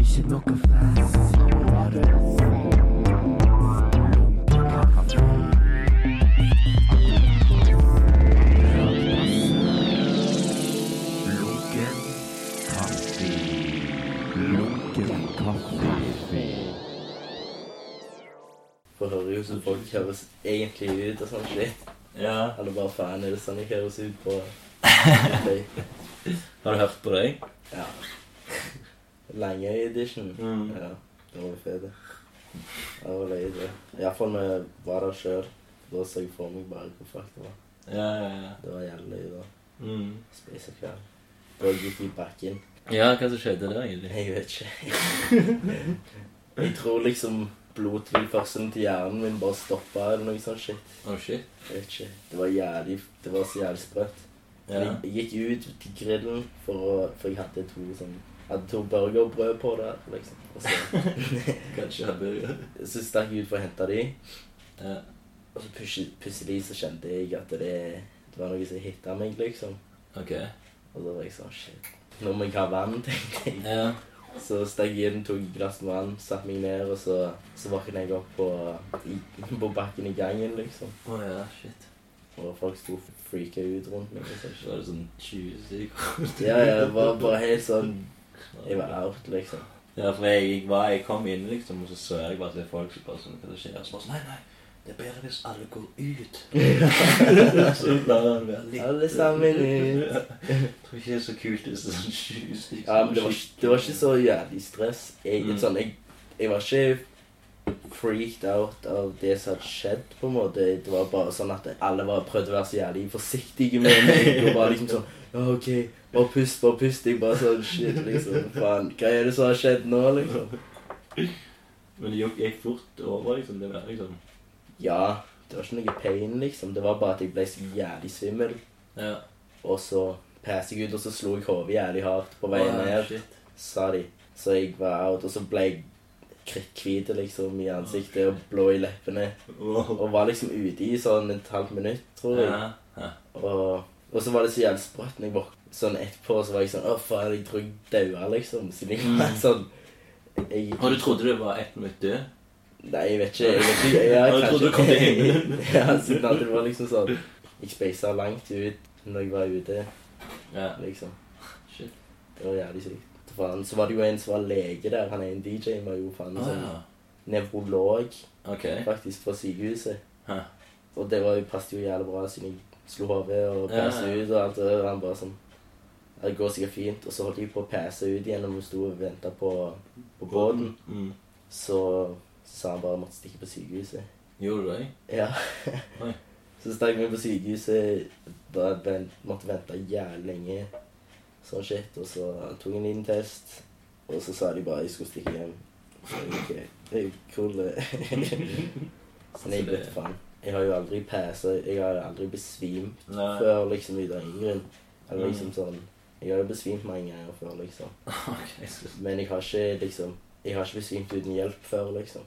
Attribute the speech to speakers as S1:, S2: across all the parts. S1: Ikke noe fælt. Lunken kaffe. Lunken kaffe.
S2: For hører jo som folk høres egentlig ut og sånn shit.
S3: Ja.
S2: Eller bare faen, er det sånn jeg høres ut på Facebook?
S3: Har du hørt på deg?
S2: Ja. Langøy-edition.
S3: Mm.
S2: Ja, det var fete. Det var løye, det. Iallfall når jeg var der sjøl. Da så jeg for meg bare hvor fuck det var.
S3: Ja, ja, ja.
S2: Det var jævlig løye da.
S3: Mm.
S2: Spise kveld. Da gikk jeg i bakken.
S3: Ja, hva som skjedde der egentlig?
S2: Jeg vet ikke. Jeg tror liksom blodtilførselen til hjernen min bare stoppa eller noe sånt shit.
S3: Oh shit.
S2: Jeg vet ikke. Det var jævlig Det var så jævlig sprøtt.
S3: Ja.
S2: Jeg jeg gikk ut til grillen for å For jeg hadde to sånn jeg hadde to burgerbrød på der, liksom. Og så,
S3: Kanskje hadde
S2: så stakk jeg ut for å hente de,
S3: Ja.
S2: og så pushe- plutselig så kjente jeg at det, det var noe som hitta meg, liksom.
S3: Ok.
S2: Og da var jeg sånn Shit. Nå må jeg ha vann, tenkte jeg.
S3: Ja.
S2: Så steg jeg inn, tok et glass med vann, satte meg ned, og så, så våkna jeg opp på, i, på bakken i gangen, liksom.
S3: Å ja, shit.
S2: Og folk sto og freaka ut rundt meg.
S3: Så var
S2: Liksom.
S3: det sånn 20 stykker.
S2: Ja, jeg var bare helt sånn Jeg var out, liksom.
S3: Ja, for jeg, jeg, var, jeg kom inn liksom, og så så jeg bare til folk som bare sånn, hva det skjer? Og så bare sånn, nei, nei, det er bedre hvis alle går ut. så lar han være litt.
S2: Alle sammen ut.
S3: Jeg tror ikke det er så kult hvis det er sånn 20 stykker.
S2: Ja, men det var, det var ikke så jævlig stress. Jeg,
S3: Mm.
S2: sånn, jeg, jeg var ikke freaked out av det som hadde skjedd, på en måte. Det var bare sånn at alle bare prøvde å være så jævlig forsiktige med meg. Og bare liksom sånn Ja, OK, bare pust, bare pust. Jeg bare sånn Shit, liksom. Faen, hva er det som har skjedd nå, liksom?
S3: Men det gikk- gikk fort over, liksom, det var liksom.
S2: Ja, det var ikke noe pain, liksom. Det var bare at jeg ble så jævlig svimmel.
S3: Ja.
S2: Og så passet jeg ut, og så slo jeg hodet jævlig hardt på veien
S3: Å, ja,
S2: ned.
S3: shit.
S2: sa de. Så jeg var out, og så ble jeg kritthvit liksom, i ansiktet og blå i leppene.
S3: Wow.
S2: Og var liksom ute i sånn et halvt minutt, tror jeg.
S3: Ja, ja.
S2: Og, og så var det så jævlig sprøtt når jeg våkna sånn etterpå, så var jeg sånn Å, faen, jeg tror jeg daua, liksom. Siden jeg var
S3: Mm.
S2: sånn jeg,
S3: Og du trodde det var ett minutt død?
S2: Nei, jeg vet ikke. Jeg, vet ikke, jeg,
S3: Ja, du trodde du kom til himmelen.
S2: ja, siden at det var liksom sånn Jeg speisa langt ut når jeg var ute,
S3: Ja.
S2: liksom.
S3: Shit.
S2: Det var jævlig sykt. Faen, Så var det jo en som var lege der. Han er en DJ, var jo faen
S3: Å,
S2: sånn
S3: ja.
S2: nevrolog.
S3: Ah, Ok.
S2: faktisk fra sykehuset.
S3: Hæ.
S2: Og det var jo, passet jo jævlig bra, siden jeg slo hodet og
S3: Ja, ja.
S2: passet ut og alt det der. og Han bare sånn «Ja, Det går sikkert fint. Og så holdt jeg på å passe ut igjen, og vi sto og venta på, på båten.
S3: Mm.
S2: Så sa han bare at jeg måtte stikke på sykehuset.
S3: Gjorde du det?
S2: Ja.
S3: Oi.
S2: så stakk vi på sykehuset. Da ven- måtte vente jævlig lenge. Sånn shit. Og så tok jeg en liten test, og så sa de bare jeg skulle stikke hjem. Så jeg, ok, det er jo cool, det. Men jeg vet faen. Jeg har jo aldri pæsa, jeg har aldri besvimt
S3: Nei. Mm.
S2: før liksom ut av ingen grunn. Eller liksom sånn Jeg har jo besvimt mange ganger før, liksom.
S3: Ok, så
S2: Men jeg har ikke liksom Jeg har ikke besvimt uten hjelp før, liksom.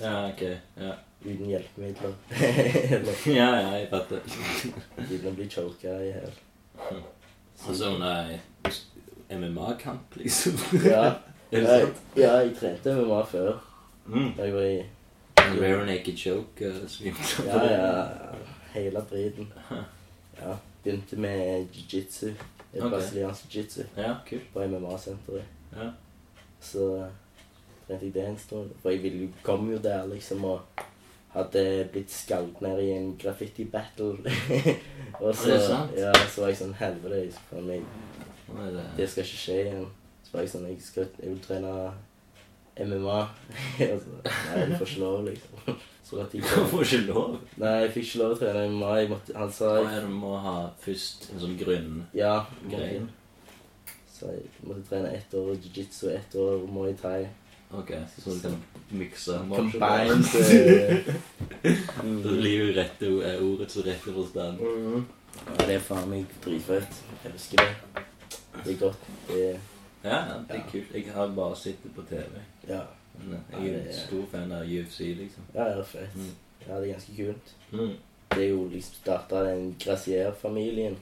S3: Ja, ok. Ja,
S2: Uten hjelpemidler. Eller
S3: ja, ja jeg fatter.
S2: uten å bli choka i hæl.
S3: Og så Altså, hun er MMA-kamp, liksom.
S2: Ja.
S3: Er det
S2: Nei,
S3: sant?
S2: ja, jeg trente MMA før.
S3: Mm.
S2: Da jeg var i
S3: En Rare naked joke uh, svimte
S2: Ja, ja. Hele driten. Ja. Begynte med jiu-jitsu. Det er
S3: Ok.
S2: Brasiliansk jiu-jitsu.
S3: Ja, kult.
S2: på MMA-senteret.
S3: Ja.
S2: Så trente jeg det en stund. For jeg ville, kom jo der liksom og hadde blitt skalt ned i en graffiti-battle. og
S3: Er
S2: så,
S3: det sant?
S2: ja, så var jeg sånn Helvete, jeg skal faen meg-
S3: Hva er det?
S2: det skal ikke skje igjen. Så var jeg sånn Jeg, skal, jeg vil trene MMA. og så Altså, Nei, du får ikke lov, liksom. Så at jeg
S3: Du
S2: kom.
S3: får ikke lov.
S2: Nei, jeg fikk ikke lov å trene MMA. Jeg måtte, han sa
S3: Å, ja, du må ha først en sånn grunn
S2: ja.
S3: greie.
S2: Måtte, så jeg måtte trene ett år jiu-jitsu, ett år muay thai.
S3: Ok, så du kan mikse martial
S2: Combined
S3: arts.
S2: eh,
S3: Livet rette er ordets rette forstand.
S2: mm. Ja, det er faen meg dritfett. Jeg elsker det. Det er godt. Det er,
S3: Ja, ja, det er kult. Jeg har bare sett det på TV.
S2: ja.
S3: Men jeg er en stor fan av UFC, liksom.
S2: ja, det er fett.
S3: Mm.
S2: Ja, det er ganske kult.
S3: Mm.
S2: Det er jo liksom starta av den Gracier-familien,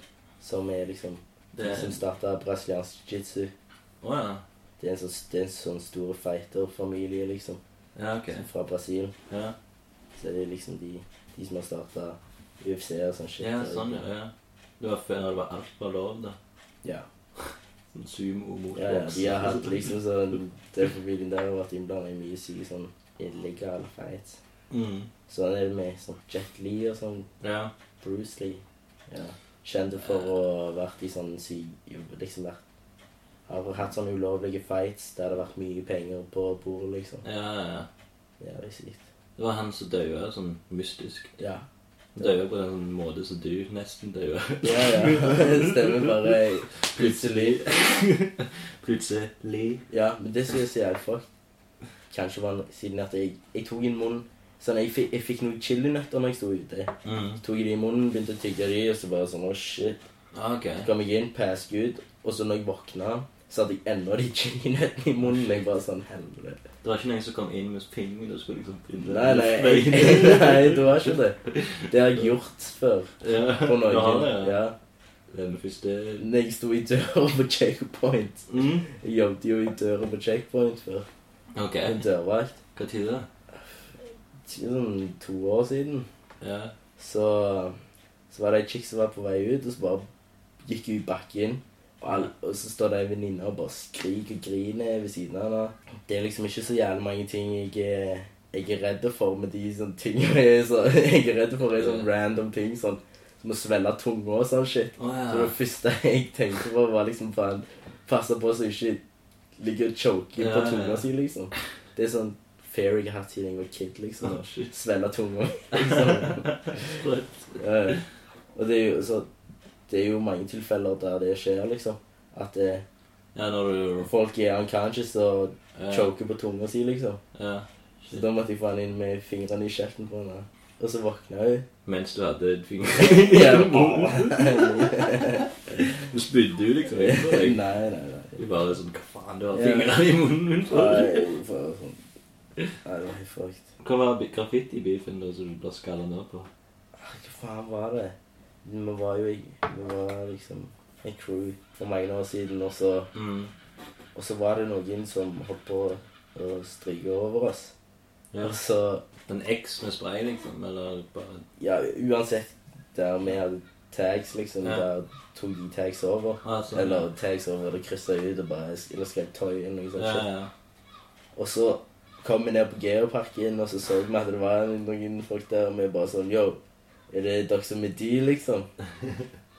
S2: som er liksom
S3: Det
S2: Som
S3: er
S2: starta brasiliansk jiu-jitsu.
S3: Å ja.
S2: Det er en sånn, det er en sånn stor fighterfamilie, liksom,
S3: Ja, ok.
S2: som fra Brasil.
S3: Ja,
S2: Så det er liksom de, de som har starta UFC og sånn shit.
S3: ja sånn, ja. ja. Det var før det var alt var lov, da.
S2: Ja.
S3: Sånn Sumo mot
S2: Ja, ja,
S3: boks.
S2: de har hatt liksom sånn Den familien der har vært innblanda i mye syke sånn illegale fights.
S3: mm.
S2: Sånn er det med sånn Jet Lee og sånn
S3: Ja.
S2: Bruce Lee. Ja. Kjente for å ha vært i sånn syke Liksom vært Har hatt sånne ulovlige fights der det har vært mye penger på bordet, liksom.
S3: ja, ja, ja.
S2: Ja, det er sykt.
S3: Det var han som døde sånn mystisk.
S2: Ja.
S3: Døde på en sånn måte som du nesten døde.
S2: Ja, ja. Det stemmer bare plutselig.
S3: Plutselig.
S2: Ja, men det synes jeg er fuck. Kanskje var det siden at jeg, jeg tok en munn Sånn, jeg, fikk- jeg fikk noen chilinøtter når jeg sto ute.
S3: Mm.
S2: tok jeg de i munnen, begynte å tygge de, og så bare sånn, åh shit.
S3: Ok.
S2: Så kom jeg inn, pask ut, og så når jeg våkna, så hadde jeg enda de chilinøttene i munnen. Jeg bare sånn, helvete.
S3: Det var ikke noen som kom inn med pingvin og skulle liksom finne
S2: Nei, nei, jeg, nei, det var ikke det. Det har jeg gjort før
S3: Ja,
S2: på
S3: du har
S2: Norge.
S3: det, ja.
S2: Ja.
S3: Den første
S2: Når jeg sto i døra på checkpoint.
S3: mm.
S2: Jeg jobbet jo i døra på checkpoint før.
S3: Ok.
S2: En dørvakt.
S3: Hva tid da?
S2: Sånn to år siden.
S3: Ja.
S2: Så, så var det ei chick som var på vei ut, og så bare gikk hun i bakken. Og, all, og så står det ei venninne og bare skriker og griner ved siden av henne. Det er liksom ikke så jævlig mange ting jeg er, jeg er redd for med de sånne tingene. Jeg er, så, jeg er redd for er sånne random ting, sånn som å svelle tunga og sånn shit.
S3: Å
S2: Så det
S3: ja.
S2: første jeg tenkte på, var liksom faen Passe på så jeg ikke ligger og choker
S3: Ja,
S2: på
S3: ja, ja.
S2: tunga si, liksom. Det er sånn fair jeg har hatt siden jeg var kid, liksom.
S3: Å, shit.
S2: Svelle tunga, liksom. Ja, ja. Eh, Og det er, jo, så, det er jo mange tilfeller der det skjer, liksom. At det,
S3: Ja, når du
S2: folk er unconscious og
S3: ja.
S2: choker på tunga si, liksom.
S3: Ja.
S2: Så da måtte jeg få han inn med fingrene i kjeften på henne. Og så våkna hun.
S3: Mens du hadde et finger
S2: Ja,
S3: Du spydde jo liksom inn på
S2: Nei,
S3: deg.
S2: nei, nei.
S3: Du bare sånn Hva faen, du har
S2: Ja.
S3: fingrene i munnen min for?
S2: Nei, for, sånn. nei det var helt fucked.
S3: Hva var graffiti-beefen da som du ble skalla ned på?
S2: Ah, Hva faen var det? Vi var jo i Vi var liksom en crew for mange år siden, og så,
S3: Mm.
S2: og så var det noen som holdt på å stryke over oss.
S3: Ja.
S2: Og så
S3: En X med spray, liksom? Eller bare
S2: Ja, uansett der vi hadde tags, liksom,
S3: Ja.
S2: der tok de tags over.
S3: ah, sånn.
S2: Eller tags over, det kryssa ut og bare eller skrev toy eller noe sånt.
S3: Ja,
S2: shit.
S3: ja.
S2: Og så kom vi ned på Geoparken, og så så vi at det var noen folk der, og vi bare sånn Yo, er det dere som er de, liksom?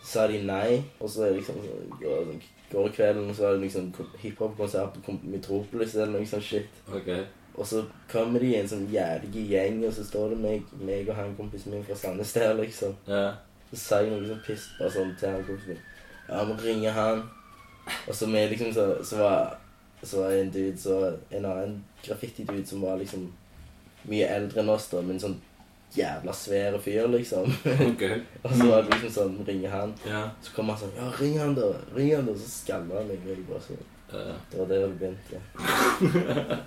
S2: Så sa de nei, og så er det liksom så- går, sånn, går kvelden, og så er det liksom kom- hiphop-konsert på Kom- Metropolis eller noe sånt shit.
S3: Ok.
S2: Og så kommer de i en sånn jævlig gjeng, og så står det meg, meg og han kompisen min fra Sandnes der, liksom.
S3: Ja.
S2: Så sa jeg noe sånn piss bare sånn til han kompisen min. Ja, må ringe han. Og så med liksom så, så var så var en dude, så en annen graffiti-dude som var liksom mye eldre enn oss, da, men sånn jævla svære fyr, liksom.
S3: Ok.
S2: og så var det liksom sånn Ringe han.
S3: Ja.
S2: Så kom han sånn Ja, ring han, da. Ring han, da. Så skanna han meg. Og jeg bare sånn
S3: Eh,
S2: Det var der det begynte.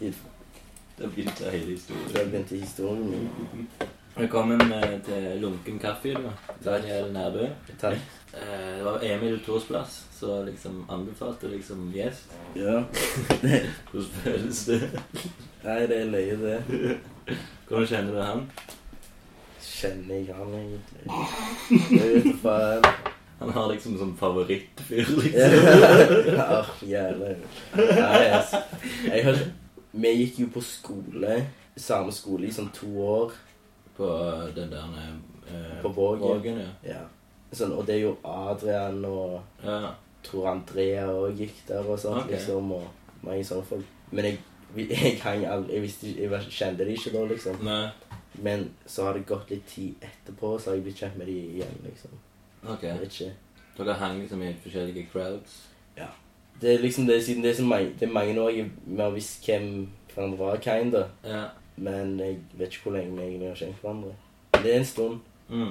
S2: I-
S3: Da begynte hele historien.
S2: Der begynte historien min.
S3: Velkommen eh, til Lunken kaffe. da. Daniel Nærbø.
S2: Takk.
S3: Eh, Det var Emil Thors plass, så liksom anbefalte liksom gjest.
S2: Ja.
S3: Hvordan føles det?
S2: Nei, det er løye, det.
S3: Hvordan kjenner du han?
S2: Kjenner jeg han egentlig? Jeg vet ikke faen.
S3: Han har liksom som favorittfyr, liksom.
S2: Ja, jævlig. Nei, altså. Jeg har Vi gikk jo på skole, samme skole i sånn to år.
S3: På den der eh,
S2: På Vågen.
S3: ja.
S2: Ja. Sånn, og det er jo Adrian og
S3: ja.
S2: tror Andrea òg gikk der og sånt,
S3: Ok.
S2: liksom. Og mange sånne folk. Men jeg, jeg hang aldri Jeg, visste, ikke- jeg var- kjente de ikke da, liksom.
S3: Nei.
S2: Men så har det gått litt tid etterpå, så har jeg blitt kjent med de igjen, liksom.
S3: Ok.
S2: Jeg vet ikke.
S3: Dere hang liksom i forskjellige crowds.
S2: Det er liksom det, siden det er så mange, det er mange år jeg vi har visst hvem hverandre var, kinda.
S3: Ja.
S2: Men jeg vet ikke hvor lenge vi egentlig har kjent hverandre. Det er en stund.
S3: Mm.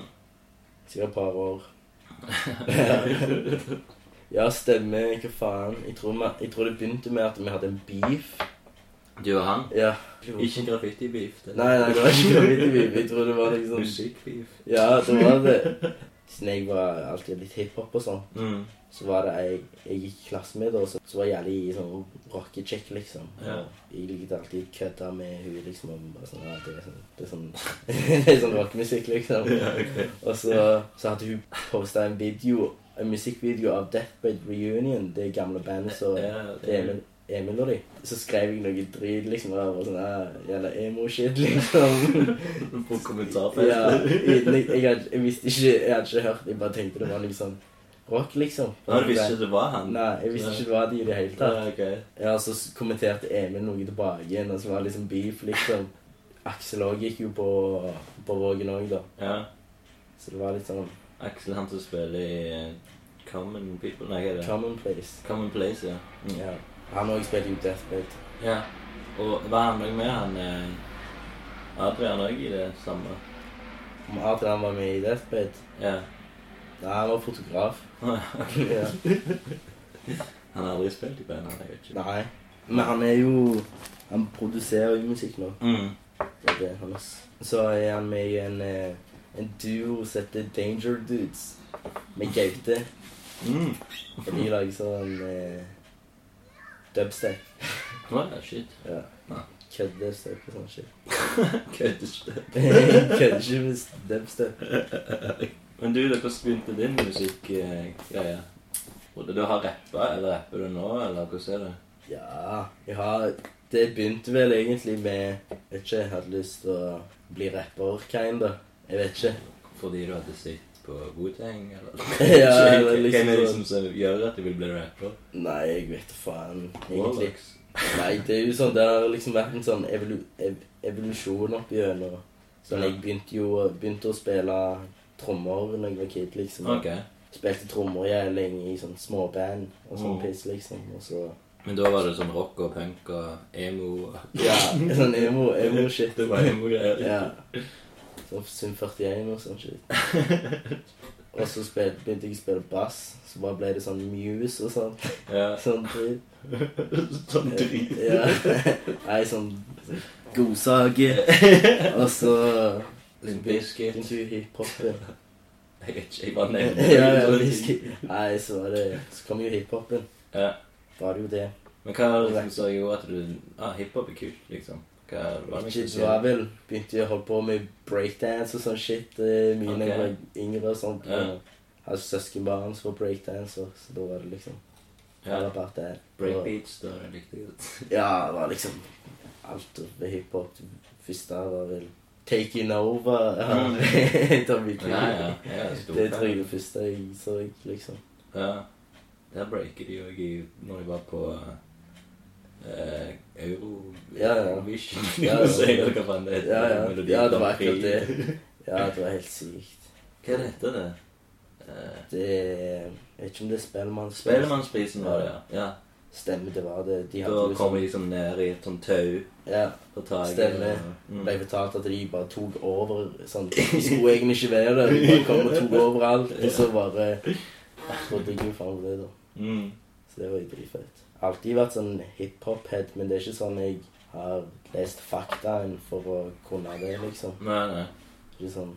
S2: Sikkert et par år. ja, stemmer. Hva faen? Jeg tror, vi- jeg tror det begynte med at vi hadde en beef.
S3: Du og han?
S2: Ja.
S3: Ikke graffiti-beef. det er
S2: Nei, nei, det var ikke graffiti beef. Jeg tror det var liksom
S3: Musikk-beef.
S2: Ja, det var det. Siden jeg var alltid litt hiphop og sånn,
S3: Mm.
S2: så var det jeg, jeg gikk i klasse med, da, så, så var jeg jævlig sånn rockekjekk, liksom.
S3: Ja.
S2: Jeg likte alltid å kødde med hun, liksom. Og bare sånn, ja, det er sånn, det er sånn, det er sånn rockemusikk, liksom. Og så, så hadde hun posta en video, en musikkvideo av Deathbed Reunion, det gamle bandet som
S3: Ja,
S2: til Emil, Emil og de. Så skrev jeg noe drit, liksom. Og jeg var sånn, ja, jævla emo-shit, liksom.
S3: På kommentarfeltet.
S2: ja, jeg, jeg, hadde- jeg visste ikke, jeg hadde ikke hørt, jeg bare tenkte det var liksom rock, liksom.
S3: Nå, du visste ikke det var han?
S2: Nei, jeg visste ikke det var de i det hele tatt.
S3: Nei, ok.
S2: Ja, så s- kommenterte Emil noe tilbake igjen, og så var det liksom beef, liksom. Aksel òg gikk jo på, på Vågen òg, da.
S3: Ja.
S2: Så det var litt sånn
S3: Aksel, han som spiller i eh, Common People Nei, hva er det?
S2: commonplace.
S3: Common Place, ja. Mm.
S2: Ja. Han òg spilte jo Deathbed.
S3: ja. Og var han også med han eh, Adrian òg i det samme?
S2: Om Adrian var med i Deathbed
S3: Ja.
S2: Nei, han var fotograf. ja.
S3: Han har aldri spilt i band, han. Jeg vet ikke.
S2: Nei. Men han er jo Han produserer jo musikk nå.
S3: Mm.
S2: Det er det hans. Så er han med i en, eh, en duo som heter Danger Dudes, med Gaute.
S3: Mm.
S2: Og de lager sånn eh, dubstep.
S3: Wow, shit.
S2: Ja.
S3: Ja.
S2: Køddestep og sånn shit.
S3: Kødder
S2: Kødder ikke med dubstep.
S3: Men du, da, hvordan begynte din musikkgreie? Burde du ha rappa, eller rapper du nå, eller hvordan er det?
S2: Ja, jeg har Det begynte vel egentlig med Vet ikke, jeg hadde lyst til å bli rapper, kinda. Jeg vet ikke.
S3: Fordi du hadde sett på Wu-Tang, eller?
S2: Ja, eller
S3: Hvem
S2: liksom
S3: er det
S2: sånn.
S3: som som gjør at du vil bli rapper?
S2: Nei, jeg vet da faen. Egentlig.
S3: Warlocks?
S2: Nei, det er jo sånn Det har liksom vært en sånn evolu ev evolusjon opp igjennom. Sånn, jeg begynte jo begynte å spille trommer da jeg var kid, liksom.
S3: Ok.
S2: Spilte trommer jævlig lenge i sånn småband og sånn
S3: Mm.
S2: piss, liksom. Og så
S3: Men da var det sånn rock og punk og emo og
S2: Ja, sånn emo, emo shit.
S3: Det var emo-greier.
S2: Ja. Sånn Sum 41 og sånn shit. Og så spil, begynte jeg å spille bass, så bare ble det sånn Muse og sånn.
S3: Ja.
S2: Sånn dritt.
S3: Sånn drit.
S2: Ja. Nei, sånn, sånn godsage. Og så
S3: Limp Bizkit.
S2: begynte jo hiphopen.
S3: Jeg vet ikke, jeg bare
S2: Ja,
S3: nevnte
S2: ja, Bizkit. Nei, så var det Så kom jo hiphopen.
S3: Ja.
S2: Var det jo det.
S3: Men hva var det som så gjorde at du Ah, hiphop er kult, liksom. Hva var det
S2: Kids var vel Begynte jeg å holde på med breakdance og sånn shit eh, mye da jeg
S3: Ok.
S2: var yngre og sånt.
S3: Ja.
S2: og Hadde søskenbarn som var breakdancer, så da var det liksom det
S3: Ja.
S2: var bare det.
S3: Breakbeats, da likte jeg det.
S2: Ja, det var liksom alt ved hiphop. Det første var vel Taking Over.
S3: Mm.
S2: Tommy Lee.
S3: Ja, ja. ja stor
S2: Det tror
S3: fan.
S2: jeg det første jeg så, liksom.
S3: Ja. Der breaker de òg i Når de var på eh, Euro...
S2: Ja, ja.
S3: Eurovision,
S2: Ja,
S3: kan
S2: ja.
S3: du si, eller hva faen det heter.
S2: Ja, ja.
S3: Melodi
S2: ja, det var
S3: Grand Prix.
S2: akkurat det. Ja, det var helt sykt.
S3: Hva heter det? Eh,
S2: Det Jeg vet ikke om det er Spellemann
S3: Spellemannsprisen var det, ja. ja.
S2: Stemmer, det var det. De hadde
S3: Da
S2: liksom
S3: kommer de liksom ned i et sånt tau
S2: Ja.
S3: på taket.
S2: Stemmer.
S3: og-
S2: ble
S3: Mm.
S2: fortalt at de bare tok over sånn, De skulle egentlig ikke være der, de bare kom og tok over alt. Og så bare trodde jeg jo faen på det, da.
S3: Mm.
S2: Så det var jo dritfett. Alltid vært sånn hiphop-head, men det er ikke sånn jeg har lest faktaen for å kunne det, liksom.
S3: Nei, nei.
S2: Ikke sånn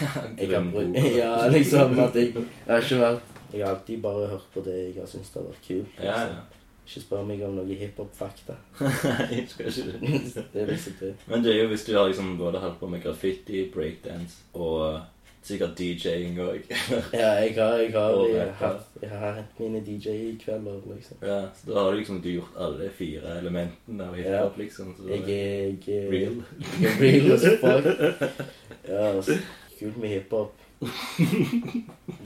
S2: jeg har,
S3: Glem
S2: brukt-
S3: ordet.
S2: ja, liksom, at jeg, jeg har ikke vært Jeg har alltid bare hørt på det jeg har syntes det har vært kult.
S3: Ja,
S2: Liksom.
S3: ja.
S2: Ikke spør meg om noe hiphop-fakta.
S3: Nei, skal ikke det.
S2: Det er liksom det.
S3: Men det er jo hvis du har liksom både holdt på med graffiti, breakdance og sikkert DJ-ing òg.
S2: Ja, jeg har, jeg har,
S3: Og
S2: jeg har,
S3: rapper.
S2: hatt- jeg har hatt mine DJ-kvelder, liksom.
S3: Ja, så da har du liksom du gjort alle fire elementene av hiphop, liksom. Så da-
S2: Jeg er, jeg er
S3: real.
S2: Jeg er real as fuck. Ja, altså. Kult med hiphop.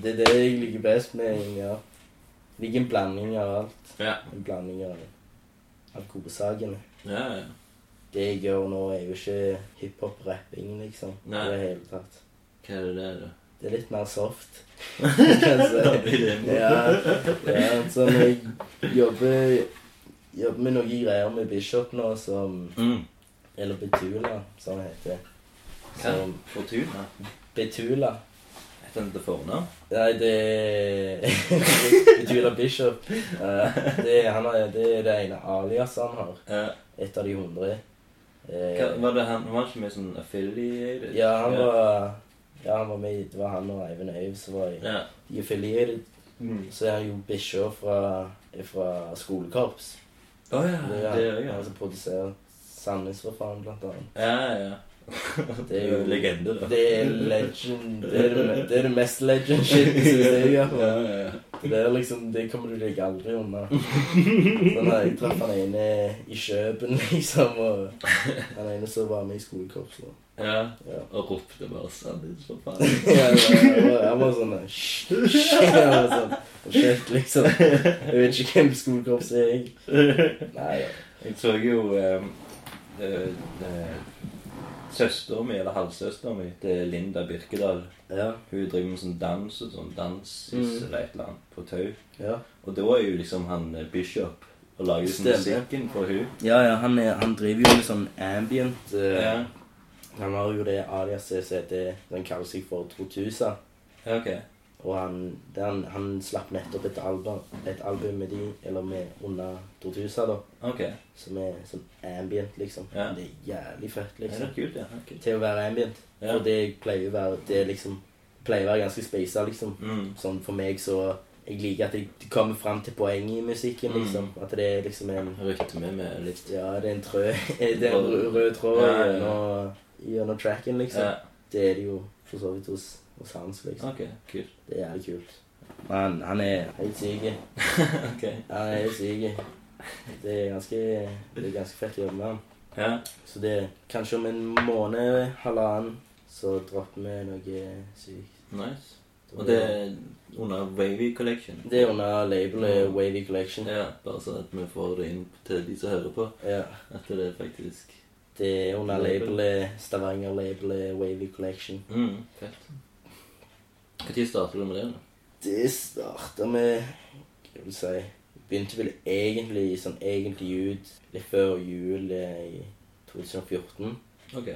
S2: Det er det jeg liker best med egentlig, ja. Jeg liker en blanding av alt.
S3: Ja.
S2: En blanding av alkoholsakene.
S3: Ja, ja.
S2: Det jeg gjør nå, er jo ikke hiphop-rapping, liksom.
S3: Nei.
S2: I det hele tatt.
S3: Hva er det der, da?
S2: Det er litt mer soft. kan jeg si.
S3: Da blir det en-
S2: ja, ja, sånn jeg jobber, jobber med noen greier med Bishop nå som
S3: Mm.
S2: Eller Betula, som det heter.
S3: Hva?
S2: Som
S3: Fortuna?
S2: Betula.
S3: Heter han til fornavn?
S2: Nei, det er Judah Bishop. Eh, det, er- han har, det er det ene aliaset han har.
S3: Eh,
S2: Et av de hundre.
S3: hva-
S2: Eh,
S3: var det han, han var ikke med sånn affiliated?
S2: ja, han var Ja, han var med i- Det var han og Eivind Øyv som var i
S3: Ja.
S2: i affiliated.
S3: Mm.
S2: Så er han jo Bishop fra, fra skolekorps.
S3: Å ja, det gjør jeg.
S2: han
S3: Altså.
S2: som produserer Sandnes for faen, blant annet.
S3: Ja, ja. Det er jo legende, da.
S2: Det er legend. Det er det, det, er det mest legend shit synes jeg. i hvert fall.
S3: Ja, ja, ja.
S2: Det er liksom, det kommer du deg aldri unna. Sånn at Jeg traff han ene i Kjøben, liksom. Og han ene som var med i skolekorpset. da.
S3: Ja.
S2: Ja.
S3: Og ropte bare 'Sandis, for faen'.
S2: Ja, det var- Han var sånn der, «Hysj, hysj», han var sånn, og Shit, liksom. Jeg vet ikke hvem skolekorpset er. jeg. Nei, ja.
S3: Jeg så jo eh, eh, eh, Søsteren min, eller halvsøsteren min, til Linda Birkedal
S2: Ja.
S3: Hun driver med sånn dans og sånn dans
S2: Mm.
S3: eller et eller annet på tau.
S2: Ja,
S3: Og da er jo liksom han eh, Bishop og lager sånn
S2: Stemmer.
S3: musikken for hun.
S2: ja, ja han, er, han driver jo med sånn ambient eh,
S3: Ja,
S2: Han har jo det aliaset som heter Den kaller seg for 2000.
S3: ja ok.
S2: Og han, den, han slapp nettopp et album, et album med de, eller med under 2000 da,
S3: ok.
S2: som er sånn ambient, liksom.
S3: Ja.
S2: Det er jævlig fett,
S3: Ja, det
S2: liksom.
S3: er kult, ja. ok.
S2: Til å være ambient.
S3: Ja.
S2: Og det pleier å være, det er liksom, pleier å være ganske spesa, liksom.
S3: Mm.
S2: Sånn for meg så, jeg liker at jeg det kommer frem til poenget i musikken,
S3: Mm.
S2: liksom. At det er liksom en,
S3: Rytme med litt
S2: ja, det er en trø, det er en rød, rød tråd
S3: Ja, ja, ja.
S2: gjennom, gjennom tracken, liksom.
S3: Ja,
S2: Det er det jo, for så vidt, hos, hos hans, liksom.
S3: ok, kult.
S2: Det er jævlig kult. Men han er helt syk.
S3: Ok.
S2: Ja, jeg er syk. Det er ganske, det er ganske fett å jobbe med han.
S3: Ja,
S2: Så det er kanskje om en måned, halvannen, så dropper vi noe eh, sykt.
S3: nice.
S2: Da
S3: Og det
S2: blir-
S3: er under Wavy Collection.
S2: det er under labelet Wavy Collection.
S3: Ja, bare sånn at vi får det inn til de som hører på.
S2: Ja.
S3: At det er faktisk
S2: Det er under labelet Stavanger-labelet Wavy Collection.
S3: mm, fett. Når starter du med det? da?
S2: Det starta med Hva vil jeg si Begynte vel egentlig sånn egentlig ut litt før jul eh, i 2014.
S3: Ok.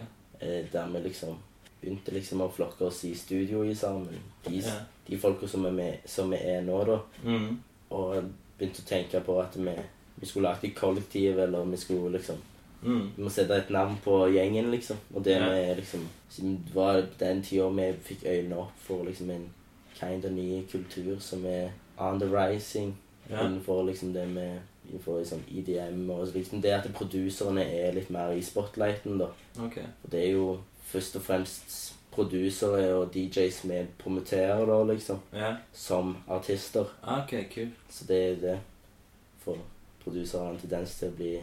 S2: Eh, der vi liksom begynte liksom å flokke oss i studio i sammen. De,
S3: Ja.
S2: de folka som, er med- som vi er nå, da.
S3: Mm.
S2: Og begynte å tenke på at vi, vi skulle lage et kollektiv, eller vi skulle liksom
S3: Mm.
S2: Vi må sette et navn på gjengen, liksom. Og det
S3: Ja.
S2: vi liksom siden det var den tida vi fikk øynene opp for liksom en kind of ny kultur som er on the rising
S3: Ja.
S2: innenfor liksom det med Innenfor liksom IDM og liksom det at produserne er litt mer i spotlighten, da.
S3: Ok.
S2: Og det er jo først og fremst produsere og DJs vi promoterer, da, liksom,
S3: Ja.
S2: som artister.
S3: Ah, Ok, kult.
S2: Så det er det. For produsere har en tendens til å bli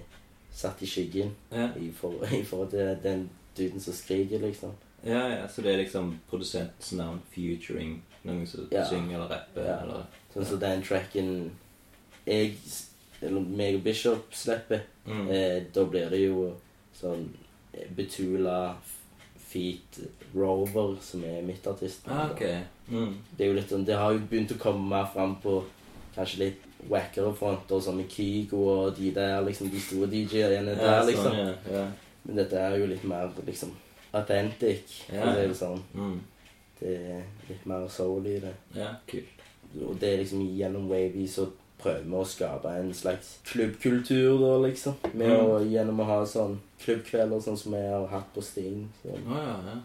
S2: satt i skyggen
S3: Ja.
S2: i, for, i forhold til den duden som skriker, liksom.
S3: ja, ja. Så det er liksom produsentens navn featuring noen som
S2: Ja.
S3: synger eller rapper
S2: Ja.
S3: eller
S2: Sånn som den tracken jeg s- Eller meg og Bishop slipper,
S3: mm.
S2: eh, da blir det jo sånn eh, Betula Feet Rover, som er mitt artist.
S3: Ah, ok. Mm.
S2: Det er jo litt sånn, det har jo begynt å komme mer fram på kanskje litt wackere fronter, som med Kygo og de der, liksom, de store DJ-ene der,
S3: Ja,
S2: liksom.
S3: Sånn, ja. ja.
S2: Men dette er jo litt mer, liksom, authentic,
S3: Ja.
S2: for å si det sånn.
S3: Mm.
S2: Det er litt mer soul i det.
S3: Ja, kult.
S2: Og det er liksom gjennom Wavy så prøver vi å skape en slags klubbkultur, da, liksom. Med
S3: Mm.
S2: å, gjennom å ha sånn klubbkvelder, sånn som vi har hatt på Sting.
S3: Å
S2: Sånn.
S3: ja, ja.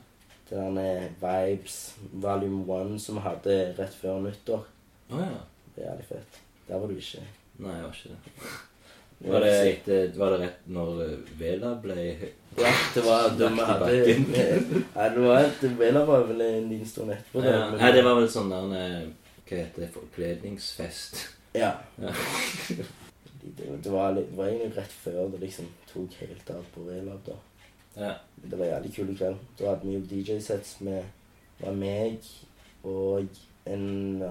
S2: Det der med Vibes, Volume 1, som vi hadde rett før nyttår.
S3: Å ja.
S2: Det er jævlig fett. Der var du ikke.
S3: Nei, jeg var ikke det. Var det, etter, var det rett når eh, Vela ble
S2: Ja, det var det vi hadde Nei, det var et Vela var vel en liten stund etterpå.
S3: ja. Nei, det var vel sånn der eh, Hva heter det? Forkledningsfest.
S2: Ja.
S3: Ja.
S2: Det, det, var, litt- det var egentlig rett før det liksom tok helt av på Vela, da.
S3: Ja.
S2: Men Det var jævlig kule kveld. Da hadde vi jo DJ-sets med det var meg og en ja,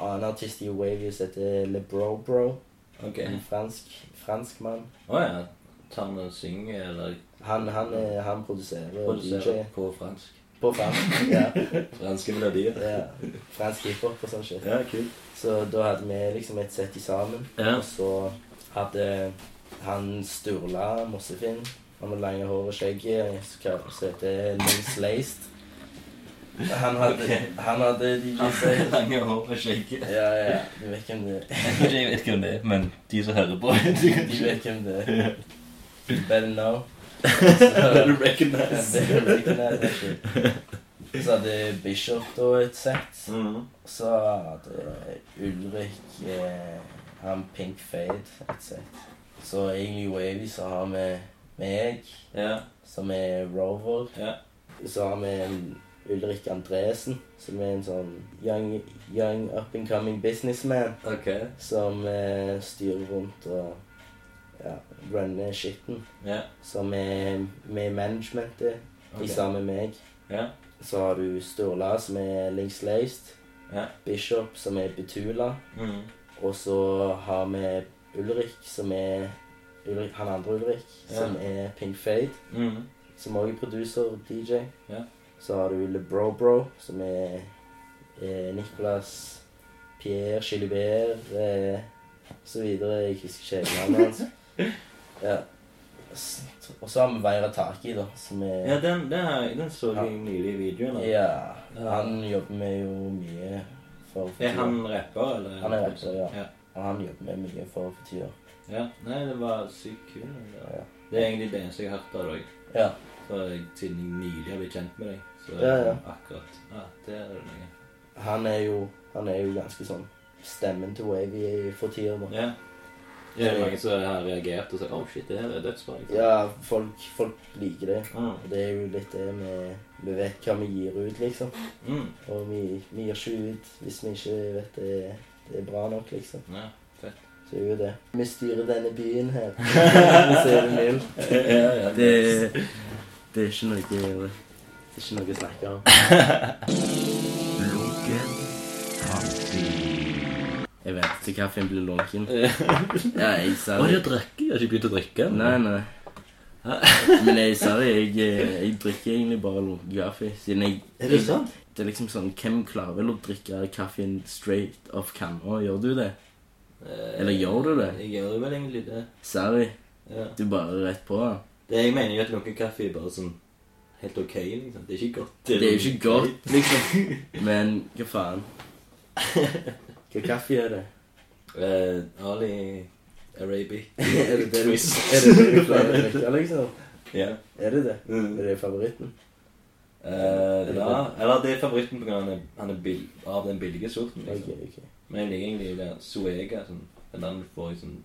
S2: annen artist i Wavy som heter LeBro-Bro.
S3: Ok.
S2: En fransk, fransk mann.
S3: Å ja. Tar han og synger, eller
S2: Han, han, er- han produserer og
S3: produserer
S2: DJ-er
S3: på fransk?
S2: på fransk. Ja,
S3: Franske melodier.
S2: ja. Fransk hiphop og sånn shit.
S3: Ja, kult.
S2: Så da hadde vi liksom et sett i sammen.
S3: Ja.
S2: Og så hadde han Sturla Mossefinn. Han med lange hår og skjegg som heter Nils Leist. Han hadde,
S3: Ok.
S2: han hadde
S3: Han
S2: DJ
S3: har
S2: Save.
S3: lange hår og skjegge.
S2: Ja, ja. Du vet hvem det er.
S3: Jeg vet ikke hvem det er, men de som hører på
S2: Du vet hvem det er. You better know.
S3: Better recognize.
S2: Better recognize that shit. Så hadde Bishop da et sett.
S3: Mhm.
S2: Så hadde Ulrik eh, han Pink Fade et sett. Så egentlig Wavy så har vi meg,
S3: Ja,
S2: som er Rover.
S3: ja.
S2: Så har vi en Ulrik Andresen, som er en sånn young, young up and coming businessman.
S3: Ok.
S2: som eh, styrer rundt og ja, runner skitten.
S3: Ja.
S2: Som er med i managementet,
S3: ok.
S2: i sammen med meg.
S3: Ja.
S2: Så har du Sturla, som er Links Laced.
S3: Ja.
S2: Bishop, som er Betula.
S3: Mhm.
S2: Og så har vi Ulrik, som er Ulrik, Han andre Ulrik,
S3: Ja.
S2: som er Pink Fade.
S3: Mhm.
S2: Som også er producer og DJ.
S3: Ja.
S2: Så har du LeBro-Bro, som er, er Nicolas, Pierre, Gilibert eh, så videre. Jeg husker ikke hele navnet hans. ja. S- Og så har vi Veira Taki, da, som er
S3: Ja, den, den, her- den så
S2: Ja.
S3: jeg nylig i videoen. da.
S2: Ja,
S3: Ja.
S2: Han jobber vi jo mye for for
S3: Er
S2: tida.
S3: han rapper, eller?
S2: Han er rapper, ja.
S3: ja.
S2: Og han jobber vi mye for for tida.
S3: Ja. Nei, det var sykt kul. Ja.
S2: Ja.
S3: Det er egentlig det eneste jeg har hørt av deg.
S2: ja.
S3: Så jeg- Siden jeg nylig har blitt kjent med deg. Så
S2: Ja, ja.
S3: akkurat. Ja, det er det noe.
S2: Han er jo Han er jo ganske sånn stemmen til Wavy for tida. da.
S3: Ja. Det er mange som har reagert og sagt 'Å, shit, det her er dødsbra'. liksom.
S2: Ja, folk, folk liker det.
S3: Mm.
S2: Og det er jo litt det med Vi vet hva vi gir ut, liksom.
S3: Mm.
S2: Og vi, vi gir ikke ut hvis vi ikke vet det, det er bra nok, liksom.
S3: Ja.
S2: Så er jo det. Vi styrer denne byen her. Så er det mildt.
S3: ja, ja.
S2: Det, det er ikke noe Det er ikke noe å snakke om.
S1: Lunken kaffe.
S2: Jeg vet til kaffen blir lunken. Ja, jeg sa
S3: Å, de har drukket? Jeg har ikke begynt å drikke?
S2: Nei, nei. Men jeg sa det, jeg, eh, jeg drikker egentlig bare lunken kaffe. Siden jeg
S3: Er det sant?
S2: Det er liksom sånn Hvem klarer vel å drikke kaffen straight off kanna? Gjør du det? Eller gjør du det?
S3: Eh, Jeg gjør vel egentlig det.
S2: Sorry.
S3: Ja.
S2: Du bare rett på. da.
S3: Det jeg mener jo at lunken kaffe er bare sånn helt ok, liksom. Det er ikke godt.
S2: Det er jo ikke godt, liksom. Men hva faen? Hva kaffe er det?
S3: Eh, Ali Arabi.
S2: er det det du,
S3: Twist.
S2: er det det du pleier å drikke, liksom?
S3: Ja.
S2: Er det det?
S3: Mm.
S2: Er det favoritten?
S3: Eh, ja. Eller det er favoritten pga. han er, han er bill av den billige sorten.
S2: Ok,
S3: Liksom.
S2: ok.
S3: Men jeg liker egentlig det Suega. Sånn, den der du får i sånn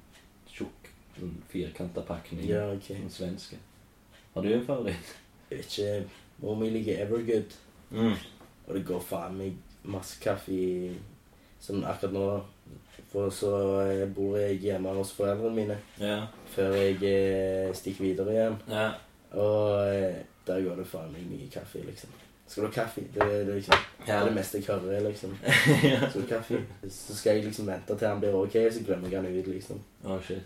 S3: tjukk, sånn firkanta pakning.
S2: Ja, ok.
S3: Den svenske. Har du en favoritt?
S2: Jeg vet ikke. Mor mi liker Evergood.
S3: Mm.
S2: Og det går faen meg masse kaffe i Sånn akkurat nå. For så eh, bor jeg hjemme hos foreldrene mine
S3: Ja.
S2: før jeg eh, stikker videre igjen.
S3: ja.
S2: Og eh, der går det faen meg mye kaffe, liksom. Skal du ha kaffe? Det er det liksom det, er det meste jeg hører, liksom.
S3: ja.
S2: Skal du ha kaffe? Så skal jeg liksom vente til han blir ok, så glemmer jeg han ut, liksom.
S3: Å, shit.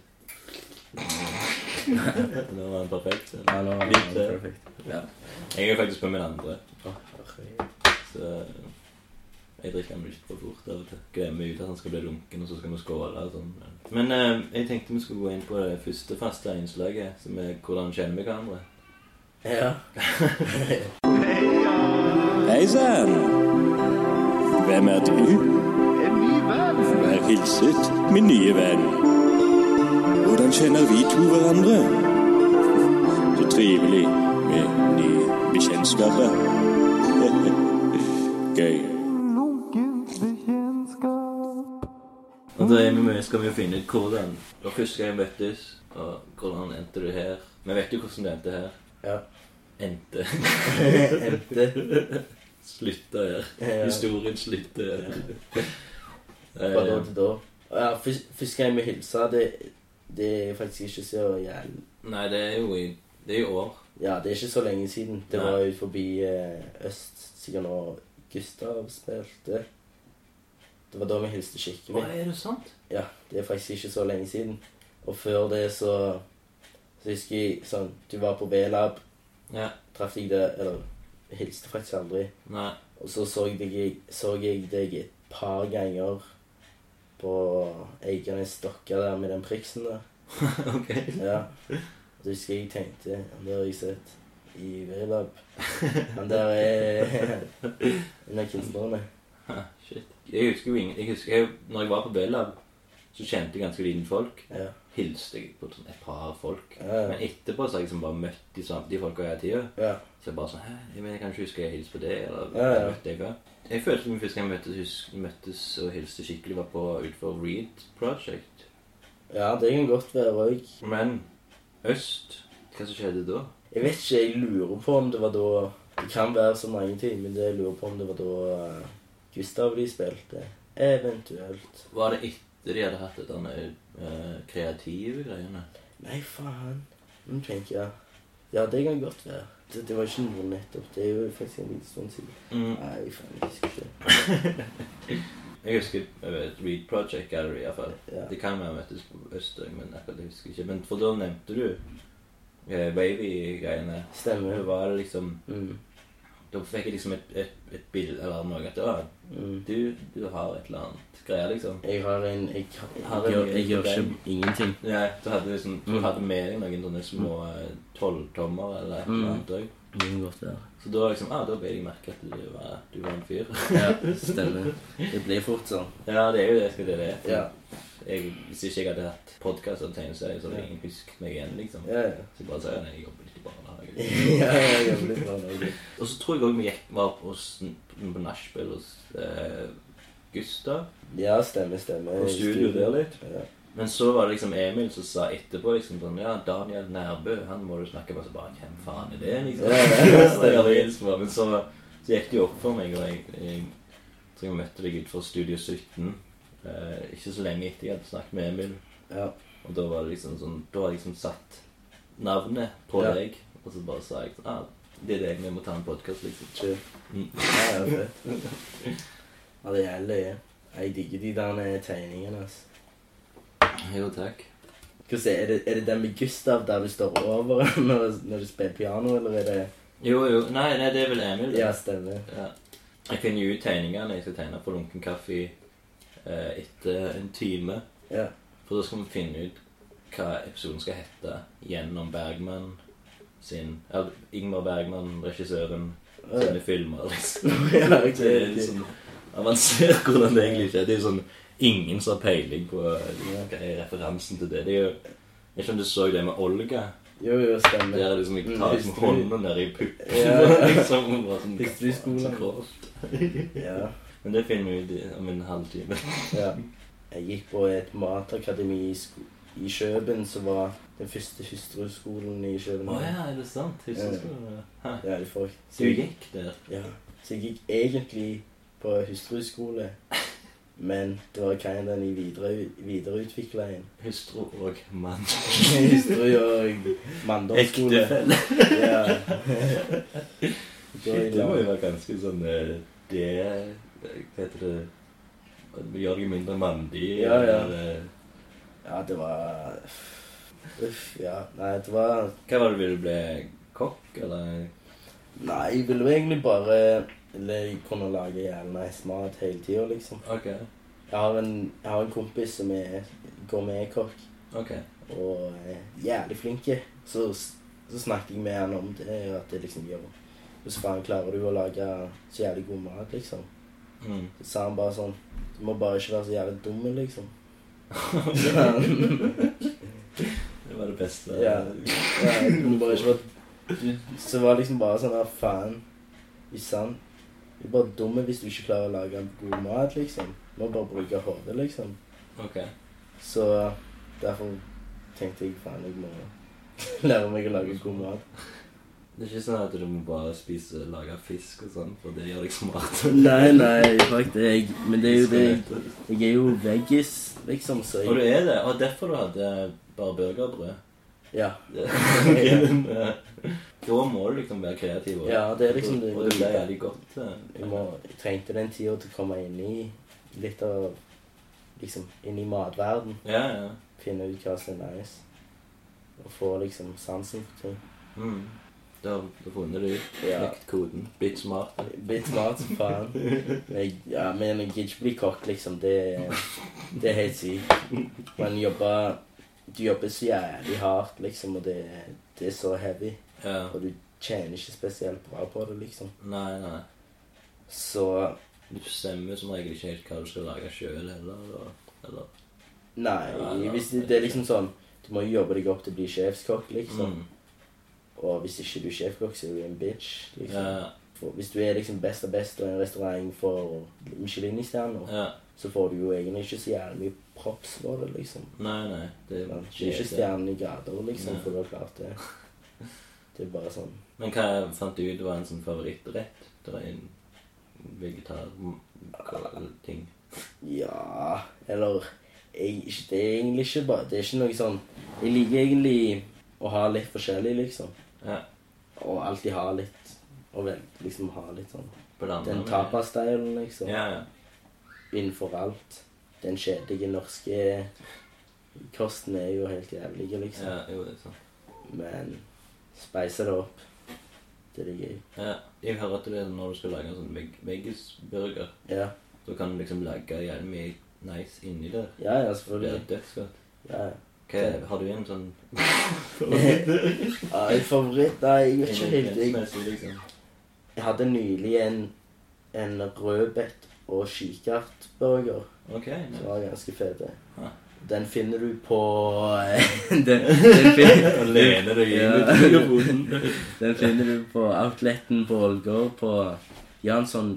S3: Nå var han perfekt.
S2: Ja, nå er
S3: Litt,
S2: det
S3: eh,
S2: perfekt.
S3: Jeg er faktisk på min andre,
S2: Å, herregud.
S3: så eh, jeg drikker den ikke for fort. av og til. Glemmer ut at han skal bli lunken, og så skal vi skåle. og sånn. Men eh, jeg tenkte vi skulle gå inn på det første faste innslaget, som er hvordan kjenner vi hverandre.
S2: Ja.
S4: Hei sann! Hvem er du? En ny venn. Vær hilset, min nye venn. Hvordan kjenner vi to hverandre? Så trivelig med nye bekjentskaper. Gøy.
S3: Og da er vi med, skal vi jo finne ut hvordan. Og første gang møttes, og hvordan endte du her? Vi vet jo hvordan det endte her.
S2: Ja.
S3: Endte.
S2: Endte.
S3: Slutta her.
S2: Ja.
S3: Historien slutter her.
S2: Fra da
S3: Eh,
S2: til da. Og Ja, først- Første gang vi hilsa, det, det er faktisk ikke så jævlig
S3: Nei, det er jo i, det er i år.
S2: Ja, det er ikke så lenge siden. Det
S3: Nei.
S2: var ut forbi eh, øst, sikkert når Gustav spilte. Det var da vi hilste
S3: Hva
S2: skikkelig.
S3: er det sant?
S2: Ja, det er faktisk ikke så lenge siden. Og før det så Så husker jeg sånn Du var på B-lab,
S3: Ja.
S2: traff deg der Eller hilste faktisk aldri.
S3: Nei.
S2: Og så så jeg deg, så jeg deg et par ganger på Eikernes Dokka der med den priksen der.
S3: ok.
S2: Ja. Det husker jeg tenkte. Det har jeg sett. i Virlab. Han der er en av kunstnerne.
S3: Ha, Shit. Jeg husker jo ingen jeg husker, jeg, Når jeg var på B-lab, så kjente jeg ganske liten folk.
S2: Ja.
S3: Hilste jeg på sånn et par folk.
S2: Ja, ja.
S3: Men etterpå så har jeg liksom bare møtt de, samme- de folka hele tida.
S2: ja.
S3: Så jeg bare sånn Hæ, jeg mener, jeg kan ikke huske jeg hilste på det, eller
S2: Ja, ja.
S3: jeg møtte deg før. Jeg følte som første gang jeg møttes, hus- møttes og hilste skikkelig, var på utenfor Reed Project.
S2: ja, det kan godt være òg.
S3: Men øst Hva som skjedde da?
S2: Jeg vet ikke, jeg lurer på om det var da Det kan være så mange ting, men jeg lurer på om det var da eh, Gustav de spilte. Eventuelt.
S3: Var det etter de hadde hatt denne eh, kreative greiene?
S2: Nei, faen. Nå tenker jeg Ja, det kan godt være. Det, det var ikke noe nettopp. Det er jo faktisk en liten stund siden. Nei, faen, jeg husker ikke.
S3: Jeg husker jeg vet, Reed Project Gallery i hvert fall.
S2: Ja.
S3: Det kan være jeg møttes på Østøy, men akkurat det husker jeg ikke. Men for da nevnte du eh, Wavy-greiene. Da
S2: Stemmer.
S3: var det liksom
S2: Mm.
S3: Da fikk jeg liksom et, et, et bilde eller noe at «Å,
S2: Mm.
S3: du, du har et eller annet greier, liksom.
S2: Jeg har en Jeg, har- eh,
S3: Har
S2: jeg,
S3: en
S2: gjør, jeg gjør
S3: liten
S2: ikke ingenting.
S3: Ja, du hadde liksom Du
S2: Mm.
S3: hadde med deg noen sånne små eh, tolvtommer eller et
S2: Mm.
S3: eller annet òg.
S2: Det kan godt være.
S3: Så da liksom, ah, da ble jeg merke at du var, du var en fyr.
S2: Ja, stemmer. Det blir fort sånn.
S3: ja, det er jo det skal det er.
S2: Ja.
S3: Jeg, hvis ikke jeg hadde hatt podkast og tegneserier, så hadde ingen husket meg igjen. liksom.
S2: Ja, ja.
S3: Så jeg bare sier nei, jeg jobber litt i barnehage.
S2: ja, jeg jobber litt med det.
S3: Og så tror jeg òg vi gikk var på, hos- på nachspiel hos eh, Gustav.
S2: Ja, stemmer, stemmer.
S3: På studio der litt.
S2: Ja.
S3: Men så var det liksom Emil som sa etterpå liksom sånn Ja, Daniel Nærbø, han må du snakke med. Så bare Hvem faen er det, liksom?
S2: Ja, ja,
S3: Så jeg hadde hilst på, Men så, så gikk det jo opp for meg, og jeg, jeg tror jeg møtte deg utenfor Studio 17 eh, ikke så lenge etter jeg hadde snakket med Emil.
S2: Ja.
S3: Og da var det liksom sånn Da har jeg liksom satt navnet på
S2: Ja.
S3: deg, og så bare sa jeg sånn ah, Det er deg, vi må ta en podkast, liksom.
S2: Chill.
S3: Mm.
S2: Ja, ja, fett. Ja, det er løye. Jeg digger de der tegningene, altså.
S3: Jo, takk.
S2: Hvordan er det, er det den med Gustav der du står over når, når du spiller piano, eller er det
S3: Jo, jo. Nei, nei det er vel Emil. det.
S2: Ja, stemmer.
S3: Ja. Jeg finner jo ut tegningene jeg skal tegne på Lunken Kaffe eh, etter en time.
S2: Ja.
S3: For da skal vi finne ut hva episoden skal hete gjennom Bergman sin Eller Ingmar Bergman, regissøren,
S2: Ja,
S3: sine filmer. liksom.
S2: Ja, ok,
S3: Det er litt
S2: ok.
S3: sånn avansert hvordan det egentlig ikke er. Det er jo sånn ingen som har peiling på eh, hva er referansen til det. Det er jo Jeg vet ikke om du så det med Olga.
S2: Jo, jo, stemmer.
S3: Der er liksom jeg tar liksom hånda ned i puppen.
S2: Ja.
S3: liksom, og bare sånn,
S2: Hvis du skulle-
S3: så grovt.
S2: Ja.
S3: Men det finner vi ut i- om en halvtime.
S2: Ja. Jeg gikk på et matakademi i, sko i Kjøben, som var den første hustruskolen i Kjøben.
S3: Å ja, er det sant? Huskeskolen? Ja.
S2: Ja, de folk.
S3: Du gikk der?
S2: Ja. Så jeg gikk egentlig på hustruskole, men det var kinda i videre, videreutvikla en.
S3: Hustru og mann.
S2: Hustru og manndomsskole.
S3: Ektefelle.
S2: Ja. Da i
S3: Shit, det må jo
S2: lag.
S3: være ganske sånn eh, Det Hva heter det Det Gjør deg mindre mandig?
S2: Ja, ja.
S3: eller, eh,
S2: Ja, det var Uff, ja. Nei, det var
S3: Hva var det ville bli? Kokk, eller?
S2: Nei, jeg ville jo egentlig bare eller, kunne lage jævla nice mat hele tida, liksom.
S3: Ok.
S2: Jeg har en, jeg har en kompis som er gourmetkokk
S3: ok.
S2: og er jævlig flink. Så, så snakket jeg med han om det, og at det liksom gjør Hvordan faen klarer du å lage så jævlig god mat, liksom?
S3: Mm.
S2: Så sa han bare sånn Du må bare ikke være så jævlig dum, liksom. Så han-
S3: Det var det beste.
S2: Ja. ja, jeg kunne bare ikke være du, Så var det liksom bare sånn ah, faen. Ikke sant? Du er bare dum hvis du ikke klarer å lage god mat, liksom. Du må bare bruke hodet, liksom.
S3: Ok.
S2: Så derfor tenkte jeg faen, jeg må lære meg å lage god mat.
S3: Det er ikke sånn at du må bare spise lage fisk og sånn, for det gjør deg smart.
S2: Nei, nei, faktisk. Jeg, men det er jo det Jeg er jo veggis, liksom, så
S3: Og du
S2: jeg
S3: er det. Og derfor du hadde bare burgerbrød.
S2: Ja.
S3: Det- Men, eh, da må du liksom være kreativ. og-
S2: Ja, det er liksom det-
S3: Og det ble jævlig godt. eh.
S2: Jeg, må, jeg trengte den tida til å komme inn i litt av Liksom inn i matverden.
S3: Ja, ja.
S2: Finne ut hva som er nice. Og få liksom sansen for ting.
S3: Mm. Da har du funnet det ut.
S2: Ja.
S3: Knekt koden. Blitt smart.
S2: Blitt smart som faen. Men jeg, ja, men jeg gidder ikke bli kokk, liksom. Det, det er helt sykt. Man jobber Du jobber så jævlig hardt, liksom, og det, det er så heavy.
S3: Ja.
S2: Og du tjener ikke spesielt bra på det, liksom.
S3: Nei, nei.
S2: Så
S3: Du bestemmer som regel ikke helt hva du skal lage sjøl heller. Eller, eller.
S2: nei,
S3: Ja, ja,
S2: hvis det, det er liksom sånn Du må jo jobbe deg opp til å bli sjefskokk, liksom.
S3: Mm.
S2: Og hvis ikke du er sjefkokk, så er du en bitch. liksom.
S3: Ja,
S2: For hvis du er liksom best av best og en restaurant for Michelin-stjerner,
S3: ja.
S2: så får du jo egentlig ikke så jævlig mye props for det, liksom.
S3: Nei, nei. Det,
S2: Men Det er ikke stjernen i grader, liksom,
S3: Nei.
S2: for du har klart det. Det er bare sånn
S3: Men hva fant du ut var en sånn favorittrett? Det var en vegetar... hva- ting.
S2: Ja Eller jeg, ikke- Det er egentlig ikke bare Det er ikke noe sånn Jeg liker egentlig å ha litt forskjellig, liksom.
S3: Ja.
S2: Og alltid ha litt Og vel, liksom ha litt sånn
S3: På det andre.
S2: Den
S3: men-
S2: tapastylen, liksom.
S3: Ja, ja.
S2: Innenfor alt. Den kjedelige norske kosten er jo helt jævlig, liksom.
S3: ja. Jo, det er sant.
S2: Men speise det opp. Det er det gøy.
S3: Ja. Jeg hører at det er når du skal lage en sånn veg veggisburger,
S2: Ja,
S3: så kan du liksom lage jævlig mye nice inni der.
S2: ja, ja
S3: Det er
S2: selvfølgelig.
S3: dødsgodt.
S2: Ja, ja.
S3: Hva er- Har du en sånn
S2: Ja, en favoritt Nei, jeg vet ikke helt. Jeg,
S3: ingrediensmessig, liksom?
S2: jeg hadde nylig en, en rødbet- og kikertburger
S3: OK.
S2: som
S3: Nice.
S2: var ganske fete.
S3: Ja.
S2: Den finner du på eh, den, den, finner,
S3: Og lener deg
S2: Ja.
S3: inn i mikrofonen.
S2: den finner du på outleten på Ålgård. På De har en sånn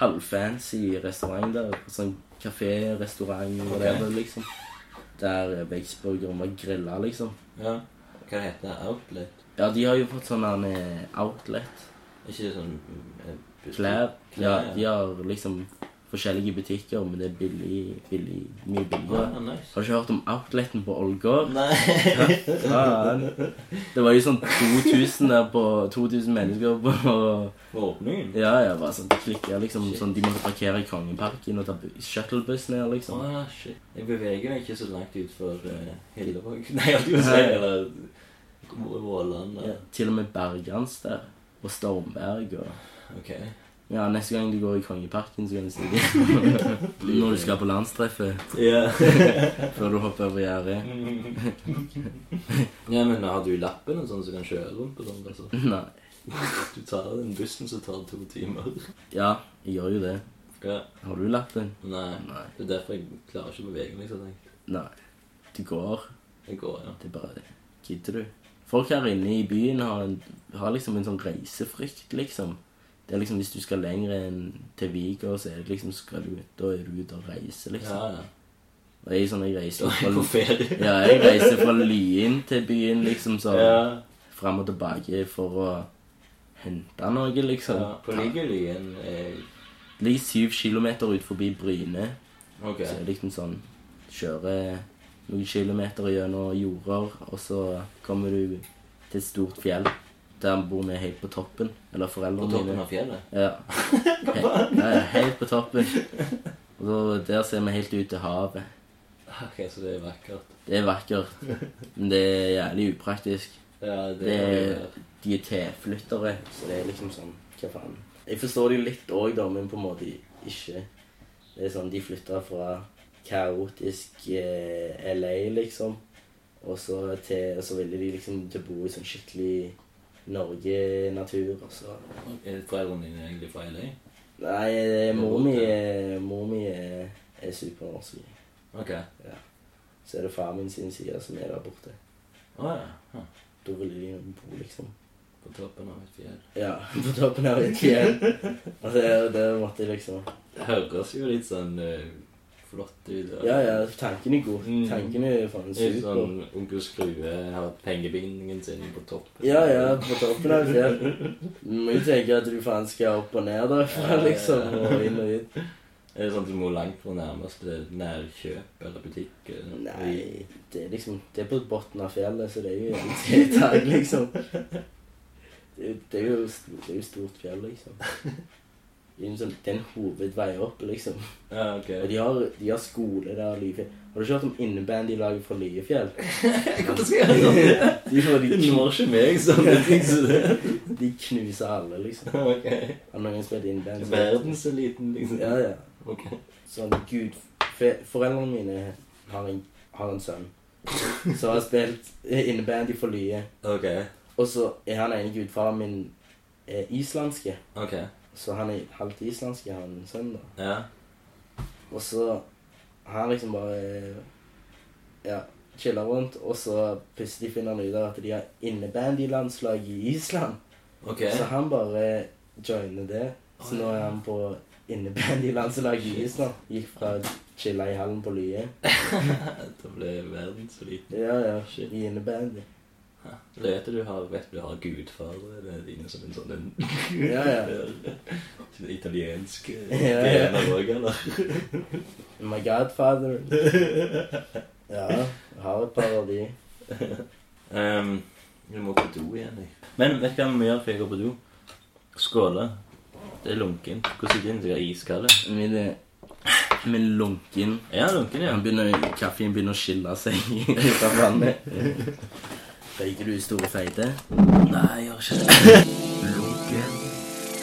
S2: halvfancy restaurant der. Sånn kafé-restaurant og det der, liksom. Der veggsburgeren var grilla, liksom.
S3: Ja. Hva heter det? Outlet?
S2: Ja, de har jo fått sånn der, eh, outlet.
S3: Er ikke det sånn mm, eh, butikk?
S2: Klær. Ja,
S3: Klær,
S2: de har liksom forskjellige butikker, men det er billig, billig, mye billigere.
S3: Ah, nice.
S2: Har du ikke hørt om outleten på Ålgård?
S3: Nei.
S2: Faen. Det var jo sånn 2000 der på 2000 mennesker på
S3: For åpningen?
S2: Ja, ja, bare sånn klikka, liksom.
S3: Shit.
S2: Sånn de måtte parkere i Kongeparken og ta bu- shuttlebuss ned, liksom.
S3: Ah, shit. Jeg beveger meg ikke så langt utfor uh, Hillevåg. Nei, jeg skulle si
S2: Nei.
S3: eller Våland.
S2: Ja,
S3: eller-
S2: til og med Bergans der. Og Stormberg og
S3: Ok.
S2: Ja, neste gang du går i Kongeparken, så kan du stikke Når du skal på landstreffet,
S3: Ja.
S2: før du hopper over gjerdet.
S3: ja, men har du lappen og sånn som så du kan kjøre rundt på sånn? Altså.
S2: Nei.
S3: Du tar den bussen som tar det to timer.
S2: Ja, jeg gjør jo det.
S3: Ja.
S2: Har du lappen?
S3: Nei.
S2: Nei.
S3: Det er derfor jeg klarer ikke å bevege meg så langt.
S2: Nei. Du går.
S3: Jeg går, ja.
S2: Det er bare Gidder du? Folk her inne i byen har, en, har liksom en sånn reisefrykt, liksom. Det er liksom Hvis du skal lenger enn til Viger, så er det liksom skal du, Da er du ute og reiser,
S3: Ja,
S2: liksom.
S3: ja.
S2: Og jeg, er sånn, jeg reiser
S3: Da er jeg på
S2: fra,
S3: ferie.
S2: ja, jeg reiser fra Lyen til byen, liksom, sånn
S3: Ja.
S2: fram og tilbake for å hente noe, liksom.
S3: ja. På eh, Liggelyen er
S2: Ligger syv kilometer ut forbi Bryne.
S3: Ok.
S2: Så er det liksom sånn Kjøre noen kilometer gjennom jorder, og så kommer du til et stort fjell. Der bor vi helt på toppen. Eller
S3: På
S2: foreldrene
S3: toppen
S2: mine.
S3: av fjellet?
S2: Ja. He- ja, ja, helt på toppen. Og så, der ser vi helt ut til havet.
S3: Ok, så det er vakkert.
S2: Det er vakkert, men det er jævlig upraktisk.
S3: Ja, det,
S2: Det
S3: er
S2: er- De er tilflyttere, så det er liksom sånn Hva faen? Jeg forstår det jo litt òg, da, men på en måte ikke. Det er sånn, De flytta fra kaotisk eh, LA, liksom, og så, til, og så ville de liksom til å bo i sånn skikkelig Norge-natur, og så
S3: Er foreldrene dine egentlig fra LA?
S2: Nei, eh, mor mi er- mor mi er, er supernorsk.
S3: Ok.
S2: Så er det far min sin side som er der borte.
S3: Å ja. Huh.
S2: Da ville de bo, liksom.
S3: På toppen av et fjell.
S2: Ja, på toppen av et fjell. Og det, det måtte jeg liksom
S3: Det høres jo litt sånn eh, flott ut. da.
S2: Ja, ja, tanken er god.
S3: Mm.
S2: Tanken er faen
S3: Litt
S2: super.
S3: sånn onkel Skrue har pengebindingen sin på toppen.
S2: Ja, ja, på toppen av et fjell. Du må jo tenke at du faen skal opp og ned
S3: Ja,
S2: derfra,
S3: ja, ja.
S2: liksom. Og inn og ut.
S3: Er det sånn at du må langt fra nærmeste nærkjøp eller butikk? eh, i-
S2: Nei, det er liksom Det er på bunnen av fjellet, så det er jo en tiltak, liksom. Det, er jo- det, er jo, st- det er jo stort fjell, liksom. Det er en sånn, det er en hovedvei opp, liksom.
S3: Ja, ok.
S2: Og de har, de har skole der, Lyefjell. Har du ikke hørt om innebandylaget for Lyefjell?
S3: Jeg kommer til å gjøre sånn.
S2: De, får-
S3: Du
S2: de, knu,
S3: når ikke meg sånn. det er ikke så det.
S2: de knuser alle, liksom.
S3: Ok.
S2: Har noen spilt innebandy? så-
S3: Verdenseliten, liksom.
S2: Ja, ja.
S3: Ok.
S2: Sånn, gud fe, Foreldrene mine har en, har en sønn som har spilt innebandy for Lye.
S3: Ok.
S2: Og så er han ene gudfaren min eh, islandske,
S3: Ok.
S2: så han er halvt islandske, han sønnen. da.
S3: Ja.
S2: Og så han liksom bare ja, chiller rundt, og så plutselig finner han ut av at de har innebandylandslag i Island.
S3: Ok.
S2: Så han bare joiner det. Så nå er han på innebandylandslag i Island. Gikk fra å chille i hallen på Lye
S3: da ble verden så liten.
S2: Ja, ja,
S3: Shit.
S2: i innebandy.
S3: Ja. Det vet du har, vet du har gudfadere. Det er dine som en sånn en
S2: Ja, ja.
S3: Sånn Italiensk eh,
S2: Ja, ja.
S3: tjener òg, eller?
S2: Oh My godfather. Ja, jeg har et par av de.
S3: Ehm, jeg må på do igjen, jeg. Men vet du hva vi må gjøre før jeg går på do? Skåle. Det er lunken. Hvordan er din? Du er iskald.
S2: Min, eh, min lunken
S3: Er han lunken, ja?
S2: Han begynner, kaffen begynner å skille seg ut av vannet. Røyker du store feite?
S3: Nei, jeg gjør ikke det.
S1: Lunken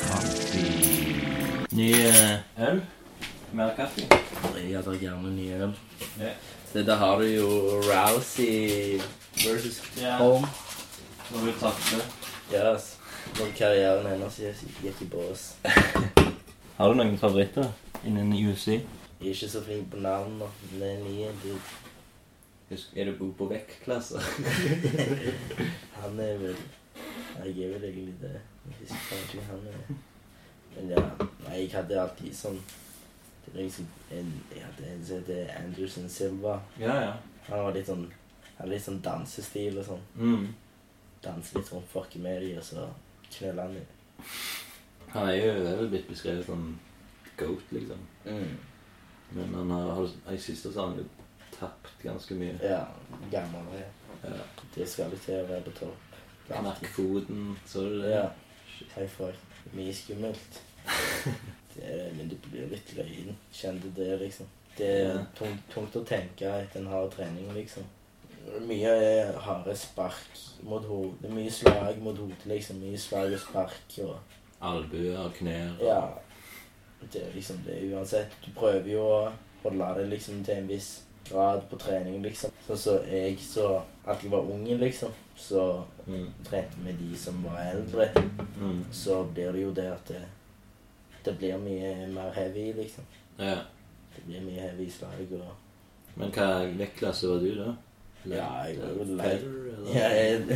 S1: kaffe.
S3: Ny eh, øl? Mer kaffe?
S2: Jeg tar gjerne ny øl.
S3: Ja.
S2: Så da har du jo Rousey versus
S3: Ja.
S2: Holm.
S3: Nå vil du takke.
S2: Ja, yes. Når karrieren hennes gikk- gikk i bås.
S3: Har du noen favoritter innen UC?
S2: Jeg er ikke så flink på navn, da. men Det er nye. Du,
S3: Er du på vektklasse?
S2: han er vel Jeg er vel egentlig det. Jeg husker faen ikke hvem han er. Men ja, nei, jeg hadde alltid sånn det er liksom en, Jeg hadde en som heter Anderson Silva.
S3: Ja, ja.
S2: Han var litt sånn hadde litt sånn dansestil og sånn.
S3: Mm.
S2: Danse litt rundt folk med de, og så knølle han dem.
S3: Han er jo det er vel blitt beskrevet som goat, liksom.
S2: Mm.
S3: Men han har, har i siste så har han jo tapt ganske mye.
S2: Ja, gammel er
S3: Ja.
S2: Det skal litt til å være på topp.
S3: Knakk Eh, foten, så du det?
S2: Ja.
S3: Shit.
S2: Hei, folk. Mye skummelt. Det er, men det blir litt løgn. Kjente det, liksom. Det er
S3: Ja.
S2: tungt, tungt å tenke etter en hard trening, liksom. Mye er harde spark mot hodet. Det er Mye slag mot hodet, liksom. Mye slag og spark og
S3: Albuer, knær og-
S2: Ja. Det er liksom det uansett. Du prøver jo å holde det liksom til en viss grad på trening, liksom. Sånn som jeg, så At jeg var ung, liksom, så
S3: Mm.
S2: trente med de som var eldre.
S3: Mm.
S2: Så blir det jo det at det, det blir mye mer heavy, liksom.
S3: ja.
S2: Det blir mye heavy slag og
S3: Men hva vektklasse var du, da?
S2: Ja, jeg var jo
S3: Feather,
S2: light.
S3: eller?
S2: Ja, jeg,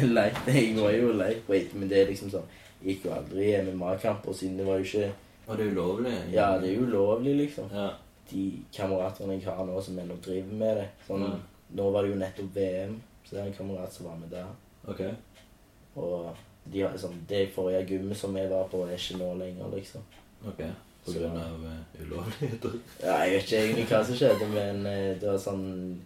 S2: jeg, jeg var jo lightweight, men det er liksom sånn Jeg gikk jo aldri i MMA-kamper, siden det var jo ikke
S3: Var det ulovlig?
S2: Ja, det er jo ulovlig, liksom.
S3: Ja.
S2: de kameratene jeg har nå som ennå driver med det. Sånn,
S3: Mm.
S2: Nå var det jo nettopp VM, så det er en kamerat som var med der.
S3: Ok.
S2: Og de har liksom, det forrige gymmet som jeg var på, er ikke nå lenger, liksom.
S3: Ok. På
S2: Så-
S3: grunn av eh, ulovligheter?
S2: Ja, jeg vet ikke egentlig hva som skjedde, men eh, det var sånn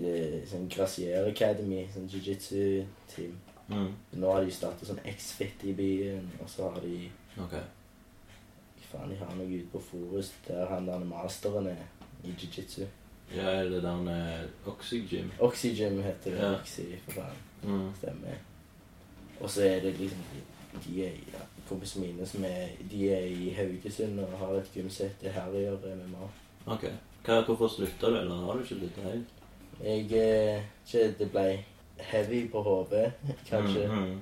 S2: eh, Sånn Gracier Academy, sånn jiu-jitsu-team.
S3: Mm.
S2: Nå har de startet sånn X-Fit i byen, og så har de
S3: Ok.
S2: hva Faen, de har noe ute på Forus der han der masteren er i jiu-jitsu.
S3: Ja, er det der med Oxygym?
S2: Oxygym heter det.
S3: Ja.
S2: Oxy, for faen.
S3: Mm.
S2: Stemmer. Og så er det liksom de- de er, ja, kompisene mine som er, de er i Haugesund og har et gymsett i Herjer MMA.
S3: Ok. Hva, hvorfor slutta du, eller har du ikke slutta helt?
S2: Jeg eh, ikke, Det ble heavy på hodet, kanskje.
S3: Mm, mm.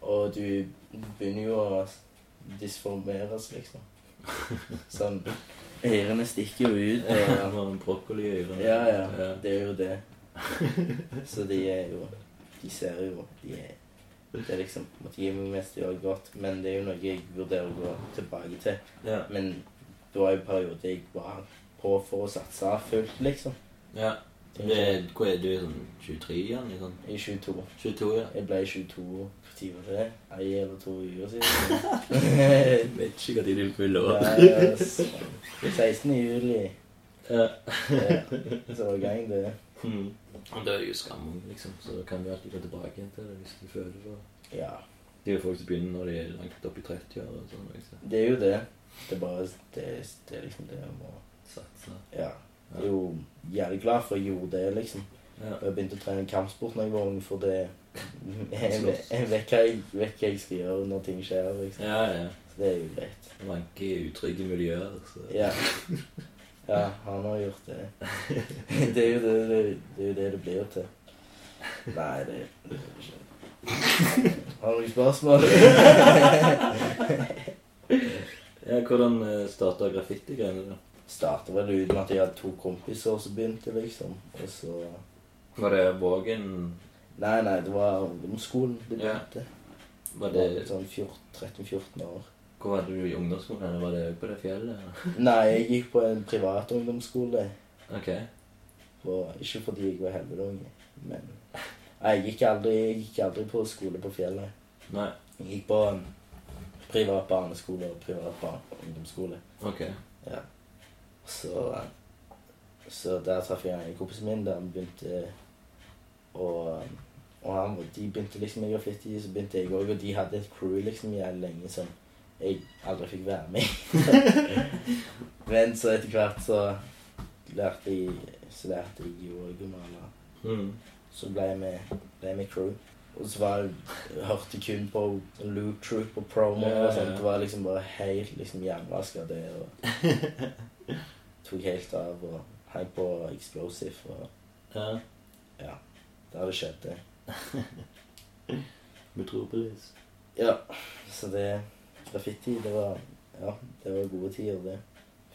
S2: Og du begynner jo å disformeres, liksom. Sånn Ørene stikker jo ut. eh,
S3: Ja,
S2: Og,
S3: var en brokkoli i øret.
S2: ja, ja. Det er jo det. Så de er jo De ser jo De er det er liksom måtte gi meg mest gjør godt, men det er jo noe jeg vurderer å gå tilbake til.
S3: Ja.
S2: Men det var jo en periode jeg var på for å satse fullt, liksom.
S3: ja. Det er, hvor er du sånn 23 igjen? Liksom?
S2: I 22.
S3: 22, ja.
S2: Jeg ble 22 Hvor tid var det? Ei eller to uker siden.
S3: vet ikke hva de vil fylle
S2: Nei, ass. 16. juli.
S3: Ja.
S2: Ja, Så var gang det.
S3: Mm. Men Det er jo skammen, liksom, så da kan du alltid gå tilbake igjen til det hvis du føler for det.
S2: Ja.
S3: Det er jo folk som begynner når de er langt opp i 30-åra og sånn. liksom.
S2: Det er jo det. Det er bare Det, det er liksom det jeg må
S3: Satsa.
S2: Ja. Jeg er jo jævlig glad for at jeg gjorde det, liksom.
S3: Ja.
S2: Og Jeg begynte å trene kampsport når jeg var ung, for det jeg,
S3: Slåss.
S2: vet- jeg vet hva jeg, vet hva jeg skal gjøre når ting skjer. liksom.
S3: ja, ja.
S2: Så det er jo greit.
S3: Vanke i altså. utrygge miljøer. så...
S2: Ja. ja, han har gjort det. Det er jo det det, det, er jo det, det blir til. Nei, det, det er jo ikke Har du noen spørsmål?
S3: Ja, hvordan eh, starta graffiti-greiene? da?
S2: Starta vel ut med at jeg hadde to kompiser som begynte, liksom. Og så
S3: Var det Vågen
S2: Nei, nei, det var ungdomsskolen det
S3: Ja.
S2: begynte.
S3: Var
S2: Jeg var
S3: det,
S2: Sånn 14 13-14 år.
S3: Hvor var du i ungdomsskolen? eller Var det på det fjellet? eller?
S2: Nei, jeg gikk på en privat ungdomsskole.
S3: Ok.
S2: Og ikke fordi jeg var helvetunge, men Nei, jeg gikk, aldri, jeg gikk aldri på skole på fjellet.
S3: Nei.
S2: Jeg gikk på en privat barneskole og privat barn ungdomsskole.
S3: Ok.
S2: Så, eh, så der traff jeg en kompis min der han begynte å eh, Og han, de begynte liksom med graffiti, så begynte jeg òg, og de hadde et crew liksom jævlig lenge som jeg aldri fikk være med i. Men så etter hvert så lærte jeg, så lærte jeg jo òg å male.
S3: Mm.
S2: Så ble jeg med, ble jeg med crew. Og så var jeg, hørte jeg kun på Luke Troop og promo
S3: Ja, ja,
S2: og sånt.
S3: ja.
S2: Det var liksom bare helt liksom jernvaska det og Tok helt av og hei på Explosive og
S3: Ja.
S2: der det skjedde.
S3: Metropolis.
S2: Ja, så det Graffiti, det var Ja, det var gode tider, det.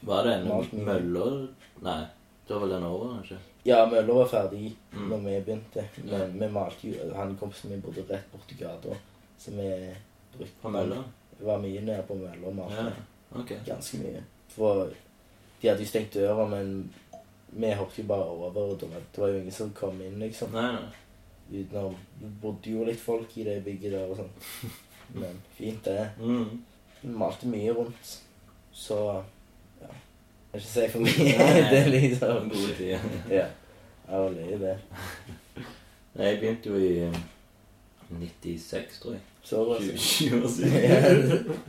S3: Var det
S2: Malt
S3: en
S2: mye.
S3: møller? Nei. Det var vel den over, kanskje?
S2: Ja, Møller var ferdig
S3: Mm.
S2: når vi begynte. Men
S3: Ja.
S2: vi malte jo Han kompisen min bodde rett borti gata, så vi brukte
S3: På møller?
S2: Var mye nede på Møller og malte.
S3: Ja. Ok.
S2: ganske mye. For de hadde jo stengt døra, men vi hoppet jo bare over. Og det var- det var jo ingen som kom inn, liksom.
S3: Nei, nei.
S2: Utenom Det bodde jo litt folk i det bygget der og sånn. Men fint, det.
S3: Mm.
S2: Vi malte mye rundt. Så ja. Jeg kan ikke si for mye.
S3: Nei, nei.
S2: det er
S3: Det var
S2: liksom
S3: en god tid.
S2: Ja. Jeg var løye, det.
S3: Nei, jeg begynte jo i eh, 96, tror jeg.
S2: Så var
S3: 20,
S2: det
S3: 20 år siden.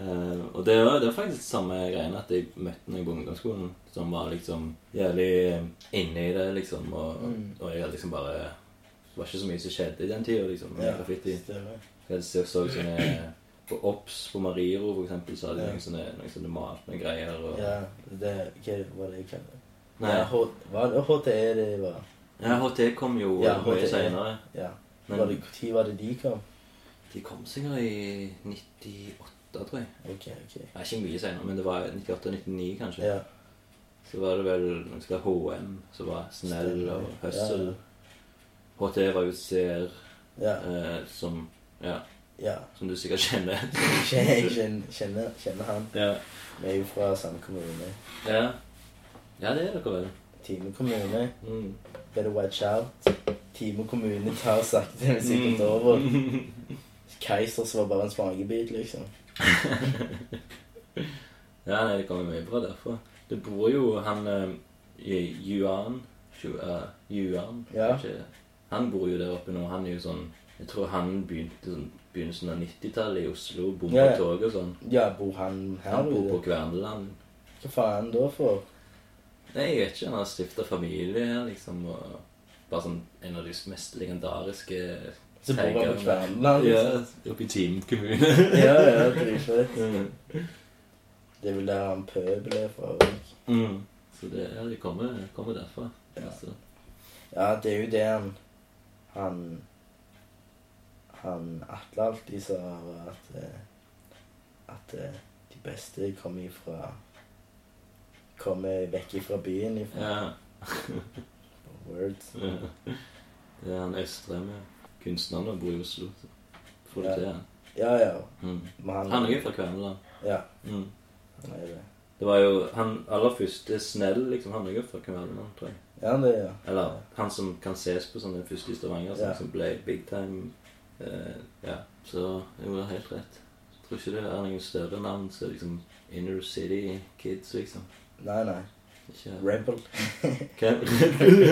S3: Eh, og det var, det var faktisk samme greien at jeg møtte noen på ungdomsskolen som var liksom jævlig inne i det, liksom. Og,
S2: Mm.
S3: og jeg hadde liksom bare Det var ikke så mye som skjedde i den tida, liksom. med
S2: Ja,
S3: graffiti.
S2: større.
S3: Jeg så, så sånne På OBS på Mariro, for eksempel, så hadde de
S2: Ja.
S3: noen sånne, noen sånne malte greier. Og,
S2: Ja, det Hva var det jeg kalte det?
S3: Nei,
S2: Ja, H- var det HTE det var?
S3: ja, HT kom jo
S2: Ja,
S3: eh, mye
S2: HT.
S3: seinere.
S2: Ja.
S3: Men
S2: Var det, hvor var det de kom?
S3: de kom sikkert i 98, tror jeg.
S2: Ok, ok.
S3: Ja, ikke mye senere, men det var 98-99 kanskje.
S2: Ja.
S3: Så var det vel når det var HM, som var Snell og
S2: Stemmer.
S3: Høssel.
S2: Ja.
S3: HT var jo Ser,
S2: Ja.
S3: eh, som, ja,
S2: ja.
S3: som du sikkert kjenner.
S2: Jeg kjenner, kjenner, kjenner han.
S3: ja.
S2: Vi er jo fra samme kommune.
S3: ja. Ja, det er dere vel.
S2: Time kommune.
S3: Mm.
S2: Better watch out. Time kommune tar sakte, men sikkert
S3: Mm.
S2: over. Keisers var bare en smakebit, liksom.
S3: Ja, nei, det kommer mye bra derfra. Det bor jo han eh, i Yuan Shu- eh, Yuan,
S2: Ja.
S3: kanskje. Han bor jo der oppe nå. Han er jo sånn Jeg tror han begynte sånn begynnelsen av 90-tallet i Oslo. Bor på
S2: Ja, ja.
S3: toget og sånn.
S2: Ja, bor han her?
S3: Han bor på
S2: ute?
S3: Kverneland.
S2: Hva faen da for?
S3: Nei, jeg vet ikke. Han har stifta familie her, liksom. Og bare sånn en av de mest legendariske
S2: Så bor han på
S3: teigerne.
S2: Kverneland?
S3: Ja,
S2: Liksom.
S3: oppe i Team kommune. Mm.
S2: Ja, ja, dritfett. Det er vel der han pøbel er fra. og-
S3: mm. Så det, ja, det kommer, kommer derfra.
S2: Ja.
S3: Altså.
S2: Ja, det er jo det han Han Han Atle alltid sa, var at eh, At eh, de beste kom ifra Kommer vekk ifra byen, ifra
S3: Ja.
S2: Words.
S3: Ja. Det er han Østrem, ja. Kunstneren og bor i Oslo. så Får det
S2: Ja.
S3: til, han.
S2: Ja, ja.
S3: Mm.
S2: Men han,
S3: Han er jo fra Kverneland.
S2: Ja,
S3: Mm.
S2: han er det.
S3: Det var jo han aller første Snell, liksom. Han er jo fra Kverneland, tror jeg.
S2: Ja, han er det, ja.
S3: Eller han som kan ses på som den første i Stavanger, som
S2: Ja.
S3: liksom ble big time. Eh, ja, så jo, det er helt rett. Jeg tror ikke det er noen større navn som er liksom Inner City Kids, liksom.
S2: Nei, nei.
S3: Ikke
S2: Rebel.
S3: Hvem?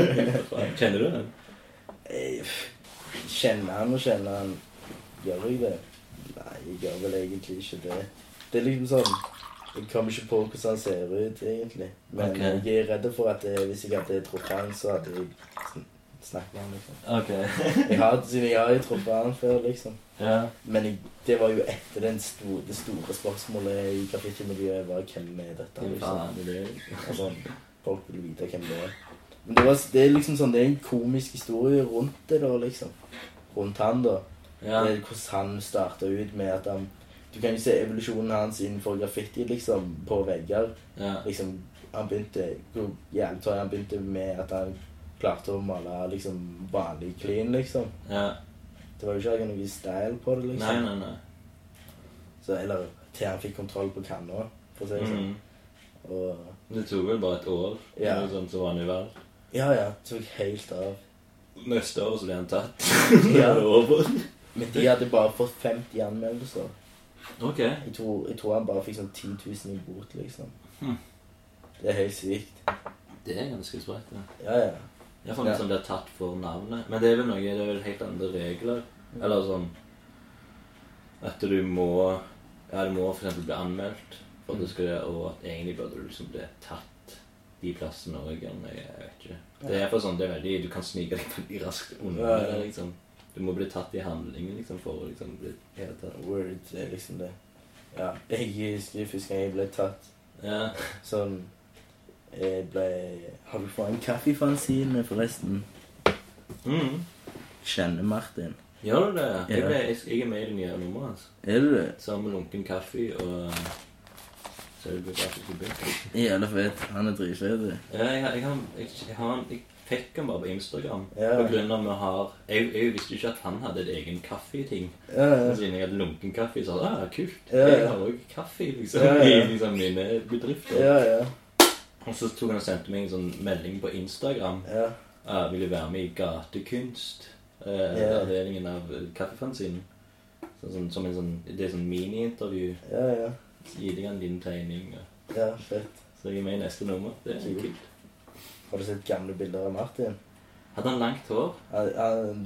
S3: Kjenner du den?
S2: Eh, pff, Kjenner han og kjenner han Gjør jeg det? Nei, jeg gjør vel egentlig ikke det. Det er liksom sånn Jeg kommer ikke på hvordan han ser ut, egentlig. Men
S3: Ok.
S2: jeg er redd for at eh, hvis jeg hadde truffet han, så hadde jeg sn snakket med han, liksom.
S3: Ok.
S2: Jeg har, siden jeg har jo truffet han før, liksom.
S3: ja.
S2: Men jeg, det var jo etter den sto- det store spørsmålet i graffitimiljøet var hvem er dette? Liksom.
S3: Faen, det er
S2: Og sånn, folk vil vite hvem det er. Men det, var, det er liksom sånn, det er en komisk historie rundt det, da, liksom. rundt han, da.
S3: Ja.
S2: Det er Hvordan han starta ut med at han Du kan jo se evolusjonen hans innenfor graffiti, liksom, på vegger.
S3: ja.
S2: Liksom, han begynte Hvor jævlig tror jeg han begynte med at han klarte å male liksom vanlig clean, liksom.
S3: ja.
S2: Det var jo ikke akkurat noe style på det,
S3: Nei,
S2: liksom.
S3: nei, nei.
S2: Så, eller til han fikk kontroll på kanna, for å si det sånn.
S3: Mm.
S2: Og
S3: Det tok vel bare et år,
S2: Ja.
S3: eller sånn som var han i verden.
S2: ja, ja, tok helt av.
S3: Neste år så ble han tatt.
S2: Ja.
S3: Ja. det over.
S2: Men de hadde bare fått 50 anmeldelser.
S3: Ok.
S2: Jeg tror, jeg tror han bare fikk sånn 10 000 i bot, liksom.
S3: Hmm.
S2: Det er helt sykt.
S3: Det er ganske sprøtt. Ja.
S2: Ja, ja.
S3: Jeg fant ut som blir tatt for navnet. Men det er vel noe, det er vel helt andre regler. Eller sånn At du må Ja, du må for eksempel bli anmeldt, for
S2: Mm.
S3: at du skal, og at egentlig burde du liksom bli tatt de plassene òg. Jeg vet ikke. Det er for sånn, det er veldig Du kan snike deg veldig raskt unna.
S2: Ja, ja.
S3: Liksom. Du må bli tatt i handlingen liksom, for å liksom, bli helt tatt.
S2: Word, det er liksom det. Ja, jeg husker første gang jeg ble tatt
S3: Ja.
S2: sånn Jeg ble Har du fått en kaffefanzine, forresten?
S3: Mm.
S2: Kjenner Martin.
S3: Gjør du det? Jeg,
S2: Ja.
S3: ble, jeg, jeg er med i det nye nummeret hans.
S2: Er du det?
S3: Sammen med lunken kaffe og eh, Så er det blitt kaffe.
S2: Jævla fett. Han er dritfet. du.
S3: Ja, jeg, jeg, har- jeg, jeg, har han- jeg fikk han bare på Instagram.
S2: Ja.
S3: På grunn av vi har jeg, jeg visste ikke at han hadde et egen kaffeting.
S2: Ja,
S3: Men
S2: ja.
S3: Siden jeg hadde lunken kaffe, så sa jeg ah, kult.
S2: Ja, ja.
S3: Jeg har òg kaffe liksom,
S2: Ja, ja.
S3: i liksom, mine bedrifter.
S2: Ja, ja.
S3: Og så tok han og sendte meg en sånn melding på Instagram.
S2: ja.
S3: Jeg ville være med i gatekunst. Eh,
S2: Ja.
S3: Avdelingen av kaffefanzinen. Sånn, sånn, som en sånn, det er sånn mini-intervju.
S2: Ja, ja.
S3: Gi deg en liten tegning. og-
S2: ja fett.
S3: Så jeg er med i neste nummer. Det er
S2: Kult.
S3: kult.
S2: Har du sett gamle bilder av Martin?
S3: Hadde han langt hår?
S2: Han han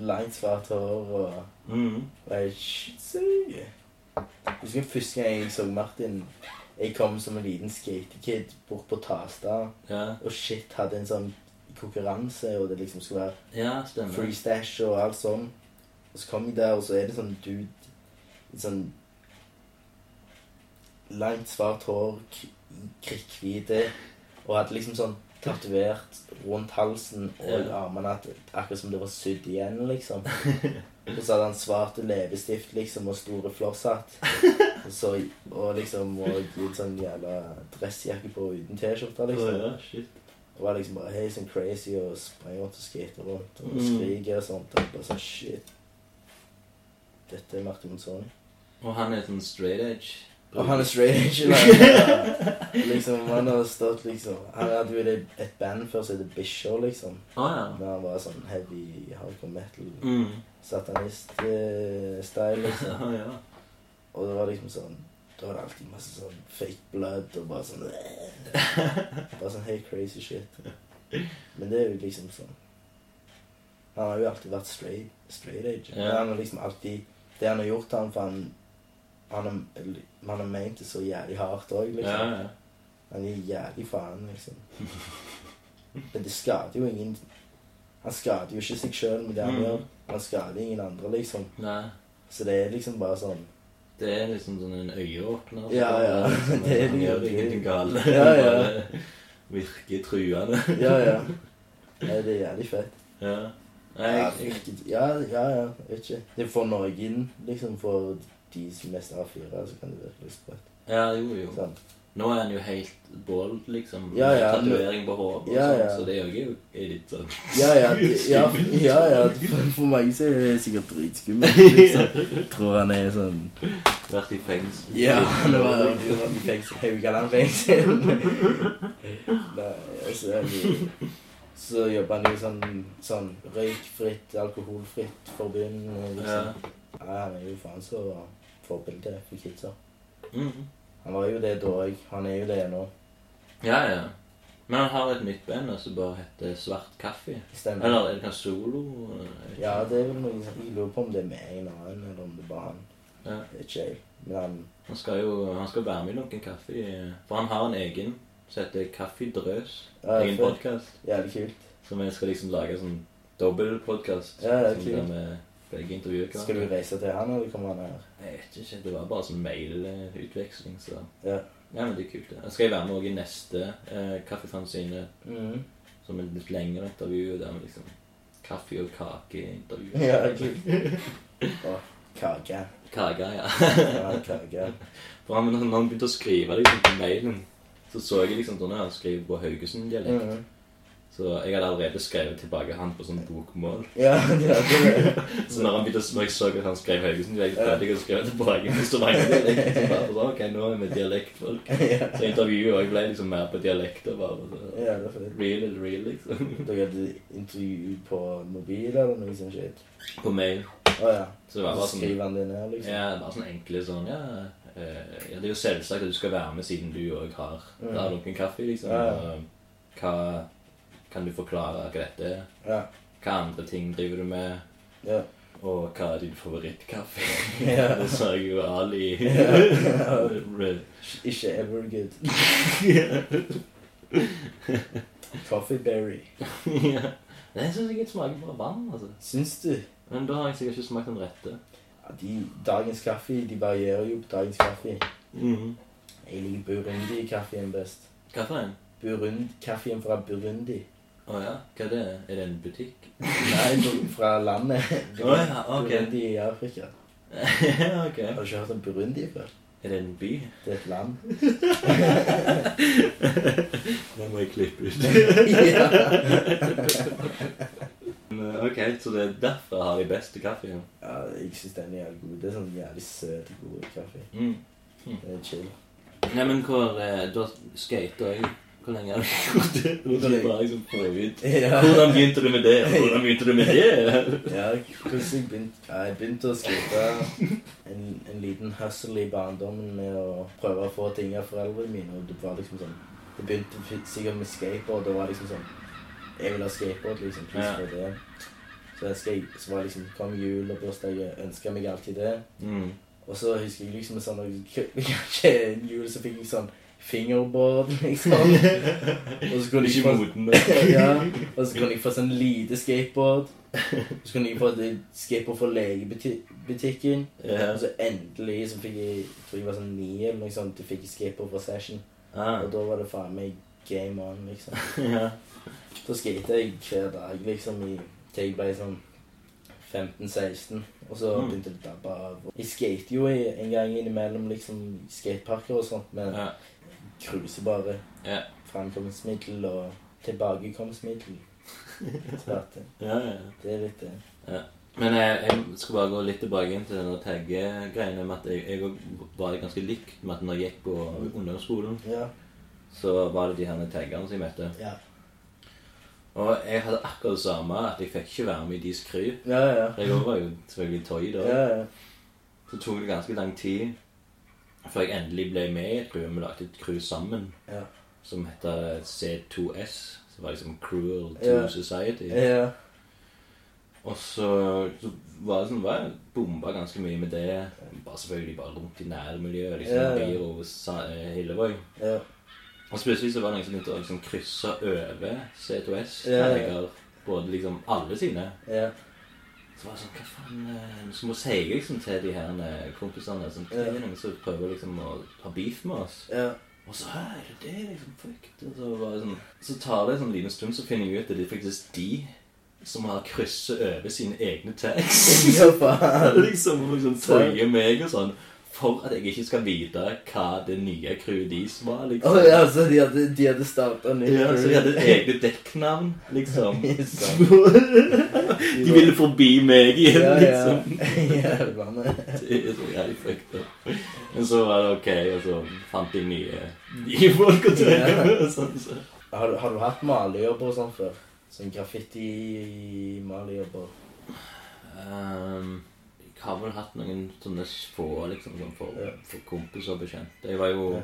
S2: har langt, svart hår og
S3: Mm.
S2: Og jeg syk. Husker første gang jeg så Martin Jeg kom som en liten skatekid bort på Tasta
S3: Ja.
S2: og shit hadde en sånn konkurranse, og det liksom skulle være
S3: Ja, stemmer.
S2: free stash og alt sånn. Og så kom jeg der, og så er det sånn dude i sånn Langt, svart hår, k- krikkhvite, og hadde liksom sånn tatovert rundt halsen og
S3: Ja.
S2: armene at akkurat som det var sydd igjen, liksom. Og så hadde han svart leppestift liksom, og store flosshatt. Og, så, og liksom og en sånn jævla dressjakke på uten T-skjorte, liksom.
S3: Å, ja, shit.
S2: Og var liksom bare helt sånn crazy og sprang rundt og skater rundt og
S3: Mm.
S2: skriker og sånt. Og bare sånn shit. Dette er Martin Monsoni.
S3: Og han er sånn straight edge.
S2: Og han er straight edge. Liksom, liksom, han har stått liksom Han hadde jo det- et band før som heter Bishow, liksom.
S3: Å ja.
S2: Da han var sånn heavy hardcore metal,
S3: Mm.
S2: satanist-style, liksom.
S3: Å ja.
S2: Og det var liksom sånn Da var det alltid masse sånn fake blood og bare sånn øh. Bare sånn helt crazy shit. Men det er jo liksom sånn Han har jo alltid vært straight, straight age.
S3: Ja.
S2: Han har liksom alltid Det han har gjort, han for han han har, han har ment det så jævlig hardt òg,
S3: Ja,
S2: liksom.
S3: ja.
S2: Han gir jævlig faen, liksom. Men det skader jo ingen Han skader jo ikke seg sjøl med det han
S3: Mm.
S2: gjør. Han skader ingen andre, liksom.
S3: Nei.
S2: Så det er liksom bare sånn
S3: Det er liksom sånn en øyeåpner.
S2: Ja, ja.
S3: Liksom,
S2: Det er
S3: han
S2: det
S3: gjør
S2: jo.
S3: ingenting galt.
S2: Ja, ja.
S3: Bare Virker truende.
S2: Ja, ja. Nei, det er jævlig fett.
S3: Ja. Nei,
S2: Ja,
S3: jeg, jeg,
S2: ja, ja, ja, jeg vet ikke. Det er for Norge inn, liksom, for de som mest har fire, så kan det virke litt sprøtt.
S3: ja, jo, jo.
S2: Sånn.
S3: Nå er han jo helt bold, liksom.
S2: Ja, ja.
S3: Tatovering på hodet og
S2: Ja,
S3: sånn,
S2: ja.
S3: så det er jo ikke- er litt sånn
S2: Ja, ja, det- ja, ja, ja, for, for mange så er det sikkert dritskummelt, liksom. Tror han er sånn...
S3: Vært i fengsel.
S2: Ja, han var jo i fengsel, Haugaland fengsel. Nei, altså, han- så jobber han jo sånn, sånn røykfritt, alkoholfritt forbund, liksom.
S3: Ja.
S2: Ja, han er jo faen så forbilde for kidsa.
S3: Mm.
S2: Han var jo det da òg. Han er jo det nå.
S3: ja, ja. Men han har et nytt band som bare heter Svart kaffe.
S2: Stemmer.
S3: Eller er det kanskje solo? Jeg vet ikke.
S2: Ja, det er vel noe Jeg lurer på om det er med en annen, eller om det bare er han.
S3: Ja.
S2: Det er ikke jeg. Men han
S3: Han skal jo han skal være med i Lunken kaffe. eh, For han har en egen som heter Kaffedrøs.
S2: Ja,
S3: Egen
S2: fett.
S3: podkast.
S2: Jævlig kult.
S3: Som jeg skal liksom lage sånn dobbel podkast.
S2: Ja, det er kult.
S3: med begge intervjuer. hverandre.
S2: Skal du reise til han, eller kommer han her?
S3: Jeg vet ikke. Det var bare sånn mailutveksling, så
S2: Ja.
S3: Nei, men det er kult. det. Jeg skal jeg være med også i neste eh, Kaffefanzine
S2: Mhm.
S3: som er litt lengre intervju. Der vi liksom kaffe og kake-intervju.
S2: Ja, kult. Og kake.
S3: Kake, ja.
S2: Ja, kake.
S3: For han, når han begynte å skrive liksom, på mailen, så så jeg liksom sånn at han skriver på Haugesund-dialekt.
S2: Mhm.
S3: Så jeg hadde allerede skrevet tilbake han på sånn bokmål.
S2: Ja, ja, det er det.
S3: Så når, han begynte, når jeg så at han skrev Haugesund-dialekt, prøvde jeg å skrive tilbake på Stavanger-dialekt. Så bare sånn, ok, nå er vi dialektfolk.
S2: Ja,
S3: Så intervjuet også ble liksom mer på dialekter, bare. Så.
S2: ja, det er fett.
S3: Real is real, liksom.
S2: Dere hadde intervju på mobil eller noe sånt shit?
S3: På mail.
S2: Å ja.
S3: Så det var
S2: Så
S3: bare sånn
S2: skriver han det ned, liksom?
S3: Ja, bare sånn enkle sånn ja, eh, ja, det er jo selvsagt at du skal være med siden du òg har
S2: Mm.
S3: har drukket kaffe, liksom.
S2: Ja, ja.
S3: og, eh, Hva Kan du forklare hva dette er?
S2: Ja.
S3: Hva andre ting driver du med?
S2: ja.
S3: Og hva er din favorittkaffe?
S2: Ja.
S3: det sa jeg jo Ali.
S2: Ikke ever good. Coffee berry.
S3: ja. Det syns jeg ikke smaker bare vann, altså.
S2: Syns du?
S3: Men da har jeg sikkert ikke smakt den rette.
S2: Ja, de, dagens kaffe de varierer jo på dagens kaffe.
S3: Mm.
S2: Jeg liker Burundi-kaffen best.
S3: Hva for en?
S2: Burund, kaffen fra Burundi.
S3: Å ja, hva er det? Er det en butikk?
S2: Nei, bu- fra landet.
S3: Å ja, ok.
S2: Burundi i Afrika.
S3: ok.
S2: Har du ikke hørt om Burundi før?
S3: Er det en by?
S2: Det er et land.
S3: Det må jeg klippe ut.
S2: ja.
S3: Men, Mm, ok, så det er derfor jeg har de beste kaffen.
S2: ja, jeg syns den er jævlig god. Det er sånn jævlig søt, god kaffe.
S3: Mm.
S2: Det er Äh, chill.
S3: Nei, men hvor eh, Da skater jeg. Hvor lenge har du gjort det? Hvordan bare liksom prøve ut?
S2: Ja.
S3: Hvordan begynte du med det? og Hvordan begynte du med det?
S2: Ja, hvordan jeg begynte ja, Jeg begynte å skrive en, en liten hustle i barndommen med å prøve å få ting av foreldrene mine. Og det var liksom sånn Det begynte fi- sikkert med skateboard. Det var liksom sånn Jeg vil ha skateboard, liksom. Pluss
S3: Ja.
S2: for det. Så, jeg skal, så var det liksom Kom jul og bursdag, jeg ønska meg alltid det.
S3: Mm.
S2: Og så husker jeg liksom sånn Kanskje en jul så fikk jeg sånn fingerboard, liksom. Og så kunne jeg
S3: Ikke
S2: få
S3: moden nok.
S2: ja, og så kunne jeg få sånn lite skateboard. Så kunne jeg få et skateboard fra legebutikken.
S3: Ja.
S2: Og så endelig så fikk jeg jeg tror jeg var sånn ni eller noe sånt, du fikk jeg skateboard fra Session.
S3: Ah.
S2: Og da var det faen meg game on, liksom.
S3: Ja.
S2: Da skatet jeg hver dag, liksom, i, til jeg ble sånn 15-16. Og så
S3: Mm.
S2: begynte det å dabbe av. Jeg skater jo i- en gang innimellom liksom skateparker og sånt, men
S3: Ja.
S2: cruiser bare.
S3: Ja.
S2: Framkomstmiddel og tilbakekomstmiddel. Så at det-
S3: Ja, ja.
S2: Det er litt eh, det.
S3: Men jeg, jeg skal bare gå litt tilbake inn til denne taggegreiene med at jeg, jeg også var ganske likt med at når jeg gikk på ungdomsskolen,
S2: Ja.
S3: så var det de her taggene som jeg møtte.
S2: Ja,
S3: Og jeg hadde akkurat det samme, at jeg fikk ikke være med i deres crew.
S2: ja. ja.
S3: Jeg også var jo selvfølgelig tøy da.
S2: ja, ja.
S3: Så tok det ganske lang tid før jeg endelig ble med i et crew. Vi lagde et crew sammen
S2: Ja.
S3: som heter C2S. Som var liksom Cruel to
S2: Ja.
S3: Society.
S2: ja.
S3: Og så, så var det sånn, var jeg bomba ganske mye med det. Bare selvfølgelig bare rundt i nærmiljøet. liksom,
S2: Ja, ja.
S3: ja, over Sa- eh, Hillevåg.
S2: ja.
S3: Og så plutselig så var det noen som begynte å liksom krysse over C2S.
S2: Ja, ja.
S3: Helger, både liksom alle sine.
S2: ja.
S3: Så var jeg sånn, hva faen eh, Så må jeg si liksom til de her eh, kompisene som
S2: Ja.
S3: trenger noen som prøver liksom å ha beef med oss.
S2: ja.
S3: Og så «Hæ, er det det liksom, fuck det», og så, bare sånn, så tar det en sånn liten stund, så finner jeg ut at det er faktisk de som har krysset over sine egne tags.
S2: Ja, faen.
S3: liksom og liksom tøye meg og sånn. For at jeg ikke skal vite hva det nye crewet deres var.
S2: Å
S3: liksom.
S2: ja, så de hadde, de hadde starta nytt?
S3: Ja, så de hadde egne dekknavn, liksom.
S2: Yes.
S3: De ville forbi meg igjen,
S2: ja, ja. eh.
S3: liksom.
S2: Jævla med.
S3: Det er så jævlig fucked up. Men så var det ok, og så fant de nye, nye folk å tøye med. og Sånn, så.
S2: Har, du- har du hatt malejobber og sånn før? Sånn graffiti-malejobber?
S3: Ehm, jeg har vel hatt noen sånne få liksom, sånn for,
S2: Ja.
S3: for kompiser og bekjente. Jeg var jo
S2: Ja.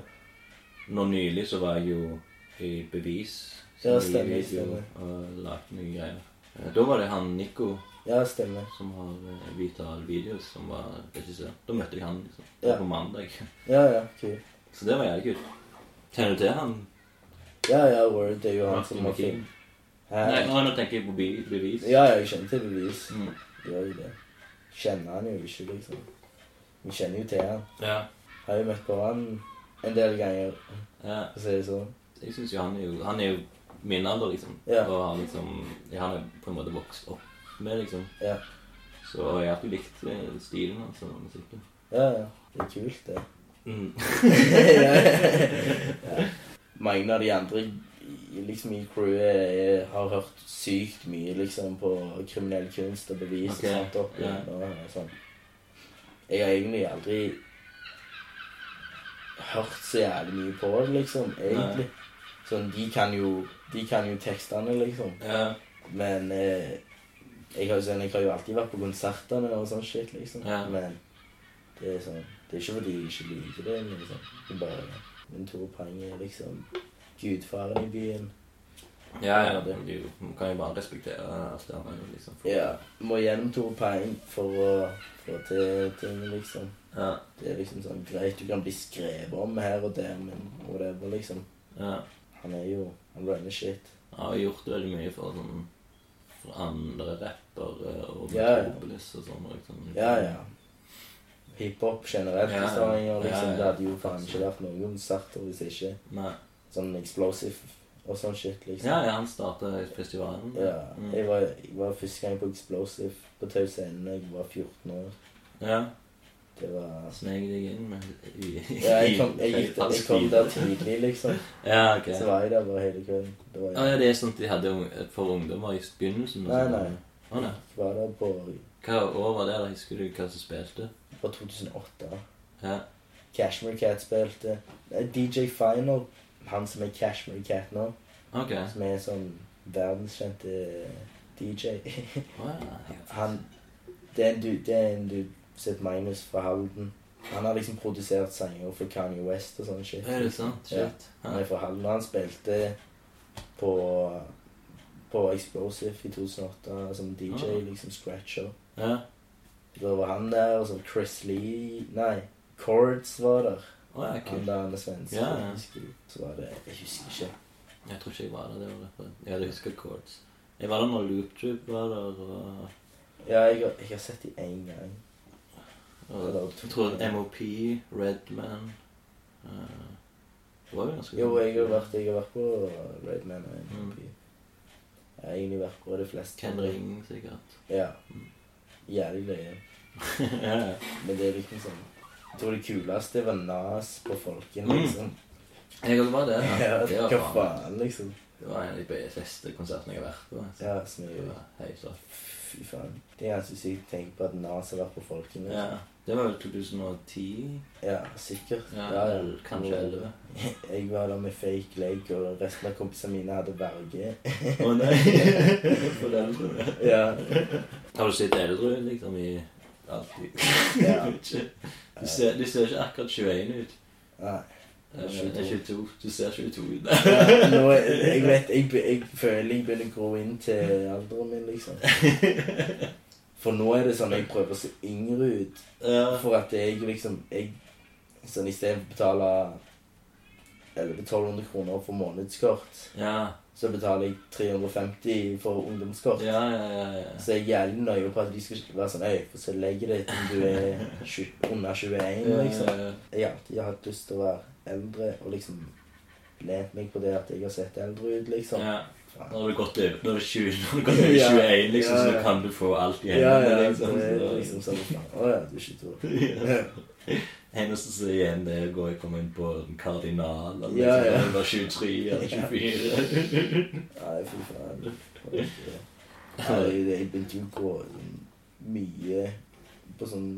S3: Nå nylig så var jeg jo i Bevis.
S2: Ja,
S3: sin nye
S2: stemmer,
S3: video,
S2: stemmer.
S3: Og lagde nye greier. Eh, Da var det han Nico
S2: Ja, stemmer.
S3: som har eh, Vital Videos, som var regissør. Da møtte jeg han liksom,
S2: Ja.
S3: på mandag.
S2: Ja, ja, kult.
S3: Så det var jævlig kult. Kjenner du til han?
S2: Ja, ja, Word det er jo han som har
S3: McKean?
S2: film.
S3: Nei,
S2: Hæ?
S3: nå nå tenker jeg på Be- Bevis.
S2: Ja, ja, jeg kjenner til bevis.
S3: Mm.
S2: Gjør jo det. Kjenner han jo ikke, liksom. Vi kjenner jo til han.
S3: ja.
S2: Har jo møtt på han en del ganger,
S3: ja.
S2: for å si det sånn.
S3: Jeg synes jo han er jo Han er jo min alder, liksom.
S2: Ja.
S3: Og har liksom Jeg har på en måte vokst opp med, liksom.
S2: Ja.
S3: Så jeg har alltid likt eh, stilen hans og musikken.
S2: Ja, ja. Det er kult, det.
S3: Mm.
S2: Mange av de andre i- liksom i crewet er- har hørt sykt mye liksom på kriminell kunst og bevis
S3: Ok,
S2: og sånt opp
S3: ja.
S2: igjen. og Sånn. Jeg har egentlig aldri hørt så jævlig mye på det, liksom. Egentlig. Sånn, de kan jo, de kan jo tekstene, liksom.
S3: Ja,
S2: Men eh, jeg, har, jo sånn, jeg har jo alltid vært på konsertene og sånn shit, liksom.
S3: Ja.
S2: Men det er sånn Det er ikke fordi jeg ikke liker det, men liksom. Det er bare min Tore Pang er liksom gudfaren i byen.
S3: ja, ja det blir jo Man kan jo bare respektere alt det andre, liksom. for-
S2: Ja. Må gjennom Tore Pang for å få til ting, liksom.
S3: ja.
S2: Det er liksom sånn greit, du kan bli skrevet om her og der, men whatever, liksom.
S3: ja.
S2: Han er jo Han runner shit.
S3: Jeg har gjort veldig mye for sånn for andre rappere og
S2: Ja, ja.
S3: Metropolis og sånn. Liksom.
S2: Ja, ja. Hiphop generelt
S3: Ja,
S2: i
S3: ja.
S2: Stavanger, liksom.
S3: Ja, ja.
S2: Det hadde jo faen ikke vært noen konserter hvis ikke
S3: Nei.
S2: sånn explosive og sånn shit, liksom.
S3: ja, ja han starta festivalen.
S2: Ja,
S3: Mm.
S2: jeg var, jeg var første gang på Explosive på Tau Scene da jeg var 14 år.
S3: ja.
S2: Det var
S3: Sneg deg inn med i-
S2: Ja, jeg kom, jeg
S3: i
S2: gikk der, jeg
S3: falsk
S2: kom
S3: tid.
S2: der tidlig, liksom.
S3: Ja, ok.
S2: Så var jeg der bare hele kvelden. Det var
S3: Ja, ja, det er sånt de hadde ung- for ungdommer i begynnelsen? og
S2: Nei,
S3: sånn.
S2: nei.
S3: Å, nei.
S2: Jeg var der på,
S3: Hva år var det? da? Husker du hva som spilte?
S2: på 2008.
S3: Ja.
S2: Cashmere Cat spilte. Nei, DJ Final, han som er Cashmere Cat nå,
S3: Ok. Å,
S2: som er sånn verdenskjente DJ.
S3: ja.
S2: Han Det er en dude, det er en dude som heter Magnus fra Halden. Han har liksom produsert sanger for Kanye West og sånn shit.
S3: Er det sant?
S2: Ja.
S3: Shit.
S2: Han
S3: Ja.
S2: er fra Halden. og Han spilte på På Explosive i 2008 som DJ,
S3: Ah.
S2: liksom scratcher.
S3: Ja.
S2: Da var han der, og så Chris Lee Nei, Cords var der.
S3: Å, ja,
S2: Han
S3: Ah, kult.
S2: der han er svensk.
S3: Ja, ja.
S2: jeg husker ikke. Så var det Jeg husker ikke.
S3: Jeg tror ikke jeg var der det året. Jeg husker Chords. Jeg var der når Loop Troop var der, og,
S2: Ja, jeg har, jeg har sett de én gang.
S3: og jeg tror MOP, Redman eh, Det var jo ganske
S2: Jo, jeg har vært, jeg har vært på Raidman og
S3: Mm.
S2: NPP. Jeg har egentlig vært på de fleste.
S3: Ken Ring, sikkert.
S2: Ja.
S3: Mm.
S2: Jævlig løye.
S3: ja, ja.
S2: Men det er liksom sånn Jeg tror det kuleste var Nas på Folken,
S3: Mm.
S2: liksom.
S3: Jeg òg var der.
S2: Ja,
S3: da. Det var
S2: Hva
S3: faen.
S2: faen, liksom?
S3: Det var en av de beste konsertene jeg har vært på. Så.
S2: Ja, så
S3: Det
S2: mye.
S3: var helt rått.
S2: Fy faen. Det er ganske sykt å tenke på at Nas har vært på Folken.
S3: Ja.
S2: Liksom.
S3: Det var vel 2010?
S2: Ja. sikkert.
S3: Ja,
S2: Ja, ja.
S3: eller Kanskje 11?
S2: Jeg var der med fake leg, og resten av kompisene mine hadde verge.
S3: Å nei! Foreldrene.
S2: ja.
S3: Har du sett eldre ut, liksom? I alltid.
S2: ja.
S3: Du ser, du ser ikke akkurat 21 ut.
S2: Nei.
S3: Eh, det er 22. Du ser 22 ut.
S2: Ja, nå, er- jeg vet, jeg, be- jeg føler jeg begynner å gro inn til alderen min, liksom. For nå er det sånn jeg prøver å se yngre ut.
S3: Ja.
S2: For at jeg liksom jeg, Sånn istedenfor å betale 1100-1200 kroner for månedskort,
S3: Ja,
S2: så betaler jeg 350 for ungdomskort.
S3: ja, ja. ja, ja.
S2: Så jeg er jævlig nøye på at de skal ikke være sånn Øy, få se legget ditt om du er tju- under 21, liksom.
S3: Eh,
S2: Jeg har alltid hatt lyst til å være eldre og liksom lent meg på det at jeg har sett eldre ut, liksom.
S3: ja.
S2: Faen.
S3: Når du har gått over når du er 20, når du går over
S2: Ja.
S3: 21, liksom,
S2: Ja, ja.
S3: så kan du få alt i
S2: Ja,
S3: hendene.
S2: ja,
S3: liksom.
S2: det er
S3: Så-
S2: liksom sånn faen, Å ja, du er 22.
S3: Ja. Eneste som er igjen, det er å gå og komme inn på en kardinal eller
S2: Ja, ja.
S3: liksom, eller 23 eller 24.
S2: Nei, fy faen. Nei, jeg begynte jo å gå sånn mye på sånn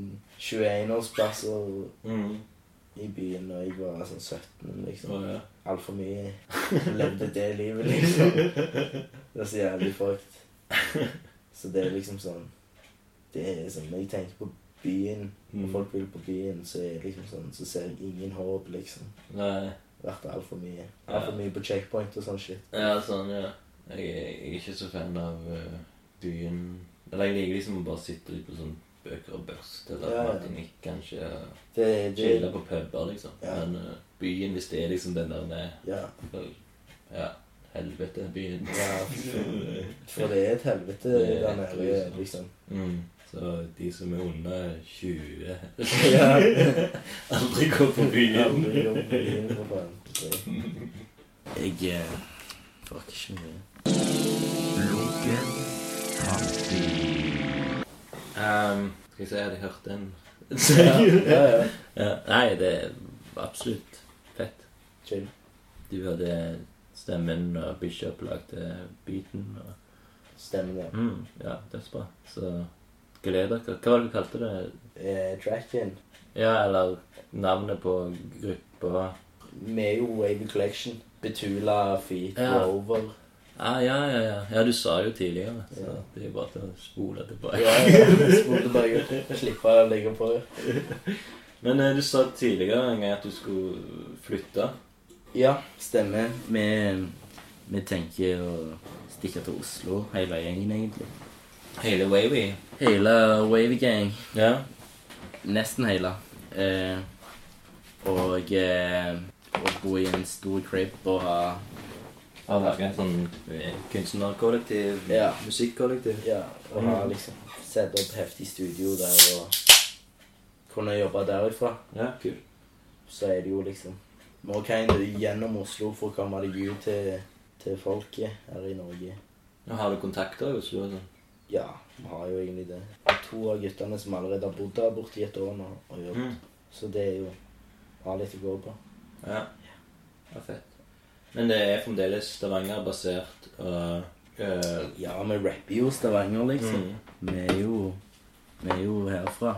S2: 21-årsplasser
S3: mm.
S2: i byen da jeg var sånn 17,
S3: Så,
S2: liksom.
S3: ja.
S2: Altfor mye. Levde det livet, liksom. Det er så jævlig fucked. Så det er liksom sånn Det er sånn Når jeg tenker på byen, når
S3: Mm.
S2: folk vil på byen, så er jeg liksom sånn Så ser jeg ingen håp, liksom.
S3: Nei.
S2: vært der altfor mye. Altfor
S3: Ja.
S2: mye på checkpoint og sånn shit.
S3: Ja, sånn, ja. Jeg, er- jeg er ikke så fan av eh, byen Eller jeg liker liksom å bare sitte litt på sånn bøker og børste eller
S2: Ja, ja.
S3: matinikk, kanskje.
S2: Det, det,
S3: Chille på puber, liksom.
S2: Ja.
S3: Men eh, byen, hvis det er liksom den der med
S2: ja,
S3: Ja, helvete, byen.
S2: ja, for det er et helvete
S3: Det er
S2: der
S3: helt
S2: nede,
S3: grusomt.
S2: liksom.
S3: Mm. Så de som er under 20
S2: Ja.
S3: Aldri gå på byen.
S2: Aldri jobb på byen, for faen. Jeg eh, Det var ikke mye.
S1: Lunken framtid.
S3: Ehm, skal jeg si jeg hadde hørt den.
S2: Ja, ja.
S3: ja. Nei, det er absolutt fett.
S2: Chill.
S3: Du hadde stemmen, og Bishop lagde beaten. Og,
S2: Stemmen, ja.
S3: mm, ja, dødsbra. Så gled dere. Hva var det du kalte det?
S2: Eh, tracken.
S3: Ja, eller navnet på gruppa.
S2: Vi er jo Wavy Collection. Betula, Feet,
S3: Ja.
S2: Rover.
S3: Ah, ja, ja, ja. Ja, du sa jo tidligere, så
S2: Ja.
S3: det er bare til å spole tilbake.
S2: Ja, ja. Spurte bare ut. Slippe å legge på.
S3: Men eh, du sa tidligere en gang at du skulle flytte.
S2: Ja, stemmer. Vi, vi tenker å stikke til Oslo, hele gjengen, egentlig.
S3: Hele Wavy.
S2: Hele Wavy Gang.
S3: Ja.
S2: Nesten hele. Eh, og eh, å bo i en stor crib og ha
S3: Har laget en sånn eh, kunstnerkollektiv,
S2: Ja.
S3: musikkollektiv.
S2: Ja, og ha liksom sette opp heftig studio der og kunne jobbe derifra.
S3: Ja, kult.
S2: Så er det jo liksom Må kind of gjennom Oslo for å komme deg ut til, til folket her i Norge.
S3: Ja, har du kontakter i Oslo? og sånn?
S2: Ja, vi har jo egentlig det. To av guttene som allerede har bodd der borte i et år nå, og jobbet.
S3: Mm.
S2: Så det er jo har litt å gå på.
S3: Ja. ja, fett. Men det er fremdeles Stavanger-basert. og... eh,
S2: Ja, vi rapper jo Stavanger, liksom.
S3: mm.
S2: Vi er jo Vi er jo herfra.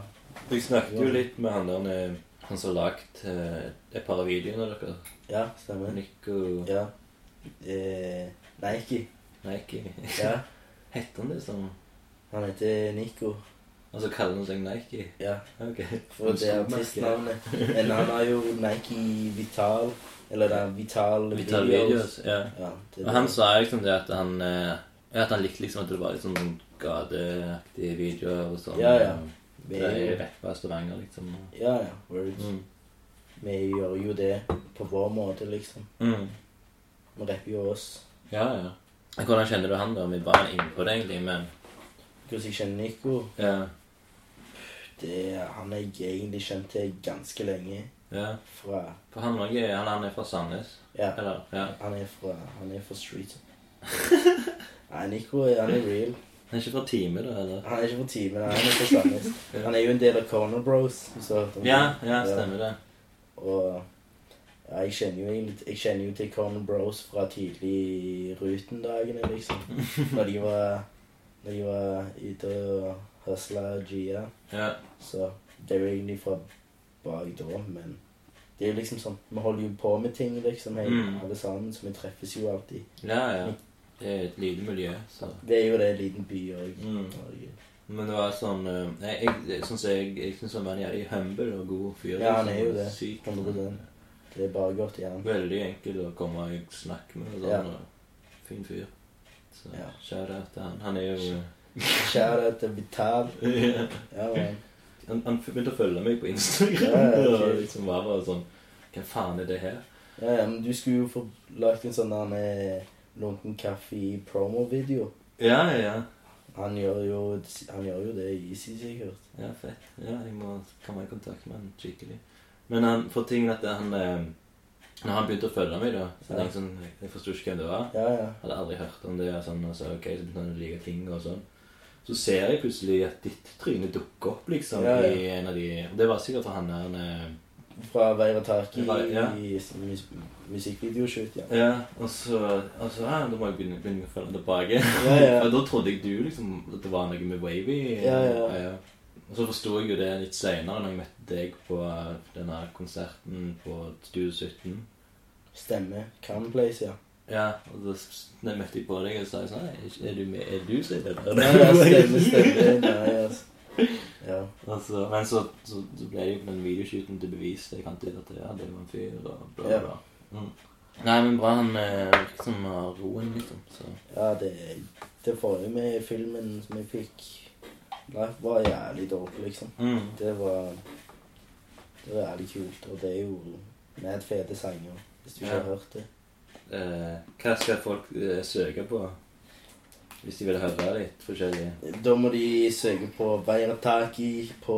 S3: Jeg snakket jo litt med han der eh, han som har lagd eh, et par av videoene deres.
S2: Ja, stemmer.
S3: Nico
S2: Ja. Eh, Nike.
S3: Nike.
S2: Ja.
S3: Heter han det sånn?
S2: Han heter Nico.
S3: Og så kaller han seg Nike?
S2: Ja.
S3: Ok.
S2: For det er artistnavnet. Men han har jo Nike Vital. Eller det er Vital,
S3: Vital
S2: Videos.
S3: Videos. Ja.
S2: Ja, det er
S3: Og
S2: det.
S3: han sa liksom det at han eh, At han likte liksom at det var litt sånn gateaktige videoer og sånn.
S2: Ja, ja. Vi
S3: Det
S2: er
S3: er
S2: jo-
S3: rappa Stavanger, liksom.
S2: Ja, ja. Words.
S3: Mm.
S2: Vi gjør jo det på vår måte, liksom.
S3: Mm.
S2: Vi rapper jo oss.
S3: Ja, ja. Hvordan kjenner du han, da? Vi var inne på det, egentlig, men
S2: Hvordan jeg kjenner Nico
S3: Ja.
S2: det, er- Han er jeg egentlig kjent til ganske lenge.
S3: ja.
S2: Fra
S3: For han òg er han, han er fra Sandnes?
S2: Ja,
S3: Eller? Ja.
S2: han er fra, han er fra street. Nei, Nico er- han er real.
S3: Han er ikke fra Time, da? eller?
S2: Han er ikke fra Time, han er fra Sandnes. Han er jo en del av Corner Bros. hvis du har hørt om
S3: Ja,
S2: det.
S3: ja, stemmer det.
S2: Og ja, jeg kjenner jo egentlig Jeg kjenner jo til Conan Bros fra tidlig Ruten-dagene, liksom. Når de var Når de var ute og høsla Gia.
S3: Ja.
S2: Så det er jo egentlig fra bak da, men det er jo liksom sånn Vi holder jo på med ting, liksom, hei,
S3: Mm.
S2: alle sammen, så vi treffes jo alltid.
S3: ja, ja. Det er et lite miljø, så
S2: Det er jo det en liten by òg.
S3: mm. Men det var sånn eh, Jeg, jeg syns jeg, jeg synes han var en jævlig humble og god fyr.
S2: Ja, han
S3: liksom.
S2: er jo det.
S3: Sykt.
S2: 100%. Det er bare godt igjen.
S3: Veldig enkel å komme og snakke med. og Sånn,
S2: Ja.
S3: og Fin fyr. Så
S2: Ja.
S3: shout-out til han. Han er jo
S2: Kjære til Vital.
S3: Ja.
S2: Ja, man.
S3: han, han begynte å følge meg på Instagram.
S2: Ja, ja,
S3: og
S2: ok.
S3: liksom var bare sånn Hva faen er det her?
S2: Ja, ja, men du skulle jo få lagt en sånn der eh, lunken kaffe i promo-video.
S3: Ja, ja.
S2: Han, gjør jo- han gjør jo det easy, sikkert.
S3: Ja, fett. Ja, jeg må komme i kontakt med han skikkelig. Men han, for tingen at han eh, Når han begynte å følge meg, da så
S2: Ja.
S3: tenkte jeg sånn, Jeg forsto ikke hvem det var.
S2: Ja, ja.
S3: Hadde aldri hørt om det. Og sånn, og så, ok, så begynte han å like ting og sånn. Så ser jeg plutselig at ditt tryne dukker opp, liksom.
S2: Ja, ja.
S3: i en av de... og Det var sikkert fra han der han, eh,
S2: Fra Veirataki
S3: Fra- ja.
S2: i s- mus musikkvideoshoot, ja.
S3: Ja, og så, og så ja, Da må jeg begynne, begynne å følge tilbake.
S2: Ja, ja.
S3: Og da trodde jeg du liksom at det var noe med Wavy.
S2: Ja, ja.
S3: Og så forsto jeg jo det litt seinere når jeg møtte deg på eh, denne konserten på Studio 17.
S2: Stemmer. Can place, ja.
S3: Ja, og da s- når jeg møtte jeg på deg og sa jeg sånn Nei, er du med? Er du som er
S2: Ja,
S3: bedre?
S2: ja, stemmer, stemmer. Nei, altså. Ja.
S3: Altså, men så, så, så ble det jo på den videoshooten til bevis det jeg fant ut at ja, det var en fyr og bla, bla,
S2: Ja.
S3: bla. Mm. Nei, men bra han eh, liksom har roen, liksom. Så
S2: ja, det, det forrige med filmen som jeg fikk lagt, var jævlig dårlig, liksom.
S3: mm.
S2: Det var Det var jævlig kult, og det er jo med fete sanger, hvis du ikke
S3: Ja.
S2: har hørt det.
S3: eh, Hva skal folk eh, søke på hvis de vil høre litt forskjellige
S2: Da må de søke på Veirataki på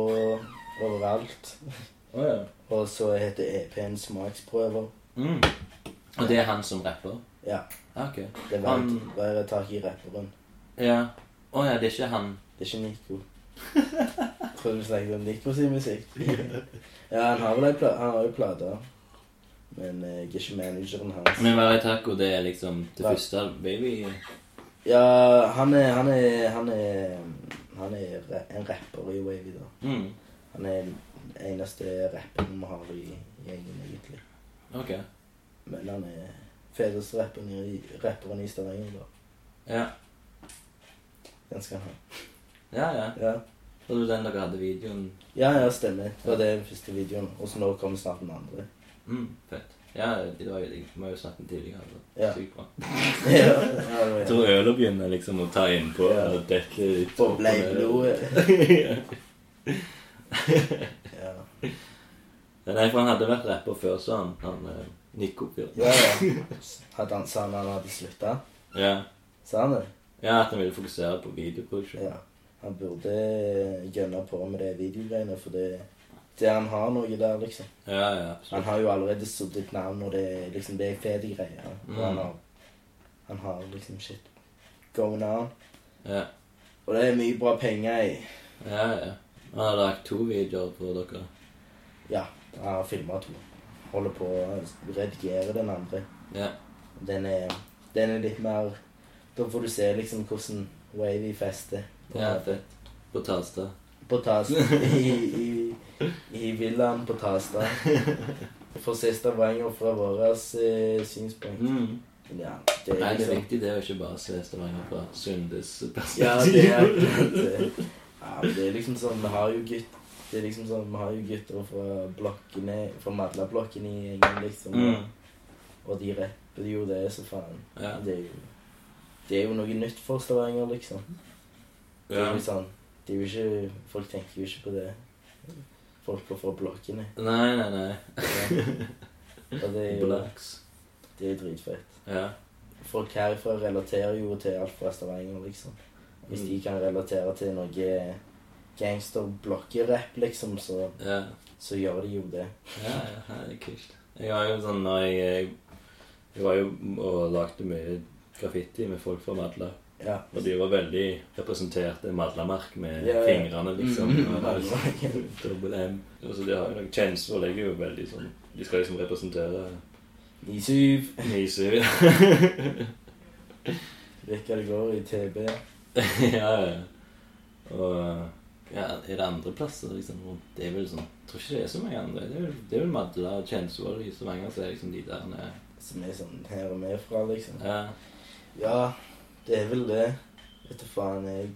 S2: overalt.
S3: Å ja.
S2: Og så heter EP-en E Smaksprøver.
S3: Mm. Og det er han som rapper?
S2: Ja.
S3: Ja, ok.
S2: Det var
S3: Han
S2: bare tak i rapperen.
S3: Ja. Å ja, det er ikke han.
S2: Det er ikke Nico. Tror du snakket om Nico sin musikk? ja, han har vel ei pla- han har jo plater. Men eh, jeg er ikke manageren hans.
S3: Men Være taco, det er liksom det
S2: Nei.
S3: første baby
S2: Ja, han er Han er, han er, han er ra- en rapper i Wavy, da.
S3: mm.
S2: Han er den eneste rapperen vi har i gjengen, egentlig.
S3: Ok.
S2: Men han er feteste rapperen i, rapperen i Stavanger, da.
S3: Ja.
S2: Den skal han ha.
S3: Ja, ja.
S2: Ja,
S3: Det var den dere hadde videoen
S2: ja, ja stemmer. Det var det den første videoen. Og så nå kommer snart den andre.
S3: mm, Fett. Ja, det var jo Vi må jo snakke tidligere. Altså.
S2: Ja.
S3: Sykt bra.
S2: ja, ja, det
S3: Jeg
S2: var-
S3: tror ølet begynner liksom å ta innpå
S2: Ja.
S3: og dekke ut
S2: Boble i blodet. Ja,
S3: Ja, Nei, for han hadde vært rapper før, så han, han eh, Nico Bjørn.
S2: ja. ja. Hadde han, sa han han hadde slutta?
S3: Ja.
S2: Sa han det?
S3: ja, at han ville fokusere på videoproduksjon.
S2: Ja. Han burde eh, gønne på med det videogreiene, for det, det han har noe der, liksom.
S3: Ja, ja,
S2: Han
S3: absolutt.
S2: har jo allerede sodd et navn, og det, er liksom, det er fete greier. Og han, har, han har liksom shit going on.
S3: Ja,
S2: Og det er mye bra penger i.
S3: ja. ja. Han har lagt to videoer på dere.
S2: Ja, jeg har filma to. Holder på å redigere den andre.
S3: Ja.
S2: Den er, den er litt mer Da får du se liksom hvordan Wavy fester. På,
S3: Ja, fett. På Talstad.
S2: på Tas- I, i, I villaen på Tasta. For se Stavanger fra vårt eh, synspunkt.
S3: Mm.
S2: Men Ja, det er
S3: Nei, det er
S2: liksom
S3: viktig det å ikke bare se Stavanger fra Sundes perspektiv.
S2: Ja, det er akkurat det. Ja, men det er liksom sånn Vi har jo gutt Det er liksom sånn Vi har jo gutter fra blokkene Fra Madla-blokken i gjengen, liksom.
S3: Mm.
S2: Og de rapper jo det, så faen.
S3: Ja.
S2: Det er jo Det er jo noe nytt for Stavanger, liksom. Det
S3: ja.
S2: er jo sånn Det er jo ikke Folk tenker jo ikke på det. Folk går fra blokkene.
S3: Nei, nei, nei.
S2: Og det er jo
S3: Blacks.
S2: Det er dritfett.
S3: Ja.
S2: Folk herfra relaterer jo til alt fra Stavanger, liksom. Hvis de kan relatere til noe gangster-blokkerapp, liksom, så
S3: Ja.
S2: så gjør de jo det.
S3: Ja, ja, ja, det er kult. Jeg var jo sånn når jeg Jeg, jeg var jo og lagde mye graffiti med folk fra Madla.
S2: Ja.
S3: Og de var veldig representerte Madlamark med
S2: Ja, ja.
S3: fingrene, liksom.
S2: Mm.
S3: Og Dobbel M. Og så de har jo noen kjensler. og Det er jo veldig sånn De skal liksom representere
S2: 97
S3: Nisu.
S2: Vet hva det går i TB.
S3: ja, ja. Og ja, er det andre plasser, liksom? hvor Det er vel sånn Jeg tror ikke det er så mange andre. Det er vel, det er vel Madla og Kjensvoll i Stavanger som er liksom de der nede.
S2: Som er sånn her og med fra, liksom.
S3: Ja.
S2: Ja, det er vel det. Vet du faen, jeg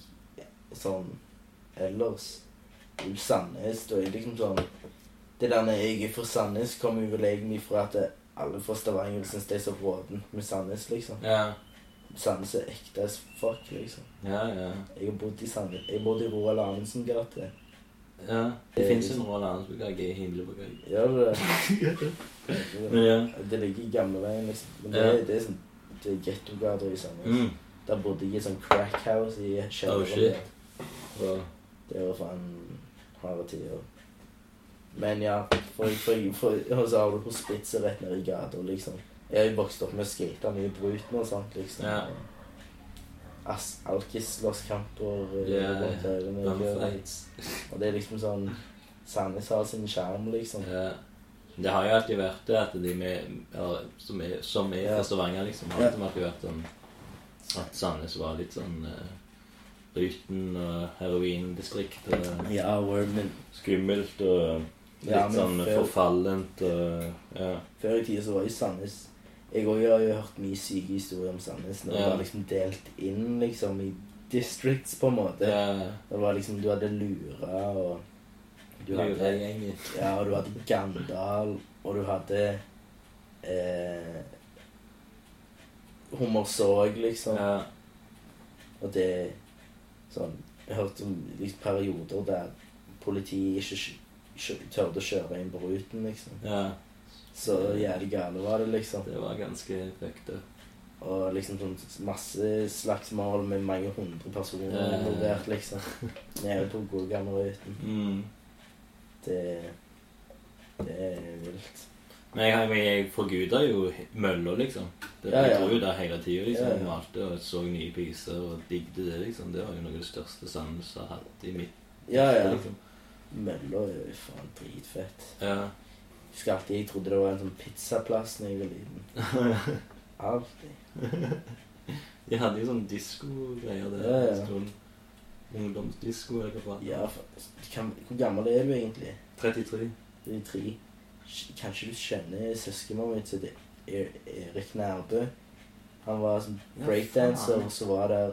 S2: Sånn ellers I Sandnes, da er jeg liksom sånn Det der når jeg er fra Sandnes, kommer jo vel egentlig fra at det- alle fra Stavanger syns det er så rådent med Sandnes, liksom.
S3: Ja,
S2: Sandnes er ekte as fuck, liksom.
S3: ja. ja.
S2: Jeg har bodd i Sandnes Jeg bodde i Roald Amundsen gate.
S3: ja. Det fins en Roald Arnesbukage i Himlebukage.
S2: Gjør du det?
S3: Men ja.
S2: Det ligger i gamleveien, liksom. Men det,
S3: Ja.
S2: det er sånn Det er gettogater i Sandnes.
S3: Mm.
S2: Der bodde jeg i sånn crack house i
S3: Oh,
S2: kjelleren.
S3: shit. Og,
S2: det var faen harde tider. Men ja, for, for, for, og så har du på spitset rett ned i gata, liksom. Jeg har jo vokst opp med å skate mye Bruten og sånt, liksom.
S3: Ja.
S2: Ass- Alkis-slåsskamper
S3: Ja,
S2: eh, rundt øynene. Og
S3: Bumfights.
S2: og det er liksom sånn Sandnes har sin sjarm, liksom.
S3: Ja. Det har jo alltid vært det at de med, eller, som er, som er
S2: Ja.
S3: fra Stavanger, liksom, har
S2: Ja.
S3: alltid alltid vært sånn at Sandnes var litt sånn eh, Ryten og heroindistrikt eh. og
S2: Ja, word, men
S3: skummelt og litt
S2: Ja, men
S3: sånn
S2: før-
S3: forfallent og Ja.
S2: Før i tida så var jo Sandnes Jeg òg har jo hørt mye syke historier om Sandnes. Når
S3: Ja.
S2: det var liksom delt inn liksom i districts, på en måte.
S3: ja.
S2: Det var liksom Du hadde Lura og du hadde,
S3: Luregjengen.
S2: ja, og du hadde Gandal, og du hadde eh, Hummersåg, liksom.
S3: Ja.
S2: Og det sånn, Jeg hørte om liksom, perioder der politiet ikke kjø- kjø- tørde å kjøre inn på ruten, liksom.
S3: ja.
S2: Så jævlig gale var det, liksom.
S3: Det var ganske fucked up.
S2: Og liksom sånn masse slagsmål med mange hundre personer
S3: Ja, ja, ja.
S2: involvert, liksom. Nede på Godgammel-ruten.
S3: Mm.
S2: Det Det er vilt.
S3: Men jeg, har- men jeg forguda jo mølla, liksom. Det,
S2: Ja, ja.
S3: Jeg dro jo der hele tida liksom,
S2: Ja, ja.
S3: og malte og så nye priser og digde det. liksom. Det var jo noe av det største Sandnes har hatt i mitt
S2: Ja, ja.
S3: liksom.
S2: Mølla er jo faen dritfett.
S3: Ja.
S2: Husker alltid jeg trodde det var en sånn pizzaplass da jeg var liten. Alltid.
S3: De hadde jo sånn diskogreier der.
S2: Ja, ja.
S3: en stund. Ungdomsdisko eller hva.
S2: Ja, faktisk. Kan, hvor gammel er du egentlig?
S3: 33.
S2: Du er tre. Sk- Kanskje du kjenner søskenbarnet mitt som heter Er- Erik Nærbø? Han var sånn
S3: Ja,
S2: breakdancer,
S3: faen.
S2: så var der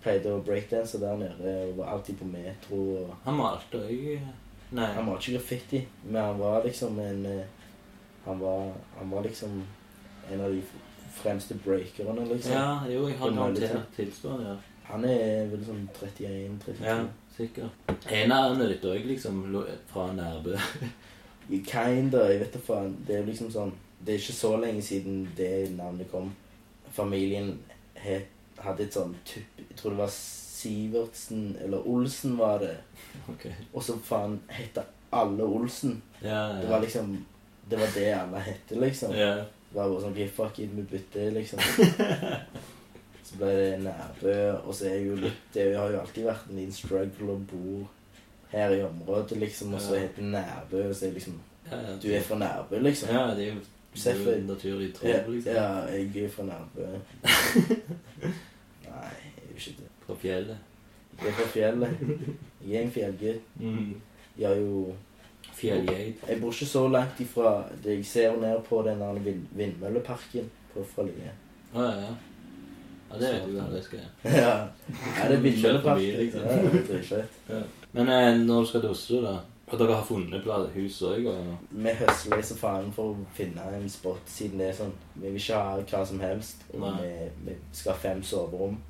S2: Pleide å breakdanse der nede og var alltid på metro. og...
S3: Han malte òg Nei.
S2: Han var ikke graffiti, men han var liksom en eh, Han var, han var liksom en av de f- fremste breakerne, liksom.
S3: Ja, jo, jeg har
S2: Det var litt
S3: garantert tilsvarende. Ja.
S2: Han er vel sånn 31-32.
S3: Ja, sikkert. En av ørnene ditt òg, liksom, lo- fra Nærbø.
S2: Kinda, jeg vet da faen. Det er jo liksom sånn Det er ikke så lenge siden det navnet kom. Familien het, hadde et sånn tupp Jeg tror det var Sivertsen eller Olsen var det.
S3: Ok.
S2: Og så faen hette alle Olsen.
S3: Ja, ja.
S2: Det var liksom Det var det alle hette, liksom.
S3: ja.
S2: Det var bare sånn okay, Fuck it, vi bytter, liksom. Så ble det Nærbø, og så er jo litt Det har jo alltid vært en liten struggle å bo her i området, liksom, og så
S3: Ja.
S2: heter Nærbø, og så er det liksom
S3: ja, ja.
S2: Du er fra Nærbø, liksom?
S3: Ja, det er jo det er jo
S2: Selvfølgelig.
S3: en naturlig tro,
S2: Ja,
S3: liksom.
S2: ja, jeg er fra Nærbø. Nei, jeg er jo ikke det.
S3: Fra fjellet.
S2: Jeg er fra fjellet. Jeg er en fjellgutt.
S3: Mm.
S2: Jeg har jo
S3: Fjellgeit.
S2: Jeg bor ikke så langt ifra det jeg ser ned på den der vind vindmølleparken på Frølinge.
S3: Å ja, ja. Ja, det vet du hva det skal gjøre.
S2: ja. ja, det er vindmølleparken.
S3: Kjører forbi, liksom.
S2: Ja, det er dritfett.
S3: Men eh, når du skal til Oslo, da Og dere har funnet plass, hus òg? Og...
S2: Vi høsler så faen for å finne en spot, siden det er sånn Vi vil ikke ha hva som helst. Og vi,
S3: Nei.
S2: vi skal ha fem soverom.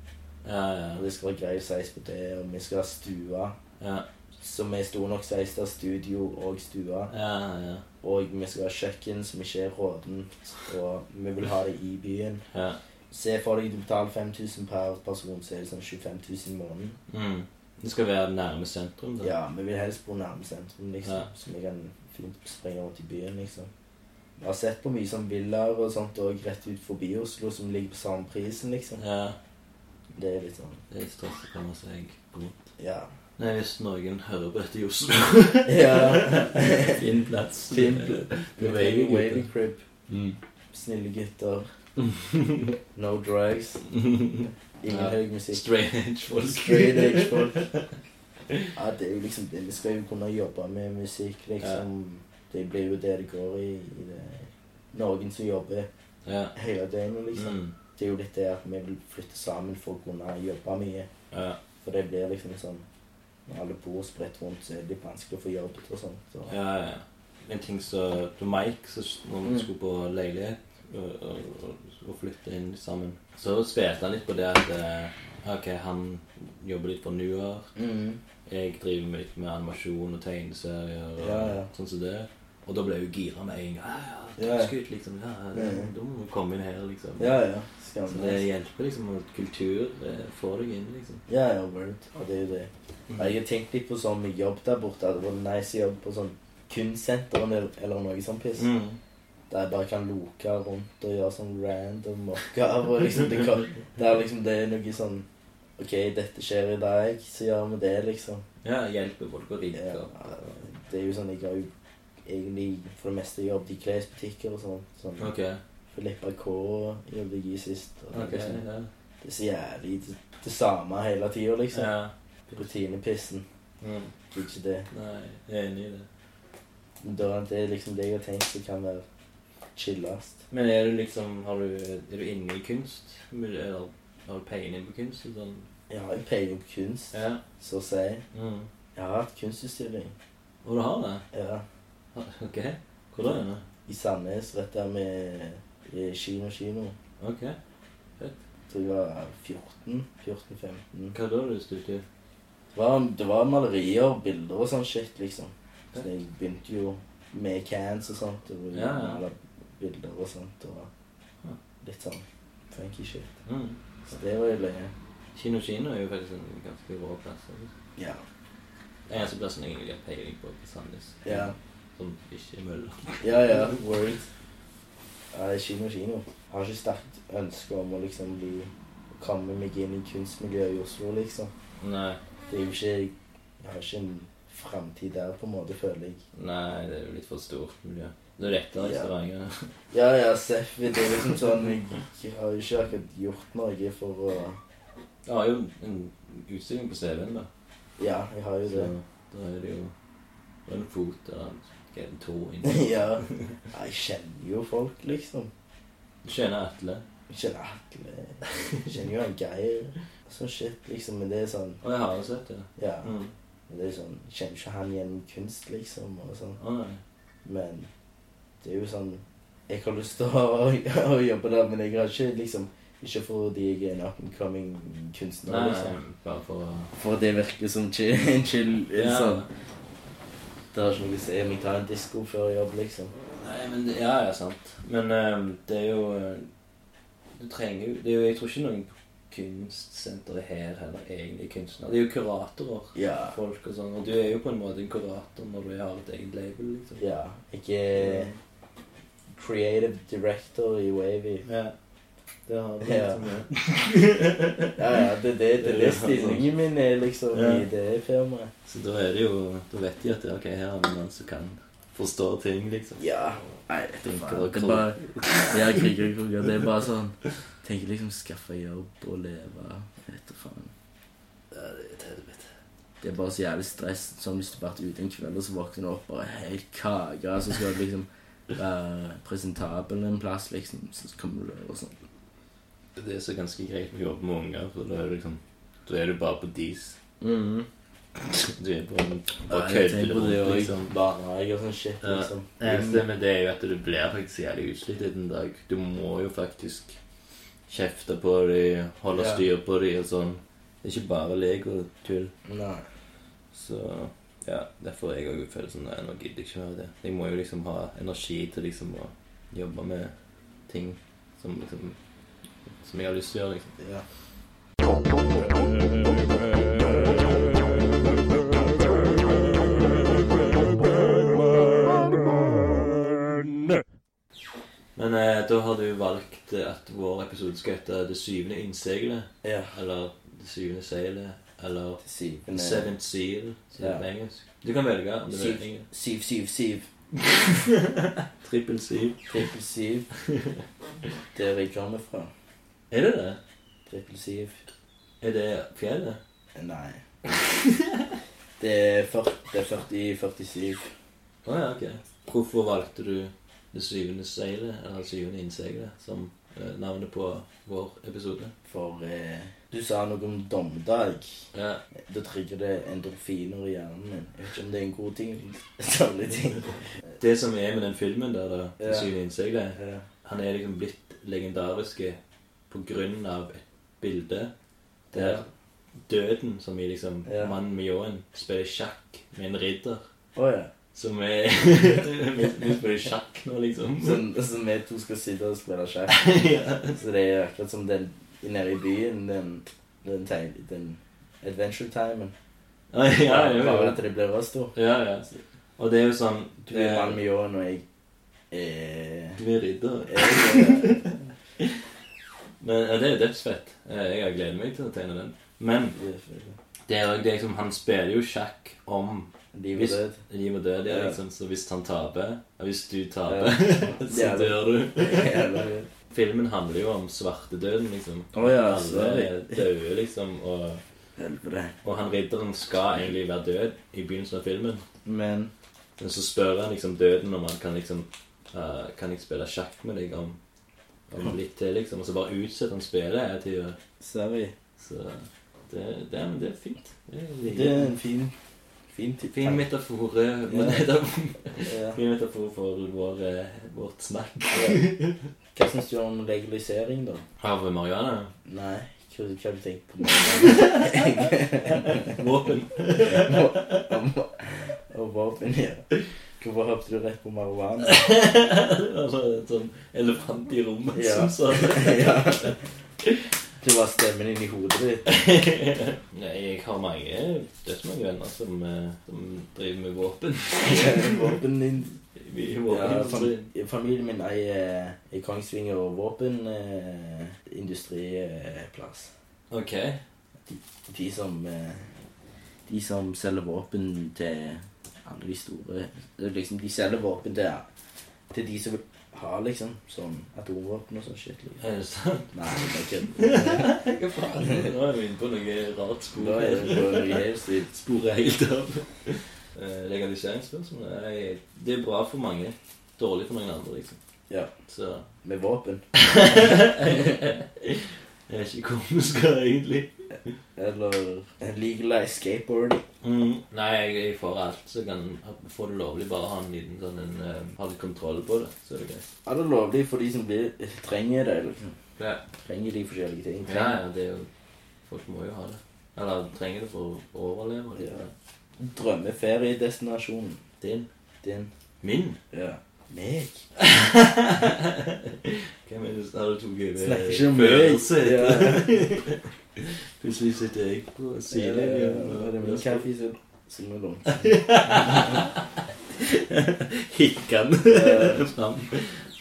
S3: Ja,
S2: Og
S3: ja.
S2: det skal være grei seis på det, og vi skal ha stue.
S3: Ja,
S2: Som er stor nok seis til studio og stue.
S3: ja. ja,
S2: Og vi skal ha kjøkken som ikke er rådent, og vi vil ha det i byen.
S3: ja.
S2: Se for deg du betaler 5000 per person, så er det sånn 25 000 i måneden.
S3: Mm. Det skal være nærme sentrum? da.
S2: Ja, vi vil helst bo nærme sentrum, liksom.
S3: Ja.
S2: Så vi kan fint springe rundt i byen, liksom. Vi har sett på mye sånn villaer og sånt òg rett ut forbi Oslo som ligger på samme prisen, liksom.
S3: ja.
S2: Det er litt sånn
S3: Det er stress å komme seg rundt.
S2: Ja.
S3: Nei, hvis noen hører på dette i Oslo
S2: ja.
S3: Finn plass.
S2: Finn plass.
S3: Du er wavy,
S2: Wavy
S3: gutter.
S2: crib.
S3: Mm.
S2: Snille gutter. No drugs.
S3: Mm.
S2: Ingen
S3: Ja.
S2: høy musikk.
S3: Straight edge folk.
S2: Straight edge folk. Ja, det er jo liksom det. Vi skal jo kunne jobbe med musikk, liksom. Det blir jo det det går i. i det. Noen som jobber
S3: Ja.
S2: hele døgnet, liksom.
S3: Mm.
S2: Det er jo litt det at vi vil flytte sammen for å kunne jobbe mye.
S3: ja.
S2: For det blir liksom sånn Når alle bor spredt rundt, så er det litt vanskelig å få jobbet og sånt. Så.
S3: Ja, ja. En ting som Til Mike, så, når vi
S2: Mm.
S3: skulle på leilighet og, og, og- og flytte inn sammen, så spilte han litt på det at eh, Ok, han jobber litt for Nuar.
S2: Mm.
S3: Jeg driver med litt med animasjon og tegneserier og
S2: Ja, ja.
S3: sånn som det. Og da ble jeg jo gira med en gang. Ah, Ja, ja,
S2: Ja, ja.
S3: skutt, liksom. Ja, ja, det,
S2: Mm.
S3: Da må vi komme inn her, liksom.
S2: Ja, ja.
S3: Så det
S2: Skamløst.
S3: hjelper liksom at kultur eh, får deg inn, liksom.
S2: Ja, ja, word. Og det er jo det. Ja, Jeg har tenkt litt på sånn med jobb der borte. at Det var nice jobb på sånn kunstsenter eller eller noe sånt piss.
S3: Mm.
S2: Der jeg bare kan loke rundt og gjøre sånn random oppgaver. Liksom, det, kan, det er liksom det er noe sånn OK, dette skjer i dag, så gjør vi det, liksom.
S3: Ja, hjelper folk å rigge
S2: Ja,
S3: opp.
S2: det er jo sånn Jeg har jo egentlig for det meste jobbet i klesbutikker og sånn. sånn
S3: Ok.
S2: Filippa K jobbet jeg i sist. Og det, er
S3: ok,
S2: liksom,
S3: ja.
S2: det er så jævlig det, det samme hele tida, liksom.
S3: ja.
S2: Rutinepissen.
S3: Mm.
S2: Gidder ikke det.
S3: Nei, jeg er enig i det.
S2: Da det er liksom det jeg har tenkt som kan være chillest.
S3: Men er du liksom har du, Er du inne i kunst? Eller har du peiling på kunst? og Sånn?
S2: Jeg har jo peiling på kunst,
S3: Ja.
S2: så å si.
S3: Mm.
S2: Jeg har hatt kunstutstilling
S3: Og du har det?
S2: ja,
S3: Ok. Hvor da? Jonna?
S2: i Sandnes, rett der med eh, Kino Kino.
S3: Ok.
S2: Jeg tror jeg var 14. 14-15.
S3: Hva da har du studert? i?
S2: Det, var- det var malerier og bilder og sånn shit, liksom. Så jeg begynte jo med cans og sånt. Og
S3: Ja, ja.
S2: maler bilder og sånt. Og litt sånn funky shit.
S3: Mm.
S2: Så det var jo løye.
S3: Kino Kino er jo faktisk en ganske rå plass. altså.
S2: Ja.
S3: Det er eneste plassen jeg egentlig har peiling på på Sandnes.
S2: ja.
S3: Så Sånn ikke i mølla.
S2: Ja, ja. Word. Ja, det er kino, kino. Jeg har ikke sterkt ønske om å liksom bli å Komme meg inn i kunstmiljøet i Oslo, liksom.
S3: Nei.
S2: Det er jo ikke Jeg har ikke en framtid der, på en måte, føler jeg.
S3: Nei, det er jo litt for stort miljø. Det er lettere i
S2: Ja.
S3: Stavanger.
S2: Ja, ja, Seff, det er liksom sånn Jeg har jo ikke akkurat gjort noe for å
S3: Jeg har jo en utstilling på CV-en, da.
S2: Ja, jeg har jo
S3: Så
S2: det.
S3: da er det jo det er en fot eller en- en tå inn.
S2: ja. Ja, Jeg kjenner jo folk, liksom.
S3: Du Kjenner Atle.
S2: Jeg kjenner Atle. Jeg Kjenner jo han Geir. Sånn shit, liksom. Men det er sånn
S3: Å, jeg har jo sett det.
S2: Ja.
S3: Å mm.
S2: Men det er sånn Jeg kjenner ikke han gjennom kunst, liksom. Og sånn.
S3: Å, nei.
S2: Men det er jo sånn Jeg har lyst til å, å jobbe der, men jeg har ikke liksom Ikke fordi jeg er en up and coming kunstner.
S3: nei, nei,
S2: Liksom.
S3: bare for å
S2: For det virker som chill, en chill
S3: Ja.
S2: sånn. Det har ikke noe å si om jeg tar en disko før jobb, liksom.
S3: Nei, men det, Ja, ja, sant. Men eh, det er jo eh, Du trenger jo det er jo, Jeg tror ikke noen på kunstsenteret her heller egentlig er kunstnere. Det er jo kuratorer.
S2: Ja.
S3: Folk og sånn. Og du er jo på en måte en kurator når du har et eget label, liksom.
S2: ja. Jeg er creative director i Wavy.
S3: Ja. Det har du
S2: Ja.
S3: liksom. Ja.
S2: Ja, ja, det, det, det, det er stillingen min er liksom
S3: Ja.
S2: i det firmaet.
S3: Så da er det jo Da vet de at ja, ok, her har vi noen som kan forstå ting, liksom.
S2: Ja. Nei,
S3: Tenker
S2: faen,
S3: og
S2: det er
S3: krok.
S2: bare Ja, kriger og kroker. Det er bare sånn Tenker liksom skaffe jobb og leve. Jeg vet da faen.
S3: Ja, det er et helvete.
S2: Det er bare så jævlig stress. Som hvis du har vært ute en kveld, og så våkner du opp bare helt kaka, så skal du liksom være presentabel en plass, liksom. Så kommer du over sånn.
S3: Det er så ganske greit å jobbe med unger, for da er du liksom Da er du bare på dis.
S2: Mm.
S3: Du er på en
S2: Ja,
S3: og
S2: jeg
S3: kødder
S2: tenker på det
S3: rundt,
S2: òg.
S3: liksom.
S2: Barnehage og sånn shit,
S3: Ja.
S2: liksom.
S3: Det eneste med det er jo at du blir faktisk jævlig utslitt en dag. Du må jo faktisk kjefte på dem, holde
S2: Ja.
S3: styr på dem og sånn. Det er ikke bare lek og tull.
S2: Nei.
S3: Så ja, derfor er jeg òg følelsen av nå gidder jeg ikke mer av det. Jeg må jo liksom ha energi til liksom å jobbe med ting som liksom Som jeg har lyst til å gjøre, liksom.
S2: Ja.
S3: Men eh, da har du valgt eh, at vår episode skal hete 'Det syvende innseilet'.
S2: ja.
S3: Eller 'Det syvende seilet'. Eller
S2: Til syvende
S3: Seventh Seal, sier det
S2: Ja.
S3: på engelsk. Du kan velge om du
S2: Syv.
S3: vil engelsk.
S2: Syv, syv, syv.
S3: Trippel Seal.
S2: Trippel syv. Der jeg kommer fra.
S3: Er det det?
S2: Trippel syv. Eh,
S3: Er det fjellet?
S2: Nei. Det er 40, det er 40 47.
S3: Å ja, ok. Hvorfor valgte du Det syvende seilet, eller syvende innseilet, som eh, navnet på vår episode?
S2: For eh, du sa noe om dommedag.
S3: Ja.
S2: Da trigger det endorfiner i hjernen min. Jeg vet ikke om det er en god ting. eller en Dårlig ting.
S3: Det som er med den filmen der, da, Det
S2: Ja.
S3: syvende innseilet,
S2: Ja.
S3: han er liksom blitt legendariske på grunn av et bilde der
S2: Ja.
S3: døden, som i liksom
S2: Ja.
S3: mannen med ljåen, spiller sjakk med en ridder.
S2: Å ja.
S3: Som er Vi vi spiller sjakk nå, liksom.
S2: Som, som vi to skal sitte og spille sjakk.
S3: ja.
S2: Så det er akkurat som den nede i byen, den, den, tegn, den adventure-timen.
S3: Ja, ja,
S2: Bare
S3: ja,
S2: at det blir oss to.
S3: ja, ja. Og det er jo sånn
S2: Du er mann
S3: det-
S2: med ljåen, og jeg er
S3: Du er ridder.
S2: jeg er-
S3: Men ja, det er jo dødsfett. Eh, Jeg har gledet meg til å tegne den. Men det er jo det som Han spiller jo sjakk om
S2: Liv og
S3: Hvis-
S2: død.
S3: liv og død. Ja,
S2: Ja.
S3: liksom. Så hvis han taper, og hvis du taper,
S2: Ja.
S3: så
S2: Jævlig.
S3: dør du.
S2: Jævla gøy.
S3: Filmen handler jo om svartedøden, liksom.
S2: Å ja,
S3: Alle
S2: sorry.
S3: er døde, liksom. Og,
S2: Helvete.
S3: og han ridderen skal egentlig være død i begynnelsen av filmen.
S2: Men
S3: Men så spør han liksom døden om han kan liksom eh, Kan jeg spille sjakk med deg om, om litt til, liksom? Og så bare utsetter han spillet et tid.
S2: sorry.
S3: Så det, det, men det er fint. Det er,
S2: Det er en fin Fin tid.
S3: fin metafor, eh, men
S2: Ja.
S3: det er
S2: Ja.
S3: fin metafor for vår, eh, vårt snakk.
S2: Ja. Hva syns du om legalisering, da?
S3: Av marihuana?
S2: Nei, hva, hva har du tenkt på nå?
S3: Våpen?
S2: Om- Om våpen, ja. Hvorfor hoppet du rett på marihuana?
S3: Det var en sånn Altså, elefant i rommet
S2: Ja.
S3: som sa det.
S2: ja. Det var stemmen inni hodet ditt.
S3: Nei, jeg har mange dødsmange venner som, eh, som driver med våpen.
S2: Våpen din.
S3: Vi er
S2: Ja,
S3: våpenindustri.
S2: fam- familien min eier eh, i Kongsvinger våpenindustriplass.
S3: Ok.
S2: De som eh, De som selger våpen til alle de store det er liksom, De selger våpen til, til de som vil ha, liksom. Sånn atomvåpen og sånn shit. Liksom.
S3: Er det sant?
S2: Nei, jeg kødder.
S3: Hva faen? Nå er vi inne på noe rart spor.
S2: Da er det på Reelsvik.
S3: Sporet helt av. Eh, Legaliseringsspørsmål? Nei, det er bra for mange. Dårlig for noen andre, liksom.
S2: Ja.
S3: Så
S2: Med våpen.
S3: jeg vet ikke hvor vi skal egentlig.
S2: Eller legalize skateboard.
S3: Mm. Nei, jeg, jeg får alt. Så kan får du lovlig bare ha en liten sånn en, eh, Ha litt kontroll på det, så er det greit.
S2: Er det lovlig for de som blir, trenger det? Liksom.
S3: Ja,
S2: Trenger de forskjellige ting?
S3: ja, ja det er jo Folk må jo ha det. Eller trenger det for å overleve.
S2: Ja.
S3: Liksom.
S2: Drømmeferiedestinasjonen
S3: Din.
S2: din?
S3: Min?
S2: Ja. Meg?
S3: Hvem er det som har to gøye
S2: Snakker ikke om meg. Ja.
S3: Plutselig sitter jeg på
S2: Ja,
S3: siden.
S2: ja, ja. Det er min kaffe som- som er lånt.
S3: Hikkende
S2: Ja.
S3: fram.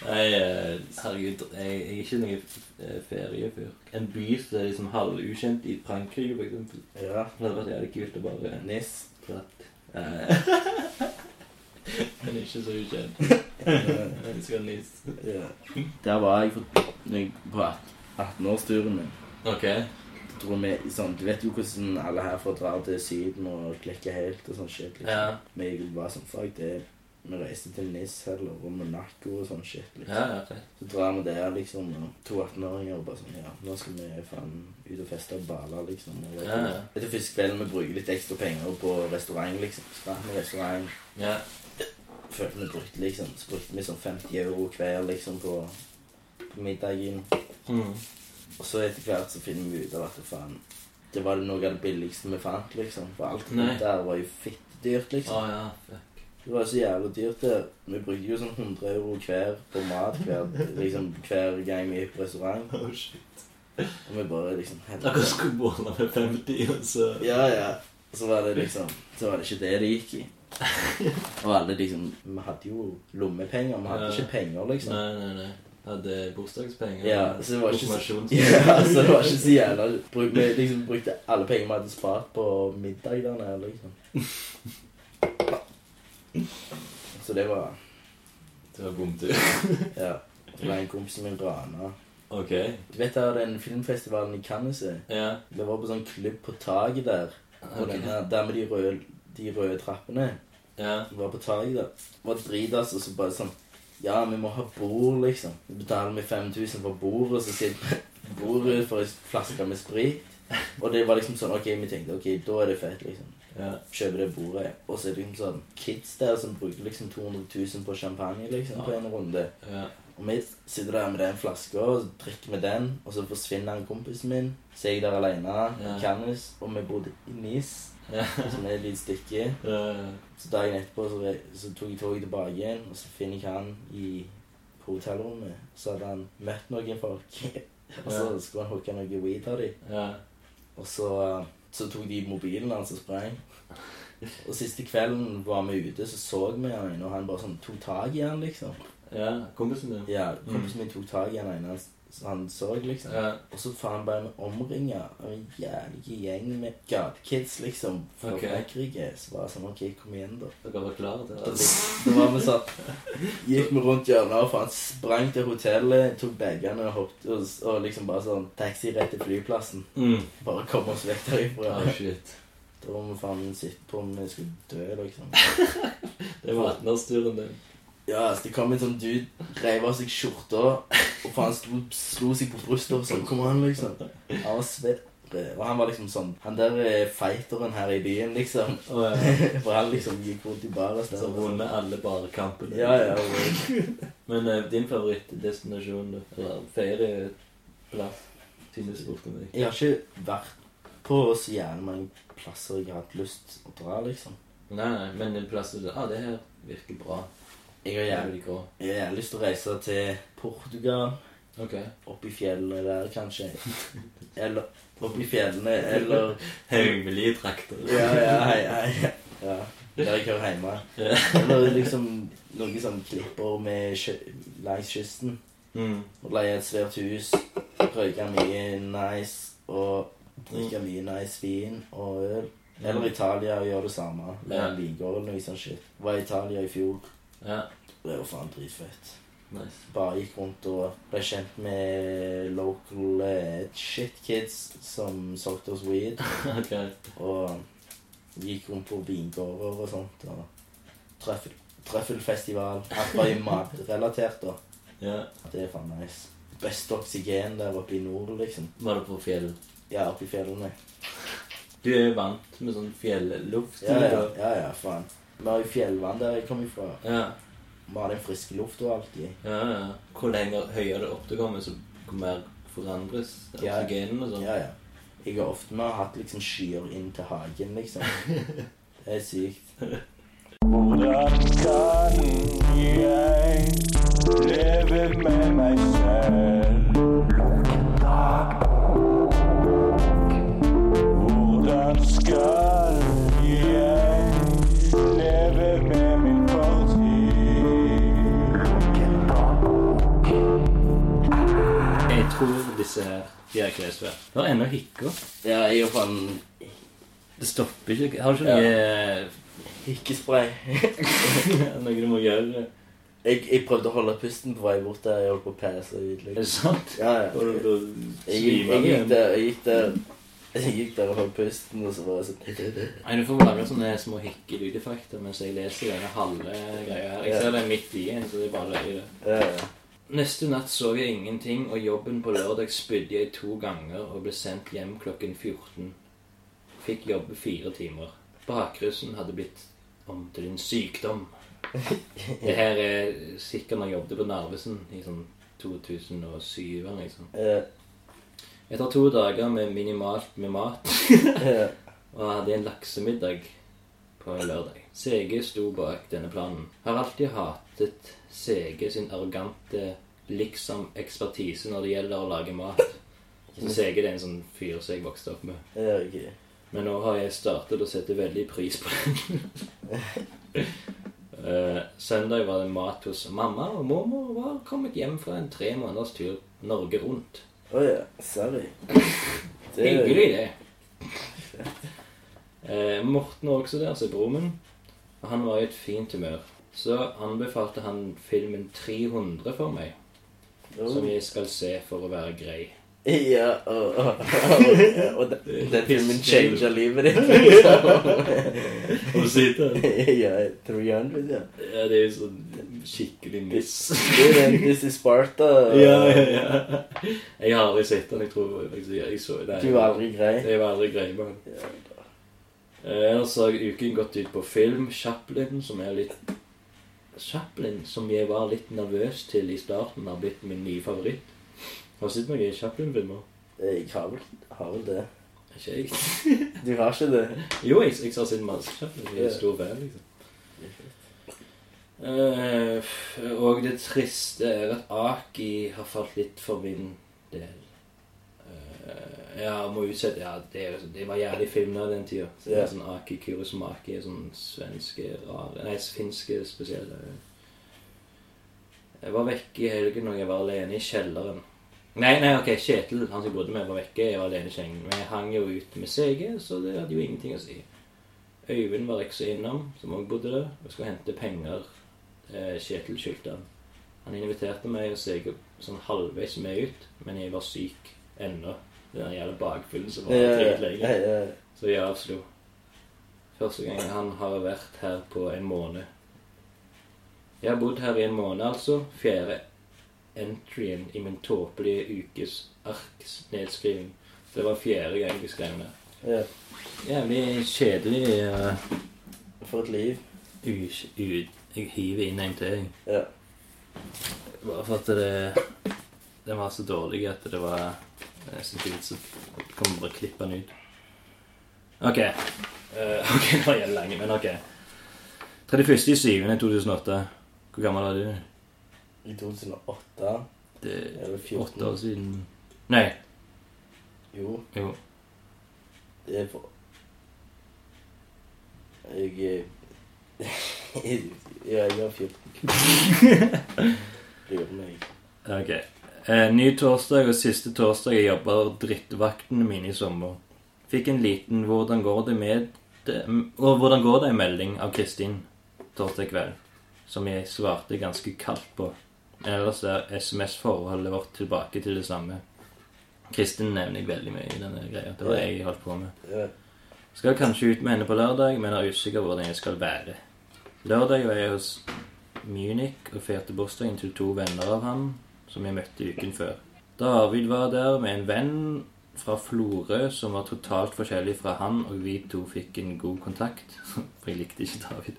S3: Nei, eh, herregud, jeg, jeg er ikke noen eh, feriefyr. En by som er liksom halvukjent i Frankrike, for eksempel.
S2: Ja.
S3: Det hadde vært jævlig kult å bare
S2: Nis.
S3: dratt. Eh, Men ikke så ukjent.
S2: Ja.
S3: Jeg elsker Nis.
S2: Ja. Der var jeg for, når jeg- på 18-årsturen min.
S3: Ok.
S2: Dro med, i sånn, du vet jo hvordan alle herfra drar til Syden og klikker helt og sånn shit. Liksom.
S3: Ja.
S2: Men jeg var sånn Fuck det. Vi reiste til Nis eller og Monaco og sånn shit. Liksom.
S3: Ja, ja, fett.
S2: Så drar vi der, liksom. og To 18-åringer og bare sånn Ja, nå skal vi faen ut og feste og bale, liksom. Og det,
S3: Ja, ja.
S2: det er første kvelden vi bruker litt ekstra penger på restaurant, liksom. Så drar vi restaurant,
S3: Ja.
S2: følte vi brukte liksom Så brukte vi sånn 50 euro hver, liksom, på, på middagen.
S3: Mm.
S2: Og så etter hvert så finner vi ut av at faen Det var noe av det billigste vi fant, liksom. For alt
S3: Nei.
S2: rundt der var jo fittedyrt,
S3: Å
S2: liksom.
S3: ja, fuck.
S2: Det var så jævlig dyrt der. Vi brukte jo sånn 100 euro hver på mat hver, liksom, hver gang vi gikk på restaurant.
S3: Oh, shit.
S2: Og vi bare liksom
S3: Dere skulle båle med 50, og så
S2: Ja, ja. Og Så var det liksom Så var det ikke det det gikk i. Og alle liksom Vi hadde jo lommepenger, vi hadde
S3: Ja.
S2: ikke penger, liksom.
S3: Nei, nei, nei. Hadde bursdagspenger.
S2: Ja, så det var ikke så,
S3: Konfirmasjons-
S2: ja, så det var ikke så jævla bruk, Vi liksom brukte alle penger vi hadde spart på middag der nede, liksom. Så det var
S3: Det var bomtur.
S2: Ja. Så var en kompis min rana.
S3: Ok.
S2: Du vet der den filmfestivalen i Cannes er?
S3: Ja.
S2: Det var på sånn klubb på taket der. Og
S3: Ah, Ok.
S2: den her, der med de røde, de røde trappene.
S3: Ja.
S2: var på taket der. Var dritas, og så bare sånn Ja, vi må ha bord, liksom. Så betaler vi 5000 for bordet, og så sitter vi på bordet for ei flaske med sprit. Og det var liksom sånn OK, vi tenkte OK, da er det fett, liksom.
S3: Ja.
S2: Kjøper det bordet. Og så er det liksom sånn kids der som bruker liksom 200 000 på champagne, liksom, på en runde.
S3: Ja.
S2: Og vi sitter der med den flaska og så drikker vi den, og så forsvinner han kompisen min. Så er jeg der aleine
S3: Ja.
S2: i Cannes, og vi bodde i Nis,
S3: Ja.
S2: som er et lite stykke.
S3: Ja.
S2: Så dagen etterpå så, re- så tok jeg toget tilbake igjen, og så finner jeg han i på hotellrommet. Så hadde han møtt noen folk, og så
S3: Ja.
S2: skulle han hooke noe weed av dem.
S3: Ja.
S2: Og så, eh, så tok de mobilen hans og sprang. Og siste kvelden var vi ute, så så vi han ene, og han bare sånn tok tak i han, liksom.
S3: ja. Kompisen din?
S2: Ja, Kompisen min tok tak i han ene, han s- så han så, liksom.
S3: Ja.
S2: Og så faen ble vi omringa av en jævlig gjeng med gatekids, liksom, fra
S3: Ok.
S2: Frankrike. Så var det sånn OK, kom igjen, da.
S3: Dere var klare til
S2: Da
S3: det?
S2: da var vi sånn Gikk vi rundt hjørnet og faen sprang til hotellet, tok bagene og hoppet og, og liksom bare sånn taxi rett til flyplassen.
S3: Mm.
S2: Bare kom oss vekk derifra.
S3: Oh, shit.
S2: Da var vi faen sitte på om vi skulle dø, liksom.
S3: Det var 18-årsturen din.
S2: Ja, så det kom en sånn dude, reiv av seg skjorta og faen slo, slo seg på brystet og sånn. Kom an, liksom. Han var svett. Og han var liksom sånn Han der er fighteren her i byen, liksom.
S3: Å ja.
S2: For han liksom gikk rundt i bar og
S3: Så
S2: sånn.
S3: vunnet alle barkampene.
S2: Ja, ja. og-
S3: Men eh, din favorittdestinasjon, da? eller ferieplass, siden du spurte meg?
S2: Jeg har ikke vært på så jævlig mange plasser jeg har hatt lyst å dra, liksom.
S3: Nei, nei, men en plass du sa ah, det her virker bra.
S2: Jeg har
S3: Det er
S2: jævlig,
S3: veldig grå.
S2: jeg har jævlig lyst til å reise til Portugal,
S3: Ok.
S2: Opp i fjellene der, kanskje. Eller opp i fjellene, eller
S3: Hemmelige trakter.
S2: Ja, ja, hei, hei. Ja, der jeg hører hjemme. Eller liksom noen sånne klipper med kjø langs kysten.
S3: Mm.
S2: Og leie et svært hus, røyke mye nice og drikke mye nice vin og øl. Eller Italia og gjøre det samme. Leie en vingård eller noe sånt shit. Var i Italia i fjor.
S3: Ja,
S2: Det var faen dritfett.
S3: nice.
S2: Bare gikk rundt og ble kjent med local eh, shit kids som solgte oss weed.
S3: ok.
S2: Og gikk rundt på vingårder og sånt. Og trøffel, trøffelfestival. Alt var jo matrelatert, da.
S3: Ja.
S2: Det er faen nice. Beste oksygen der oppe i nord, liksom.
S3: Var det på fjell?
S2: Ja, oppe i fjellene.
S3: Du er jo vant med sånn fjelluft.
S2: Ja, ja,
S3: eller?
S2: ja, ja faen. Vi har jo fjellvann der jeg kommer ifra.
S3: ja.
S2: Vi har den friske lufta alltid.
S3: Ja, ja. Hvor lenger høyere opp du kommer, så hvor mer forandres
S2: Ja.
S3: oksygenen og sånn.
S2: Ja, ja. Jeg har ofte vi har hatt liksom skyer inn til hagen, liksom. Det er sykt.
S4: Hvordan kan jeg leve med meg selv? Hvordan skal jeg leve med min fortid?
S3: Jeg tror disse her de er klesvær. Det er ennå hikker.
S2: Ja, jeg har faen
S3: Det stopper ikke. Har du ikke
S2: hikkespray.
S3: noe, noe du må gjøre?
S2: Jeg, jeg prøvde å holde pusten på vei bort der jeg holdt på å pæse ut.
S3: Er det
S2: Liksom.
S3: sant?
S2: Ja, ja.
S3: Går du til å
S2: Jeg, gikk-
S3: svime
S2: jeg, gikk
S3: igjen?
S2: der, jeg gikk der Jeg gikk der og holdt pusten, og så var jeg sånn
S3: Nei, Du får lage sånne små hikkelydeffekter mens jeg leser denne halve greia her. Jeg ser det midt i en, så det er bare løy det.
S2: Ja, ja.
S3: Neste natt sov jeg ingenting, og jobben på lørdag spydde jeg to ganger og ble sendt hjem klokken 14. Fikk jobbe fire timer. Bakrussen hadde blitt om til en sykdom. Det her er sikkert når jeg jobbet på Narvesen i sånn 2007 eller noe sånt.
S2: Eh,
S3: Etter to dager med minimalt med mat
S2: eh,
S3: og hadde en laksemiddag på en lørdag. CG sto bak denne planen. Har alltid hatet CG sin arrogante liksom-ekspertise når det gjelder å lage mat. Så CG det er en sånn fyr som jeg vokste opp med.
S2: ja, ok.
S3: Men nå har jeg startet å sette veldig pris på den. Eh, søndag var det mat hos mamma, og mormor var kommet hjem fra en tre måneders tur Norge rundt.
S2: Å ja. Sorry. Det er jo-
S3: Hyggelig, det. Eh, Morten var også der, så er broren min. Og han var i et fint humør. Så anbefalte han filmen 300 for meg, som jeg skal se for å være grei.
S2: Ja, og, og, og, og den- den filmen changer livet ditt, liksom.
S3: Og sitte.
S2: Ja, 300, ja.
S3: Ja, det er jo sånn skikkelig miss.
S2: Det er den This is Sparta.
S3: Ja, ja, ja. Jeg har aldri sett den. Jeg tror faktisk jeg, jeg så det.
S2: Du er aldri grei.
S3: Jeg var aldri grei med den.
S2: Ja.
S3: Eh, Ellers har uken gått ut på film. Chaplin, som jeg er litt Chaplin, som jeg var litt nervøs til i starten, har blitt min nye favoritt. Har du sett noen Chaplin-filmer?
S2: Jeg har vel, har vel det.
S3: Ikke jeg.
S2: Du har ikke det?
S3: Jo, jeg, jeg har sett masse Chaplin. Jeg er stor fan, liksom. Eh, f- og det triste er at Aki har falt litt for min del. Eh, ja, må utsette Ja, det, er jo sånn- det var jævlig film da, den tida. Så det er
S2: Ja.
S3: sånn Aki Kurosmaki er sånn svenske rare Nei, finske spesielle. Jeg var vekke i helgen og jeg var alene i kjelleren. Nei, nei, ok, Kjetil, han som jeg bodde med, var vekke. Jeg var alene i kjelleren. Men jeg hang jo ut med CG, så det hadde jo ingenting å si. Øyvind var også innom, som også bodde der, og skulle hente penger. Eh, Kjetil skyldte han. Han inviterte meg og seg sånn halvveis med ut, men jeg var syk ennå. Den jævla bakfyllen som var dritlenge.
S2: ja.
S3: Så jeg avslo. Første gang han har vært her på en måned. Jeg har bodd her i en måned, altså. Fjerde entryen i min tåpelige ukes arksnedskriving. Det var fjerde gang jeg skrev det.
S2: ja.
S3: Jævlig kjedelig. eh,
S2: For et liv.
S3: u, u, jeg hiver inn en til. jeg.
S2: Ja.
S3: Bare for at det Den var så dårlig at det var eh, Jeg synes ikke vits å kan bare klippe den ut. OK. Eh, ok, Det var jævlig lenge, men OK. 31.07.2008. Hvor gammel er du?
S2: I 2008.
S3: Det
S2: Er det
S3: er
S2: 14?
S3: åtte år siden Nei.
S2: Jo,
S3: Jo.
S2: det er for Jeg eh, Ja, jeg har 14. Lurer meg.
S3: Ok. Eh, ny torsdag og siste torsdag jeg jobber drittvaktene mine i sommer. Fikk en liten 'Hvordan går det med det, og 'Hvordan går det?'-melding av Kristin torsdag kveld. Som jeg svarte ganske kaldt på. Men ellers er SMS-forholdet vårt tilbake til det samme. Kristin nevner jeg veldig mye i denne greia. Det var jeg jeg holdt på med.
S2: Ja,
S3: Skal kanskje ut med henne på lørdag, men er usikker hvordan jeg skal være. Lørdag var jeg hos Munich og feirte bursdagen til to venner av ham, som jeg møtte uken før. David var der med en venn fra Florø som var totalt forskjellig fra han, og vi to fikk en god kontakt. For jeg likte ikke David.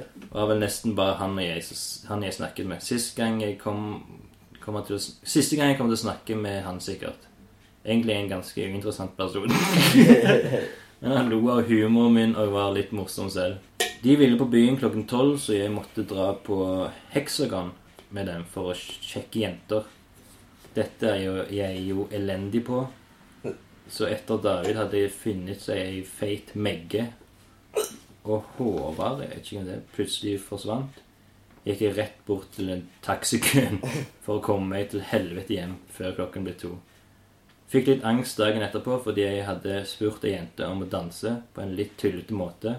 S3: Det var vel nesten bare han, og jeg, han jeg snakket med. Sist gang jeg kom, kommer til å, sn- siste gang jeg kom til å snakke med han, sikkert. Egentlig en ganske uinteressant person. Men han lo av humoren min og var litt morsom selv. De ville på byen klokken tolv, så jeg måtte dra på Hexagon med dem for å sjekke jenter. Dette er jo jeg jo elendig på. Så etter David hadde jeg funnet seg ei feit megge. Og Håvard, jeg vet ikke om det plutselig forsvant, gikk jeg rett bort til en taxikøen for å komme meg til helvete hjem før klokken ble to. Fikk litt angst dagen etterpå fordi jeg hadde spurt ei jente om å danse på en litt tullete måte,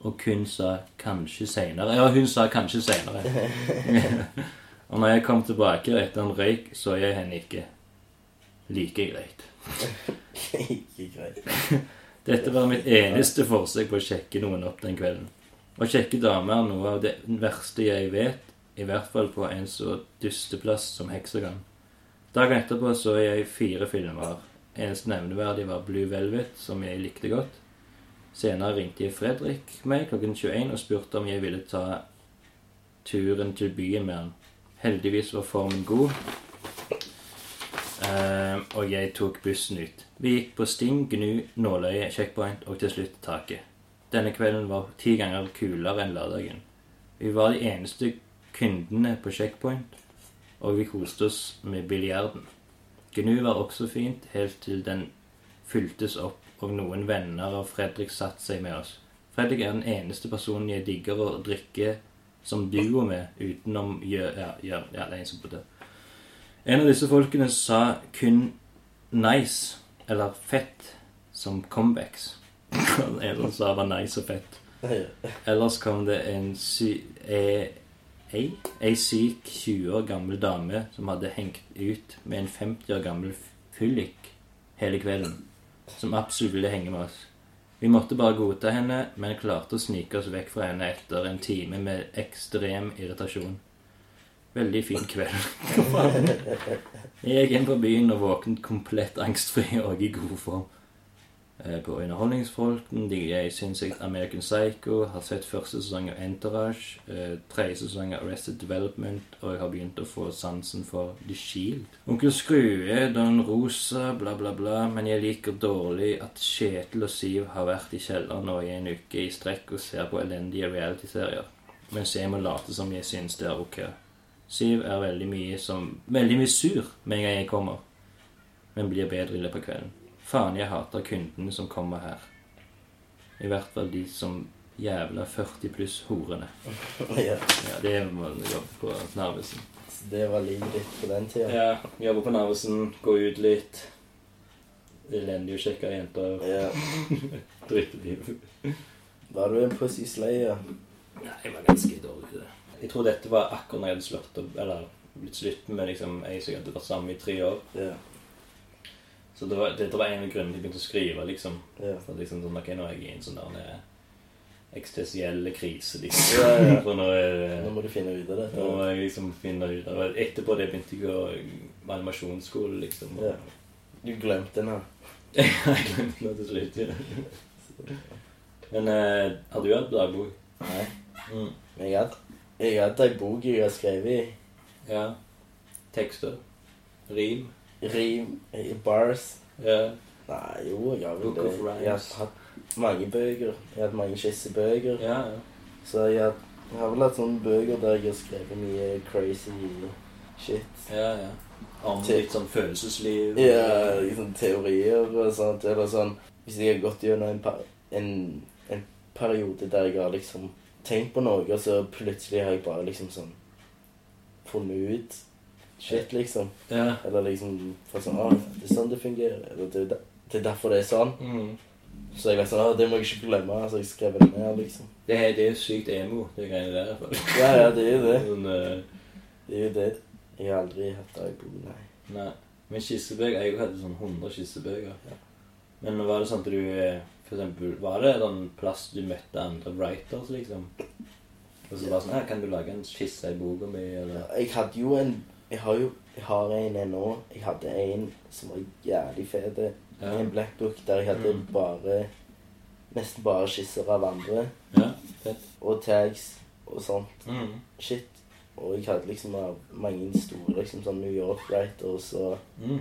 S3: og hun sa 'kanskje seinere'. Ja, hun sa 'kanskje seinere'. og når jeg kom tilbake etter en røyk, så jeg henne ikke. Like greit.
S2: ikke greit.
S3: Dette var mitt eneste forsøk på å sjekke noen opp den kvelden. Å sjekke damer er noe av det verste jeg vet, i hvert fall på en så dusteplass som Heksegang. Dagen etterpå så jeg fire filmer. Eneste nevneverdig var Blue Velvet, som jeg likte godt. Senere ringte jeg Fredrik meg klokken 21 og spurte om jeg ville ta turen til byen med han. Heldigvis var formen god. Ehm, og jeg tok bussen ut. Vi gikk på Sting, Gnu, Nåløye, Checkpoint og til slutt Taket. Denne kvelden var ti ganger kulere enn lørdagen. Vi var de eneste kundene på Checkpoint, og vi koste oss med biljarden. Gnu var også fint, helt til den fyltes opp, og noen venner av Fredrik satte seg med oss. Fredrik er den eneste personen jeg digger å drikke som duo med, utenom Gjø... Ja, Gjø- ja, det er en som bodde en av disse folkene sa kun 'nice' eller 'fett' som comebacks. en som sa var nice og fett. Ellers kom det en sy... Ei, ei, ei syk 20 år gammel dame som hadde hengt ut med en 50 år gammel fyllik hele kvelden. Som absolutt ville henge med oss. Vi måtte bare godta henne, men klarte å snike oss vekk fra henne etter en time med ekstrem irritasjon. Veldig fin kveld. Jeg gikk inn på byen og våknet komplett angstfri og i god form. Eh, På underholdningsfolken digger jeg sinnssykt American Psycho, har sett første sesong av Entourage, eh, tredje sesong av Arrested Development, og jeg har begynt å få sansen for The Shield. Onkel Skrue, Don Rosa, bla, bla, bla, men jeg liker dårlig at Kjetil og Siv har vært i kjelleren nå i en uke i strekk og ser på elendige realityserier, mens jeg må late som jeg syns det er ok. Siv er veldig mye som Veldig mye sur med en gang jeg kommer, men blir bedre i løpet av kvelden. Faen, jeg hater kundene som kommer her. I hvert fall de som jævla 40 pluss horene.
S2: Ja,
S3: Ja, det må du jobbe på Narvesen.
S2: så det var livet ditt på den tida.
S3: Ja, jobbe på Narvesen, gå ut litt. Elendig å sjekke jenter.
S2: Ja.
S3: Dritteliv.
S2: Var du en pussy slayer?
S3: Nei, jeg var ganske dårlig til det. Jeg tror dette var akkurat når jeg hadde slått opp, eller blitt slutt med liksom, ei som jeg hadde vært sammen med i tre år.
S2: Ja.
S3: Så det var, det, det var en av grunnene til jeg begynte å skrive. liksom.
S2: ja.
S3: For liksom sånn, ok, Nå er jeg i en sånn der eh, eksistensiell krise, liksom.
S2: Ja, ja.
S3: For nå er det-
S2: Nå må du finne ut av det.
S3: nå må jeg liksom finne ut av det. Etterpå det begynte jeg å på animasjonsskole, liksom.
S2: Ja. Du glemte den her.
S3: Jeg glemte det til slutt. Ja. Men eh, har du hatt dagbok?
S2: Nei.
S3: Mm.
S2: Men jeg hadde, jeg hadde ei bok jeg har skrevet i.
S3: Ja. Tekster? Rim?
S2: Rim, i bars.
S3: Ja.
S2: Nei, jo, jeg har vel
S3: Book
S2: det.
S3: of Rhymes.
S2: Jeg har hatt mange bøker. Jeg har hatt mange skissebøker.
S3: ja, ja.
S2: Så jeg har, jeg har vel hatt sånne bøker der jeg har skrevet mye crazy Shit.
S3: Ja, ja. Om
S2: Til-
S3: litt sånn følelsesliv.
S2: Ja, liksom teorier og sånt. Eller sånn Hvis jeg har gått gjennom en, per en, en periode der jeg har liksom tenkt på noe, og så plutselig har jeg bare liksom sånn funnet ut shit, liksom.
S3: ja.
S2: Eller liksom fått sånn Å, det er sånn det fungerer. Eller det, er der- det er derfor det er sånn.
S3: Mm.
S2: Så jeg vet sånn Å, det må jeg ikke glemme. Så jeg skrev det ned, liksom.
S3: Det, er- det er sykt emo, det greiene der. for-
S2: Ja, ja, det er jo det.
S3: Men, eh,
S2: Det er jo det. Jeg har aldri hatt iPod, nei.
S3: nei. Men skissebøker Jeg hadde sånn 100 skissebøker. Men var det sånn at du eh, for eksempel, Var det en plass du møtte andre writers, liksom? Og så bare sånn her, Kan du lage en skisse i boka mi? Eller
S2: Jeg hadde jo en Jeg har jo jeg har en ennå. Jeg hadde en som var jævlig fet.
S3: Ja.
S2: En blackbook der jeg hadde
S3: Mm.
S2: bare Nesten bare skisser av andre.
S3: Ja, fett.
S2: Og tags og sånn
S3: Mm.
S2: shit. Og jeg hadde liksom av mange store liksom sånn New York Writers og
S3: Mm.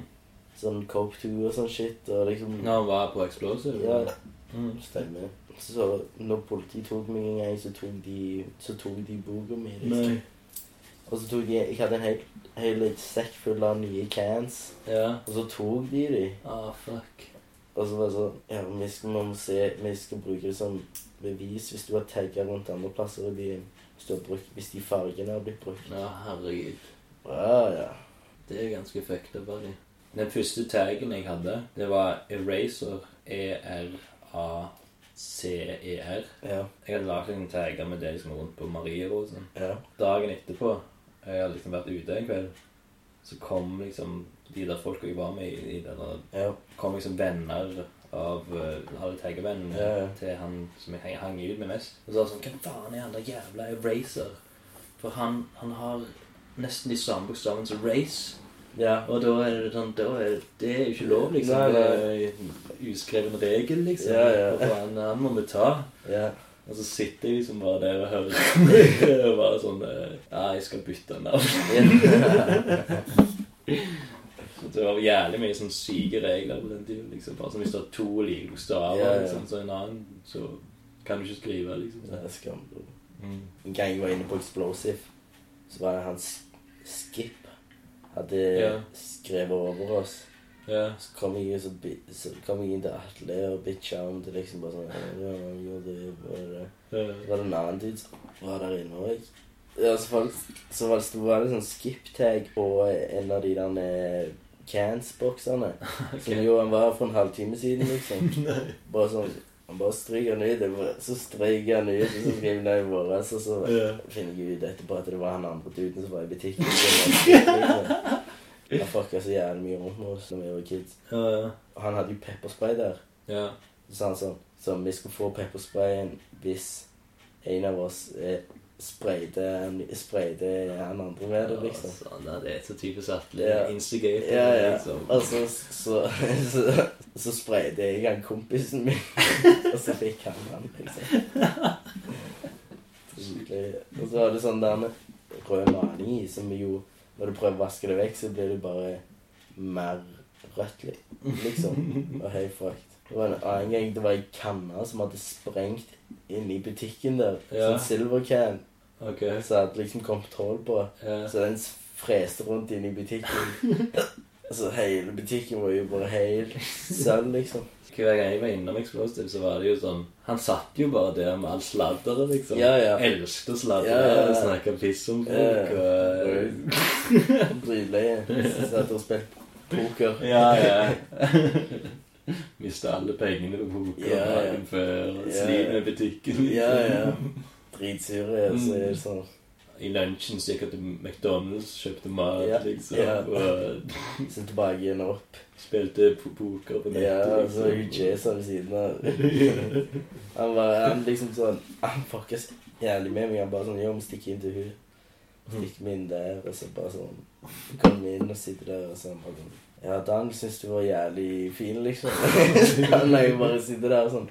S2: sånn Coke 2 og sånn shit. Og liksom
S3: Når han var på Explosive?
S2: Ja,
S3: Mm.
S2: stemmer. Så når politiet tok meg en gang, så tok de, så tok de boka mi. Liksom.
S3: Nei.
S2: Og så tok de Jeg hadde en hel, hel sekk full av nye cans.
S3: Ja.
S2: Og så tok de de.
S3: Ah, fuck.
S2: Og så var det sånn Ja, vi skal, vi må se, vi skal bruke det som bevis hvis du har tagget rundt andre plasser i byen. Hvis, du har brukt, hvis de fargene har blitt brukt.
S3: Ja, herregud.
S2: Ja, ja.
S3: Det er ganske fucked up av de. Den første taggen jeg hadde, det var Eraser. E-R-A-C-E-R.
S2: Ja.
S3: Jeg hadde lagd en tagger med det som var rundt på Marierosen.
S2: ja.
S3: Dagen etterpå, jeg hadde liksom vært ute en kveld, så kom liksom de der folka jeg var med i, i denne
S2: ja.
S3: kom liksom venner av eh, Harry Tegevennen
S2: Ja, ja.
S3: til han som jeg hang, hang ut med mest. Og så var det sånn Hvem faen er han der jævla Eraser? For han, han har nesten de samme bokstavene som Race.
S2: ja.
S3: Og da er det sånn da er det, det er jo ikke lov, liksom.
S2: Nei, nei.
S3: Det er en uskreven regel, liksom.
S2: Ja, ja.
S3: Og faen, han må vi ta.
S2: ja.
S3: Og så sitter jeg liksom bare der og hører og bare sånn eh, Ja, jeg skal bytte navn. Så Det var jævlig mye sånn syke regler på den tiden. Liksom. Bare sånn, hvis du har to like bokstaver,
S2: Ja, ja.
S3: liksom, så en annen, så kan du ikke skrive. liksom.
S2: Det er skamblod.
S3: Mm.
S2: En gang jeg var inne på Explosive, så var det han S- Skip hadde
S3: Ja.
S2: skrevet over oss.
S3: Ja.
S2: Så kom jeg, inn, så, bi- så kom jeg inn til Atle og bitcha om det liksom bare sånn ja, ja, ja, det, var det.
S3: Ja.
S2: Så var det en annen dude som var der inne òg. Ja, så var det- så var det sto var det sånn skip-tag på en av de der eh, cans-boksene. Som jo han var for en halvtime siden, liksom. bare sånn Han bare stryker den ut, jeg bare- så stryker han ut, og så skriver han i vår, og så
S3: Ja.
S2: finner jeg ut etterpå at det var han andre duden som var i butikken. som var- Han fucka så jævlig mye rundt med oss da vi var kids.
S3: Ja.
S2: Og han hadde jo pepperspray der.
S3: ja.
S2: Så sa han sånn Så vi skulle få peppersprayen hvis en av oss eh, sprayde sprayde han andre med det, liksom.
S3: Sånn, ja, det er så typisk Atle.
S2: Ja.
S3: Instigator,
S2: Ja, ja. Altså-
S3: liksom.
S2: Og så, så, så, så sprayde jeg han kompisen min, og så fikk han han, liksom. Skikkelig. Og så var det sånn der med rød maling i, som jo Når du prøver å vaske det vekk, så blir det bare mer rødt, li- liksom. Og helt fucked. Det var en annen gang det var ei kanne som hadde sprengt inni butikken der.
S3: Ja.
S2: Sånn silver can.
S3: Ok.
S2: Så hadde liksom kontroll på.
S3: Ja.
S2: Så den freste rundt inne i butikken. altså, hele butikken var jo bare helt sølv, liksom.
S3: Hver gang jeg var innom Explosive, så var det jo sånn Han satt jo bare der med all sladderet, liksom.
S2: Ja, ja.
S3: Elsket å sladre
S2: Ja, ja.
S3: og snakke piss om folk. og...
S2: Eh, Dritleie. Så Satt og spilte poker.
S3: Ja, ja. Mista alle pengene på boka
S2: Ja, ja.
S3: dagen før.
S2: Ja,
S3: Sliv
S2: ja.
S3: med butikken. liksom.
S2: Ja, ja. Dritsure. Og så er det sånn
S3: I lunsjen så gikk jeg til McDonald's, kjøpte mat,
S2: Ja,
S3: liksom.
S2: ja.
S3: Og
S2: Så tilbake igjen og opp.
S3: spilte po- poker på
S2: Ja, altså, og så
S3: nettet. liksom.
S2: er jo Jason ved siden av. Han var han liksom sånn Han fucka så jævlig med meg. Han bare sånn Jo, vi stikker inn til hun. Stikker vi inn der, og så bare sånn Kom inn og sitter der, og sånn bare sånn Ja, Dan syns du var jævlig fin, liksom. Han er jo bare sitter der sånn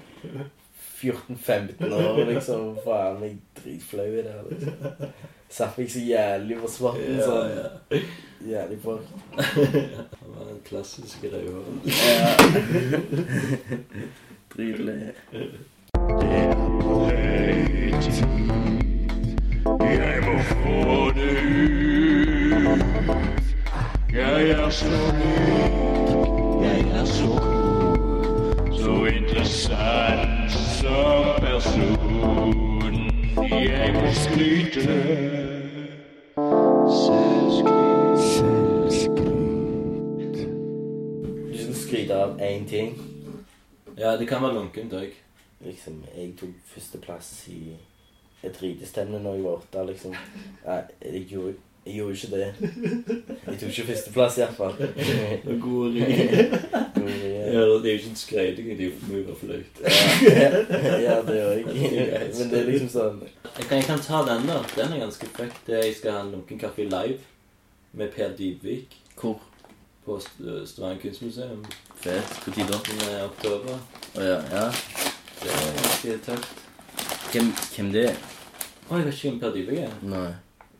S2: 14-15 år, liksom. Faen, jeg er dritflau i det her, liksom. Satt meg så jævlig på svarten,
S3: Ja,
S2: sånn.
S3: ja.
S2: Jævlig folk.
S3: Han var den klassiske røveren.
S2: Ja. Dritlig.
S1: Jeg må få det ut.
S5: jeg er så ny, jeg er så god, så interessant som person. Jeg må skryte. Selvskryt.
S2: Du skal skryte av én ting.
S3: Ja, det kan være lunkent òg.
S2: Liksom, jeg tok førsteplass i et ridestevne når jeg var åtte. Liksom. Nei, jeg gjorde, jeg gjorde ikke det. Jeg tok ikke førsteplass, iallfall.
S3: God rim. Ja, det er jo ikke en skreiting, det er jo mye bare flaut.
S2: Ja, det gjør jeg. Men det er liksom sånn
S3: Jeg kan, jeg kan ta den, da. Den er ganske frekk. Det er Jeg skal ha en lunken kaffe live med Per Dybvik
S6: Hvor?
S3: på St- Stavanger kunstmuseum
S6: Fet. Hvor tid da?
S3: i oktober.
S6: Å ja. ja.
S3: Det er ganske tøft.
S6: Hvem, hvem det er?
S3: Å, jeg vet ikke hvem Per Dybvik er.
S6: Nei.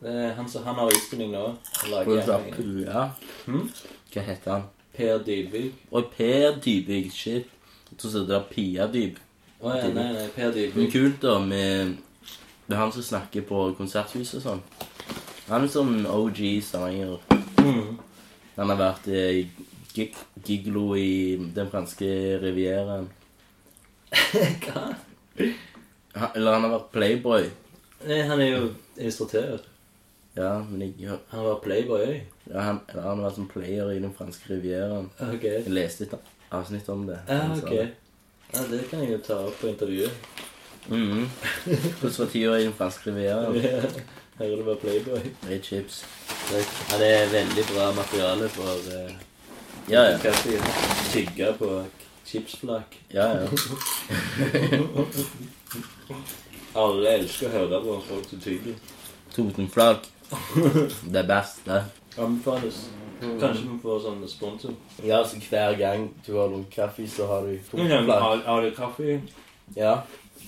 S3: Det er han, som- han har utspilling nå. Han
S6: Hvor er det
S3: Lager
S6: fra?
S3: en-
S6: Pula?
S3: Hm?
S6: Hva heter han?
S3: Per Dybvik.
S6: Oi, Per Dybvik. Shit. Jeg tror det er Pia Dyb.
S3: Å ja, nei, nei, Per
S6: Men
S3: Dybvik.
S6: kult, da, med Det er han som snakker på konserthus og sånn. Han er sånn OG sanger.
S3: Mhm.
S6: Han har vært eh, gig giglo i den franske rivieraen.
S3: Hva?
S6: Han- Eller han har vært playboy.
S3: Nei, han er jo illustratør.
S6: Ja, men jeg hør-
S3: Han var playboy òg.
S6: ja, han, eller han har vært sånn player i den franske rivieraen.
S3: Ok.
S6: Jeg leste et avsnitt om det.
S3: Ja,
S6: Han sa
S3: Ah, ok.
S6: det.
S3: Ja, det kan jeg jo ta opp på intervjuet.
S6: Mhm. Hvordan var tida i den franske rivieraen?
S3: Her er det bare Playboy.
S6: Med chips.
S3: Ja, det er veldig bra materiale for eh,
S6: Ja, ja.
S3: kaffe. Tygge på chipsflak.
S6: ja, ja.
S3: Alle elsker å høre på folk som tygger.
S6: Totenflak. Det beste.
S3: Anbefales. Kanskje vi får sånn sponsor.
S2: Ja, altså hver gang du har lunk kaffe, så har du to
S3: Har har du kaffe?
S2: Ja.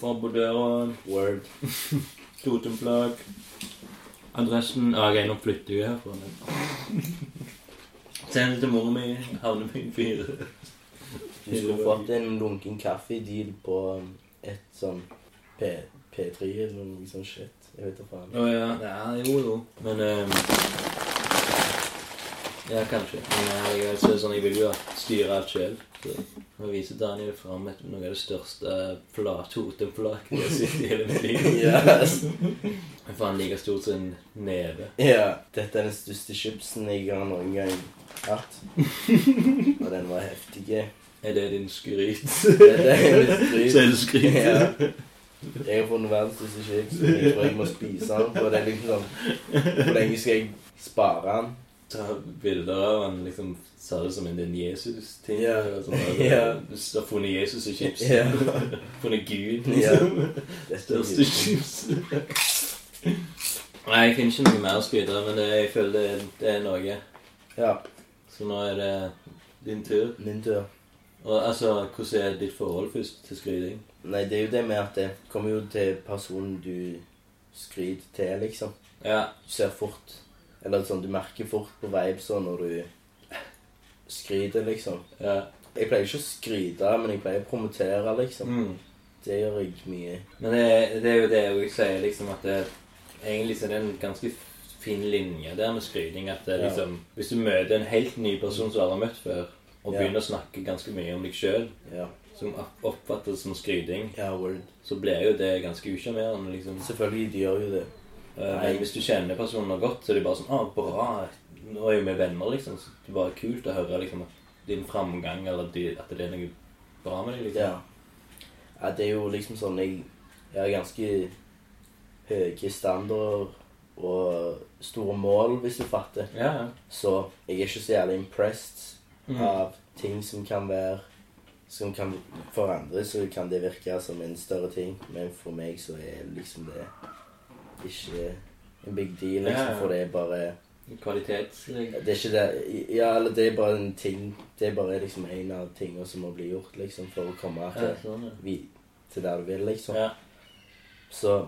S3: Fra på døra.
S2: Word.
S3: Totenflak. Adressen Ja, jeg er nå flytter jeg herfra. men- Send det til mora mi. Havnebyen 4.
S2: Du skulle fått en lunken kaffe-deal på et sånn P P3 eller noe sånt shit. Jeg vet da faen.
S3: Å ja. ja, jo jo. Men ehm, Ja, kanskje. Men jeg, jeg, så, sånn, jeg vil jo styre alt sjøl. Nå viser Daniel fram et, noe av det største flathotenflaket jeg har sett i hele mitt liv.
S2: Yes.
S3: Men faen like stort som en neve.
S2: Ja. Dette er den største chipsen jeg har noen gang hatt. Og den var heftig. Det
S3: Er det din skryt?
S2: er litt drygt.
S3: Selvskryt?
S2: Ja. Jeg har funnet verdens største chips, men jeg tror jeg må spise den. For det er liksom sånn Hvor lenge skal jeg spare den?
S3: Ta bilder av han liksom sa det som en den Jesus-ting.
S2: Ja.
S3: eller sånn, eller-
S2: Ja.
S3: Du har funnet Jesus i chips.
S2: Ja.
S3: Funnet Gud.
S2: Ja.
S3: Liksom.
S2: Dette er
S3: Største
S2: litt-
S3: chips. Nei, jeg finner ikke noe mer å skryte av, men det, jeg føler det, er- det er noe.
S2: Ja,
S3: Så nå er det din tur.
S2: min tur.
S3: Og altså, Hvordan er ditt forhold først til skryting?
S2: Nei, det er jo det med at det kommer jo til personen du skryter til, liksom.
S3: Ja,
S2: Du ser fort Eller sånn, du merker fort på vibesa når du skryter, liksom.
S3: ja.
S2: Jeg pleier ikke å skryte, men jeg pleier å promotere, liksom.
S3: Mm.
S2: Det gjør jeg mye.
S3: Men det, det er jo det jeg sier, liksom at det, egentlig så er det en ganske fin linje der med skryting. At det,
S2: Ja.
S3: liksom, hvis du møter en helt ny person som du aldri har møtt før, og
S2: Ja.
S3: begynner å snakke ganske mye om deg sjøl,
S2: Ja.
S3: som opp- oppfattes som skryting,
S2: ja, word.
S3: så blir jo det ganske usjarmerende, liksom.
S2: Selvfølgelig, de gjør jo det.
S3: Eh,
S2: Nei.
S3: Men hvis du kjenner personer godt, så er det bare sånn ah, 'Bra, nå er jo vi venner', liksom. Så det er bare kult å høre liksom, at din framgang, eller at de- at det er noe bra med deg. liksom.
S2: Ja. ja. Det er jo liksom sånn Jeg, jeg har ganske høye standarder og store mål, hvis du fatter.
S3: Ja, ja.
S2: Så jeg er ikke så jævlig impressed
S3: Mm.
S2: av ting som kan være Som kan For andre så kan det virke som en større ting, men for meg så er liksom det ikke en big deal, liksom,
S3: Ja, ja.
S2: for det er bare
S3: Kvalitets...
S2: det er ikke det Ja, eller det er bare en ting Det er bare liksom en av tingene som må bli gjort, liksom, for å komme
S3: Ja,
S2: til,
S3: sånn, ja.
S2: vi, til der du vil, liksom.
S3: Ja.
S2: Så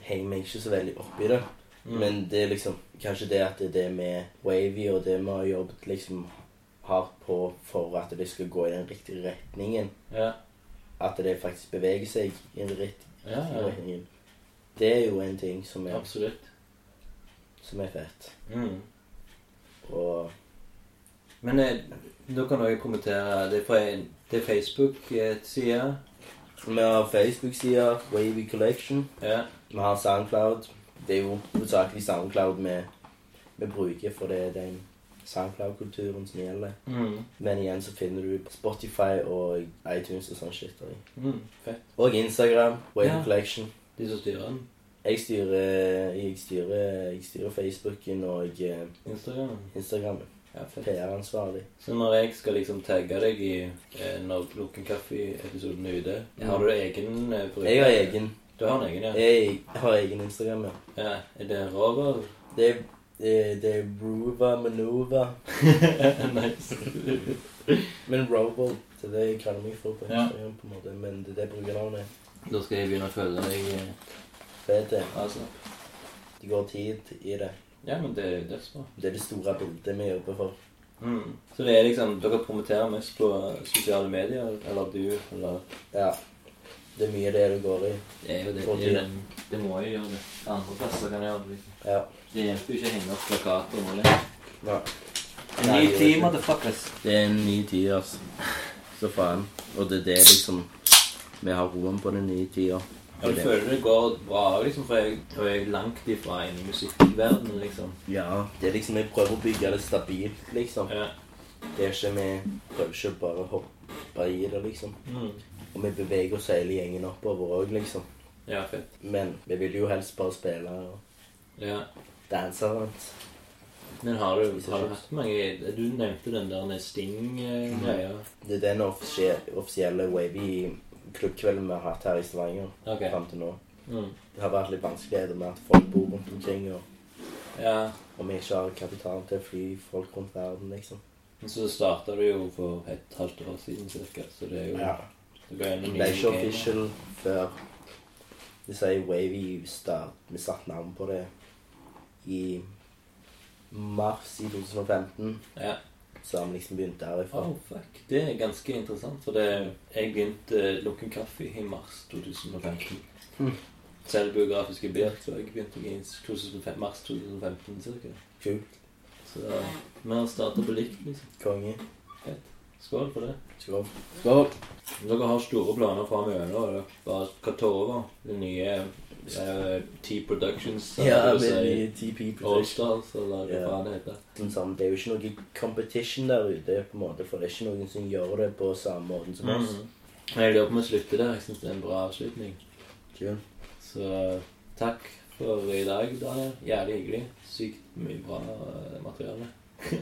S2: henger meg ikke så veldig opp i det.
S3: Mm.
S2: Men det er liksom kanskje det at det er det med Wavy og det vi har jobbet liksom hardt på for at det skal gå i den riktige retningen,
S3: ja.
S2: at det faktisk beveger seg i den riktige
S3: Ja, ja.
S2: retningen, det er jo en ting som er,
S3: Absolutt.
S2: som er fett.
S3: Mm.
S2: Og
S3: Men eh, da kan du også kommentere det er fra en det er eh, Facebook-sida.
S2: Vi har Facebook-sida Wavy Collection.
S3: Ja.
S2: Vi har Soundcloud. Det er jo hovedsakelig Soundcloud vi, vi bruker, for det er den Soundcloud-kulturen som gjelder.
S3: Mm.
S2: Men igjen så finner du på Spotify og iTunes og sånn shit. også.
S3: Mm. Fett.
S2: Og Instagram. Wavy
S3: Ja.
S2: Collection.
S3: De som styrer den.
S2: Jeg styrer, jeg styrer, jeg styrer Facebooken og eh,
S3: Instagram.
S2: Instagram.
S3: Ja, fett.
S2: PR-ansvarlig.
S3: Så når jeg skal liksom tagge deg i eh, når Lunken kaffe-episoden er ute, har du egen eh, bruker?
S2: Jeg har egen.
S3: Du har en egen, ja.
S2: Jeg har egen Instagram, ja.
S3: ja. Er det Rover?
S2: Det er, eh, det er Ruva Manova.
S3: nice.
S2: Men Robot, det er det jeg kaller meg for på
S3: Ja.
S2: Instagram, på en måte. Men det er det brukernavnet.
S3: Da skal jeg begynne å følge deg. eh,
S2: PT.
S3: Altså.
S2: Det går tid i det.
S3: Ja, men det er jo dødsbra.
S2: Det er det store bildet vi jobber for.
S3: Mm. Så det er liksom Dere promoterer mest på sosiale medier, eller du, eller
S2: Ja. Det er mye det det går i.
S7: Det er jo det.
S2: For
S7: Det, er
S2: tiden.
S7: den, det må jo gjøre det. Andre plasser kan jeg gjøre det. liksom.
S2: Ja.
S7: Det hjelper jo ikke å henge opp plakater og måle.
S2: Nei.
S7: En
S2: Nei,
S7: ny
S2: det gjør
S7: tid,
S2: ikke.
S7: motherfuckers.
S6: Det er en ny tid, altså. Så faen. Og det er det liksom Vi har roen på den nye tida.
S3: Ja, du føler det går bra, liksom, for jeg, og jeg er langt ifra inne i musikkverdenen, liksom.
S2: Ja. Det er liksom, jeg prøver å bygge det stabilt, liksom.
S3: Ja.
S2: Det er ikke vi prøver ikke bare å hoppe i det, liksom.
S3: Mm.
S2: Og vi beveger oss hele gjengen oppover òg, liksom.
S3: ja, fett.
S2: Men vi vil jo helst bare spille og
S3: Ja.
S2: danse rundt.
S3: Men har du, har du hatt mange Du nevnte den der Sting-greia.
S2: Det er den offisielle, offisielle Wavy-klubbkvelden vi har hatt her i Stavanger
S3: Ok.
S2: frem til nå.
S3: Mm.
S2: Det har vært litt vanskeligheter med at folk bor rundt omkring, og,
S3: Ja.
S2: og vi ikke har kapital til å fly folk rundt verden, liksom.
S3: Men Så starta du jo for et halvt år siden cirka, så det er jo
S2: Ja.
S3: Det ble en
S2: Det
S3: ny
S2: ble ikke
S3: game, da.
S2: official før De sier Wavy start, Vi satte navn på det i mars i 2015.
S3: Ja.
S2: Så har vi liksom begynt derifra.
S3: Oh, fuck. Det er ganske interessant, for det, jeg begynte Lukken Kaffe i mars 2015.
S2: Mm.
S3: Selvbiografiske bild, så jeg begynte i 2005, mars 2015 cirka.
S2: Kult.
S3: Så vi har startet på likt, liksom.
S2: Konge.
S3: Skål for det.
S2: Skål.
S6: Skål.
S3: Dere har store planer framover, og det er bare Katova, det nye eh, T-Productions,
S2: Ja,
S3: eller
S2: med
S3: hva
S2: de
S3: du sier,
S2: ti people.
S3: Allstars, eller hva
S2: Ja.
S3: faen det heter.
S2: Sånn som, det er jo ikke noe competition der ute, på en måte, for det er ikke noen som gjør det på samme måten som
S3: Mm.
S2: oss.
S3: Jeg lurer på om vi slutter der. Jeg synes det er en bra avslutning.
S2: Kul.
S3: Så takk for i dag, Daniel. Jævlig hyggelig. Sykt mye bra eh, materiale.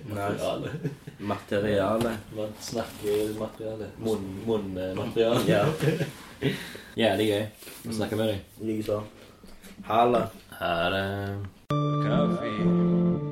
S3: materiale.
S6: Materialet.
S3: Man snakker materiale. Munnmateriale.
S2: Ja,
S7: Jævlig gøy å snakke med deg.
S2: likeså. Halla.
S7: Ha det.
S5: Kaffe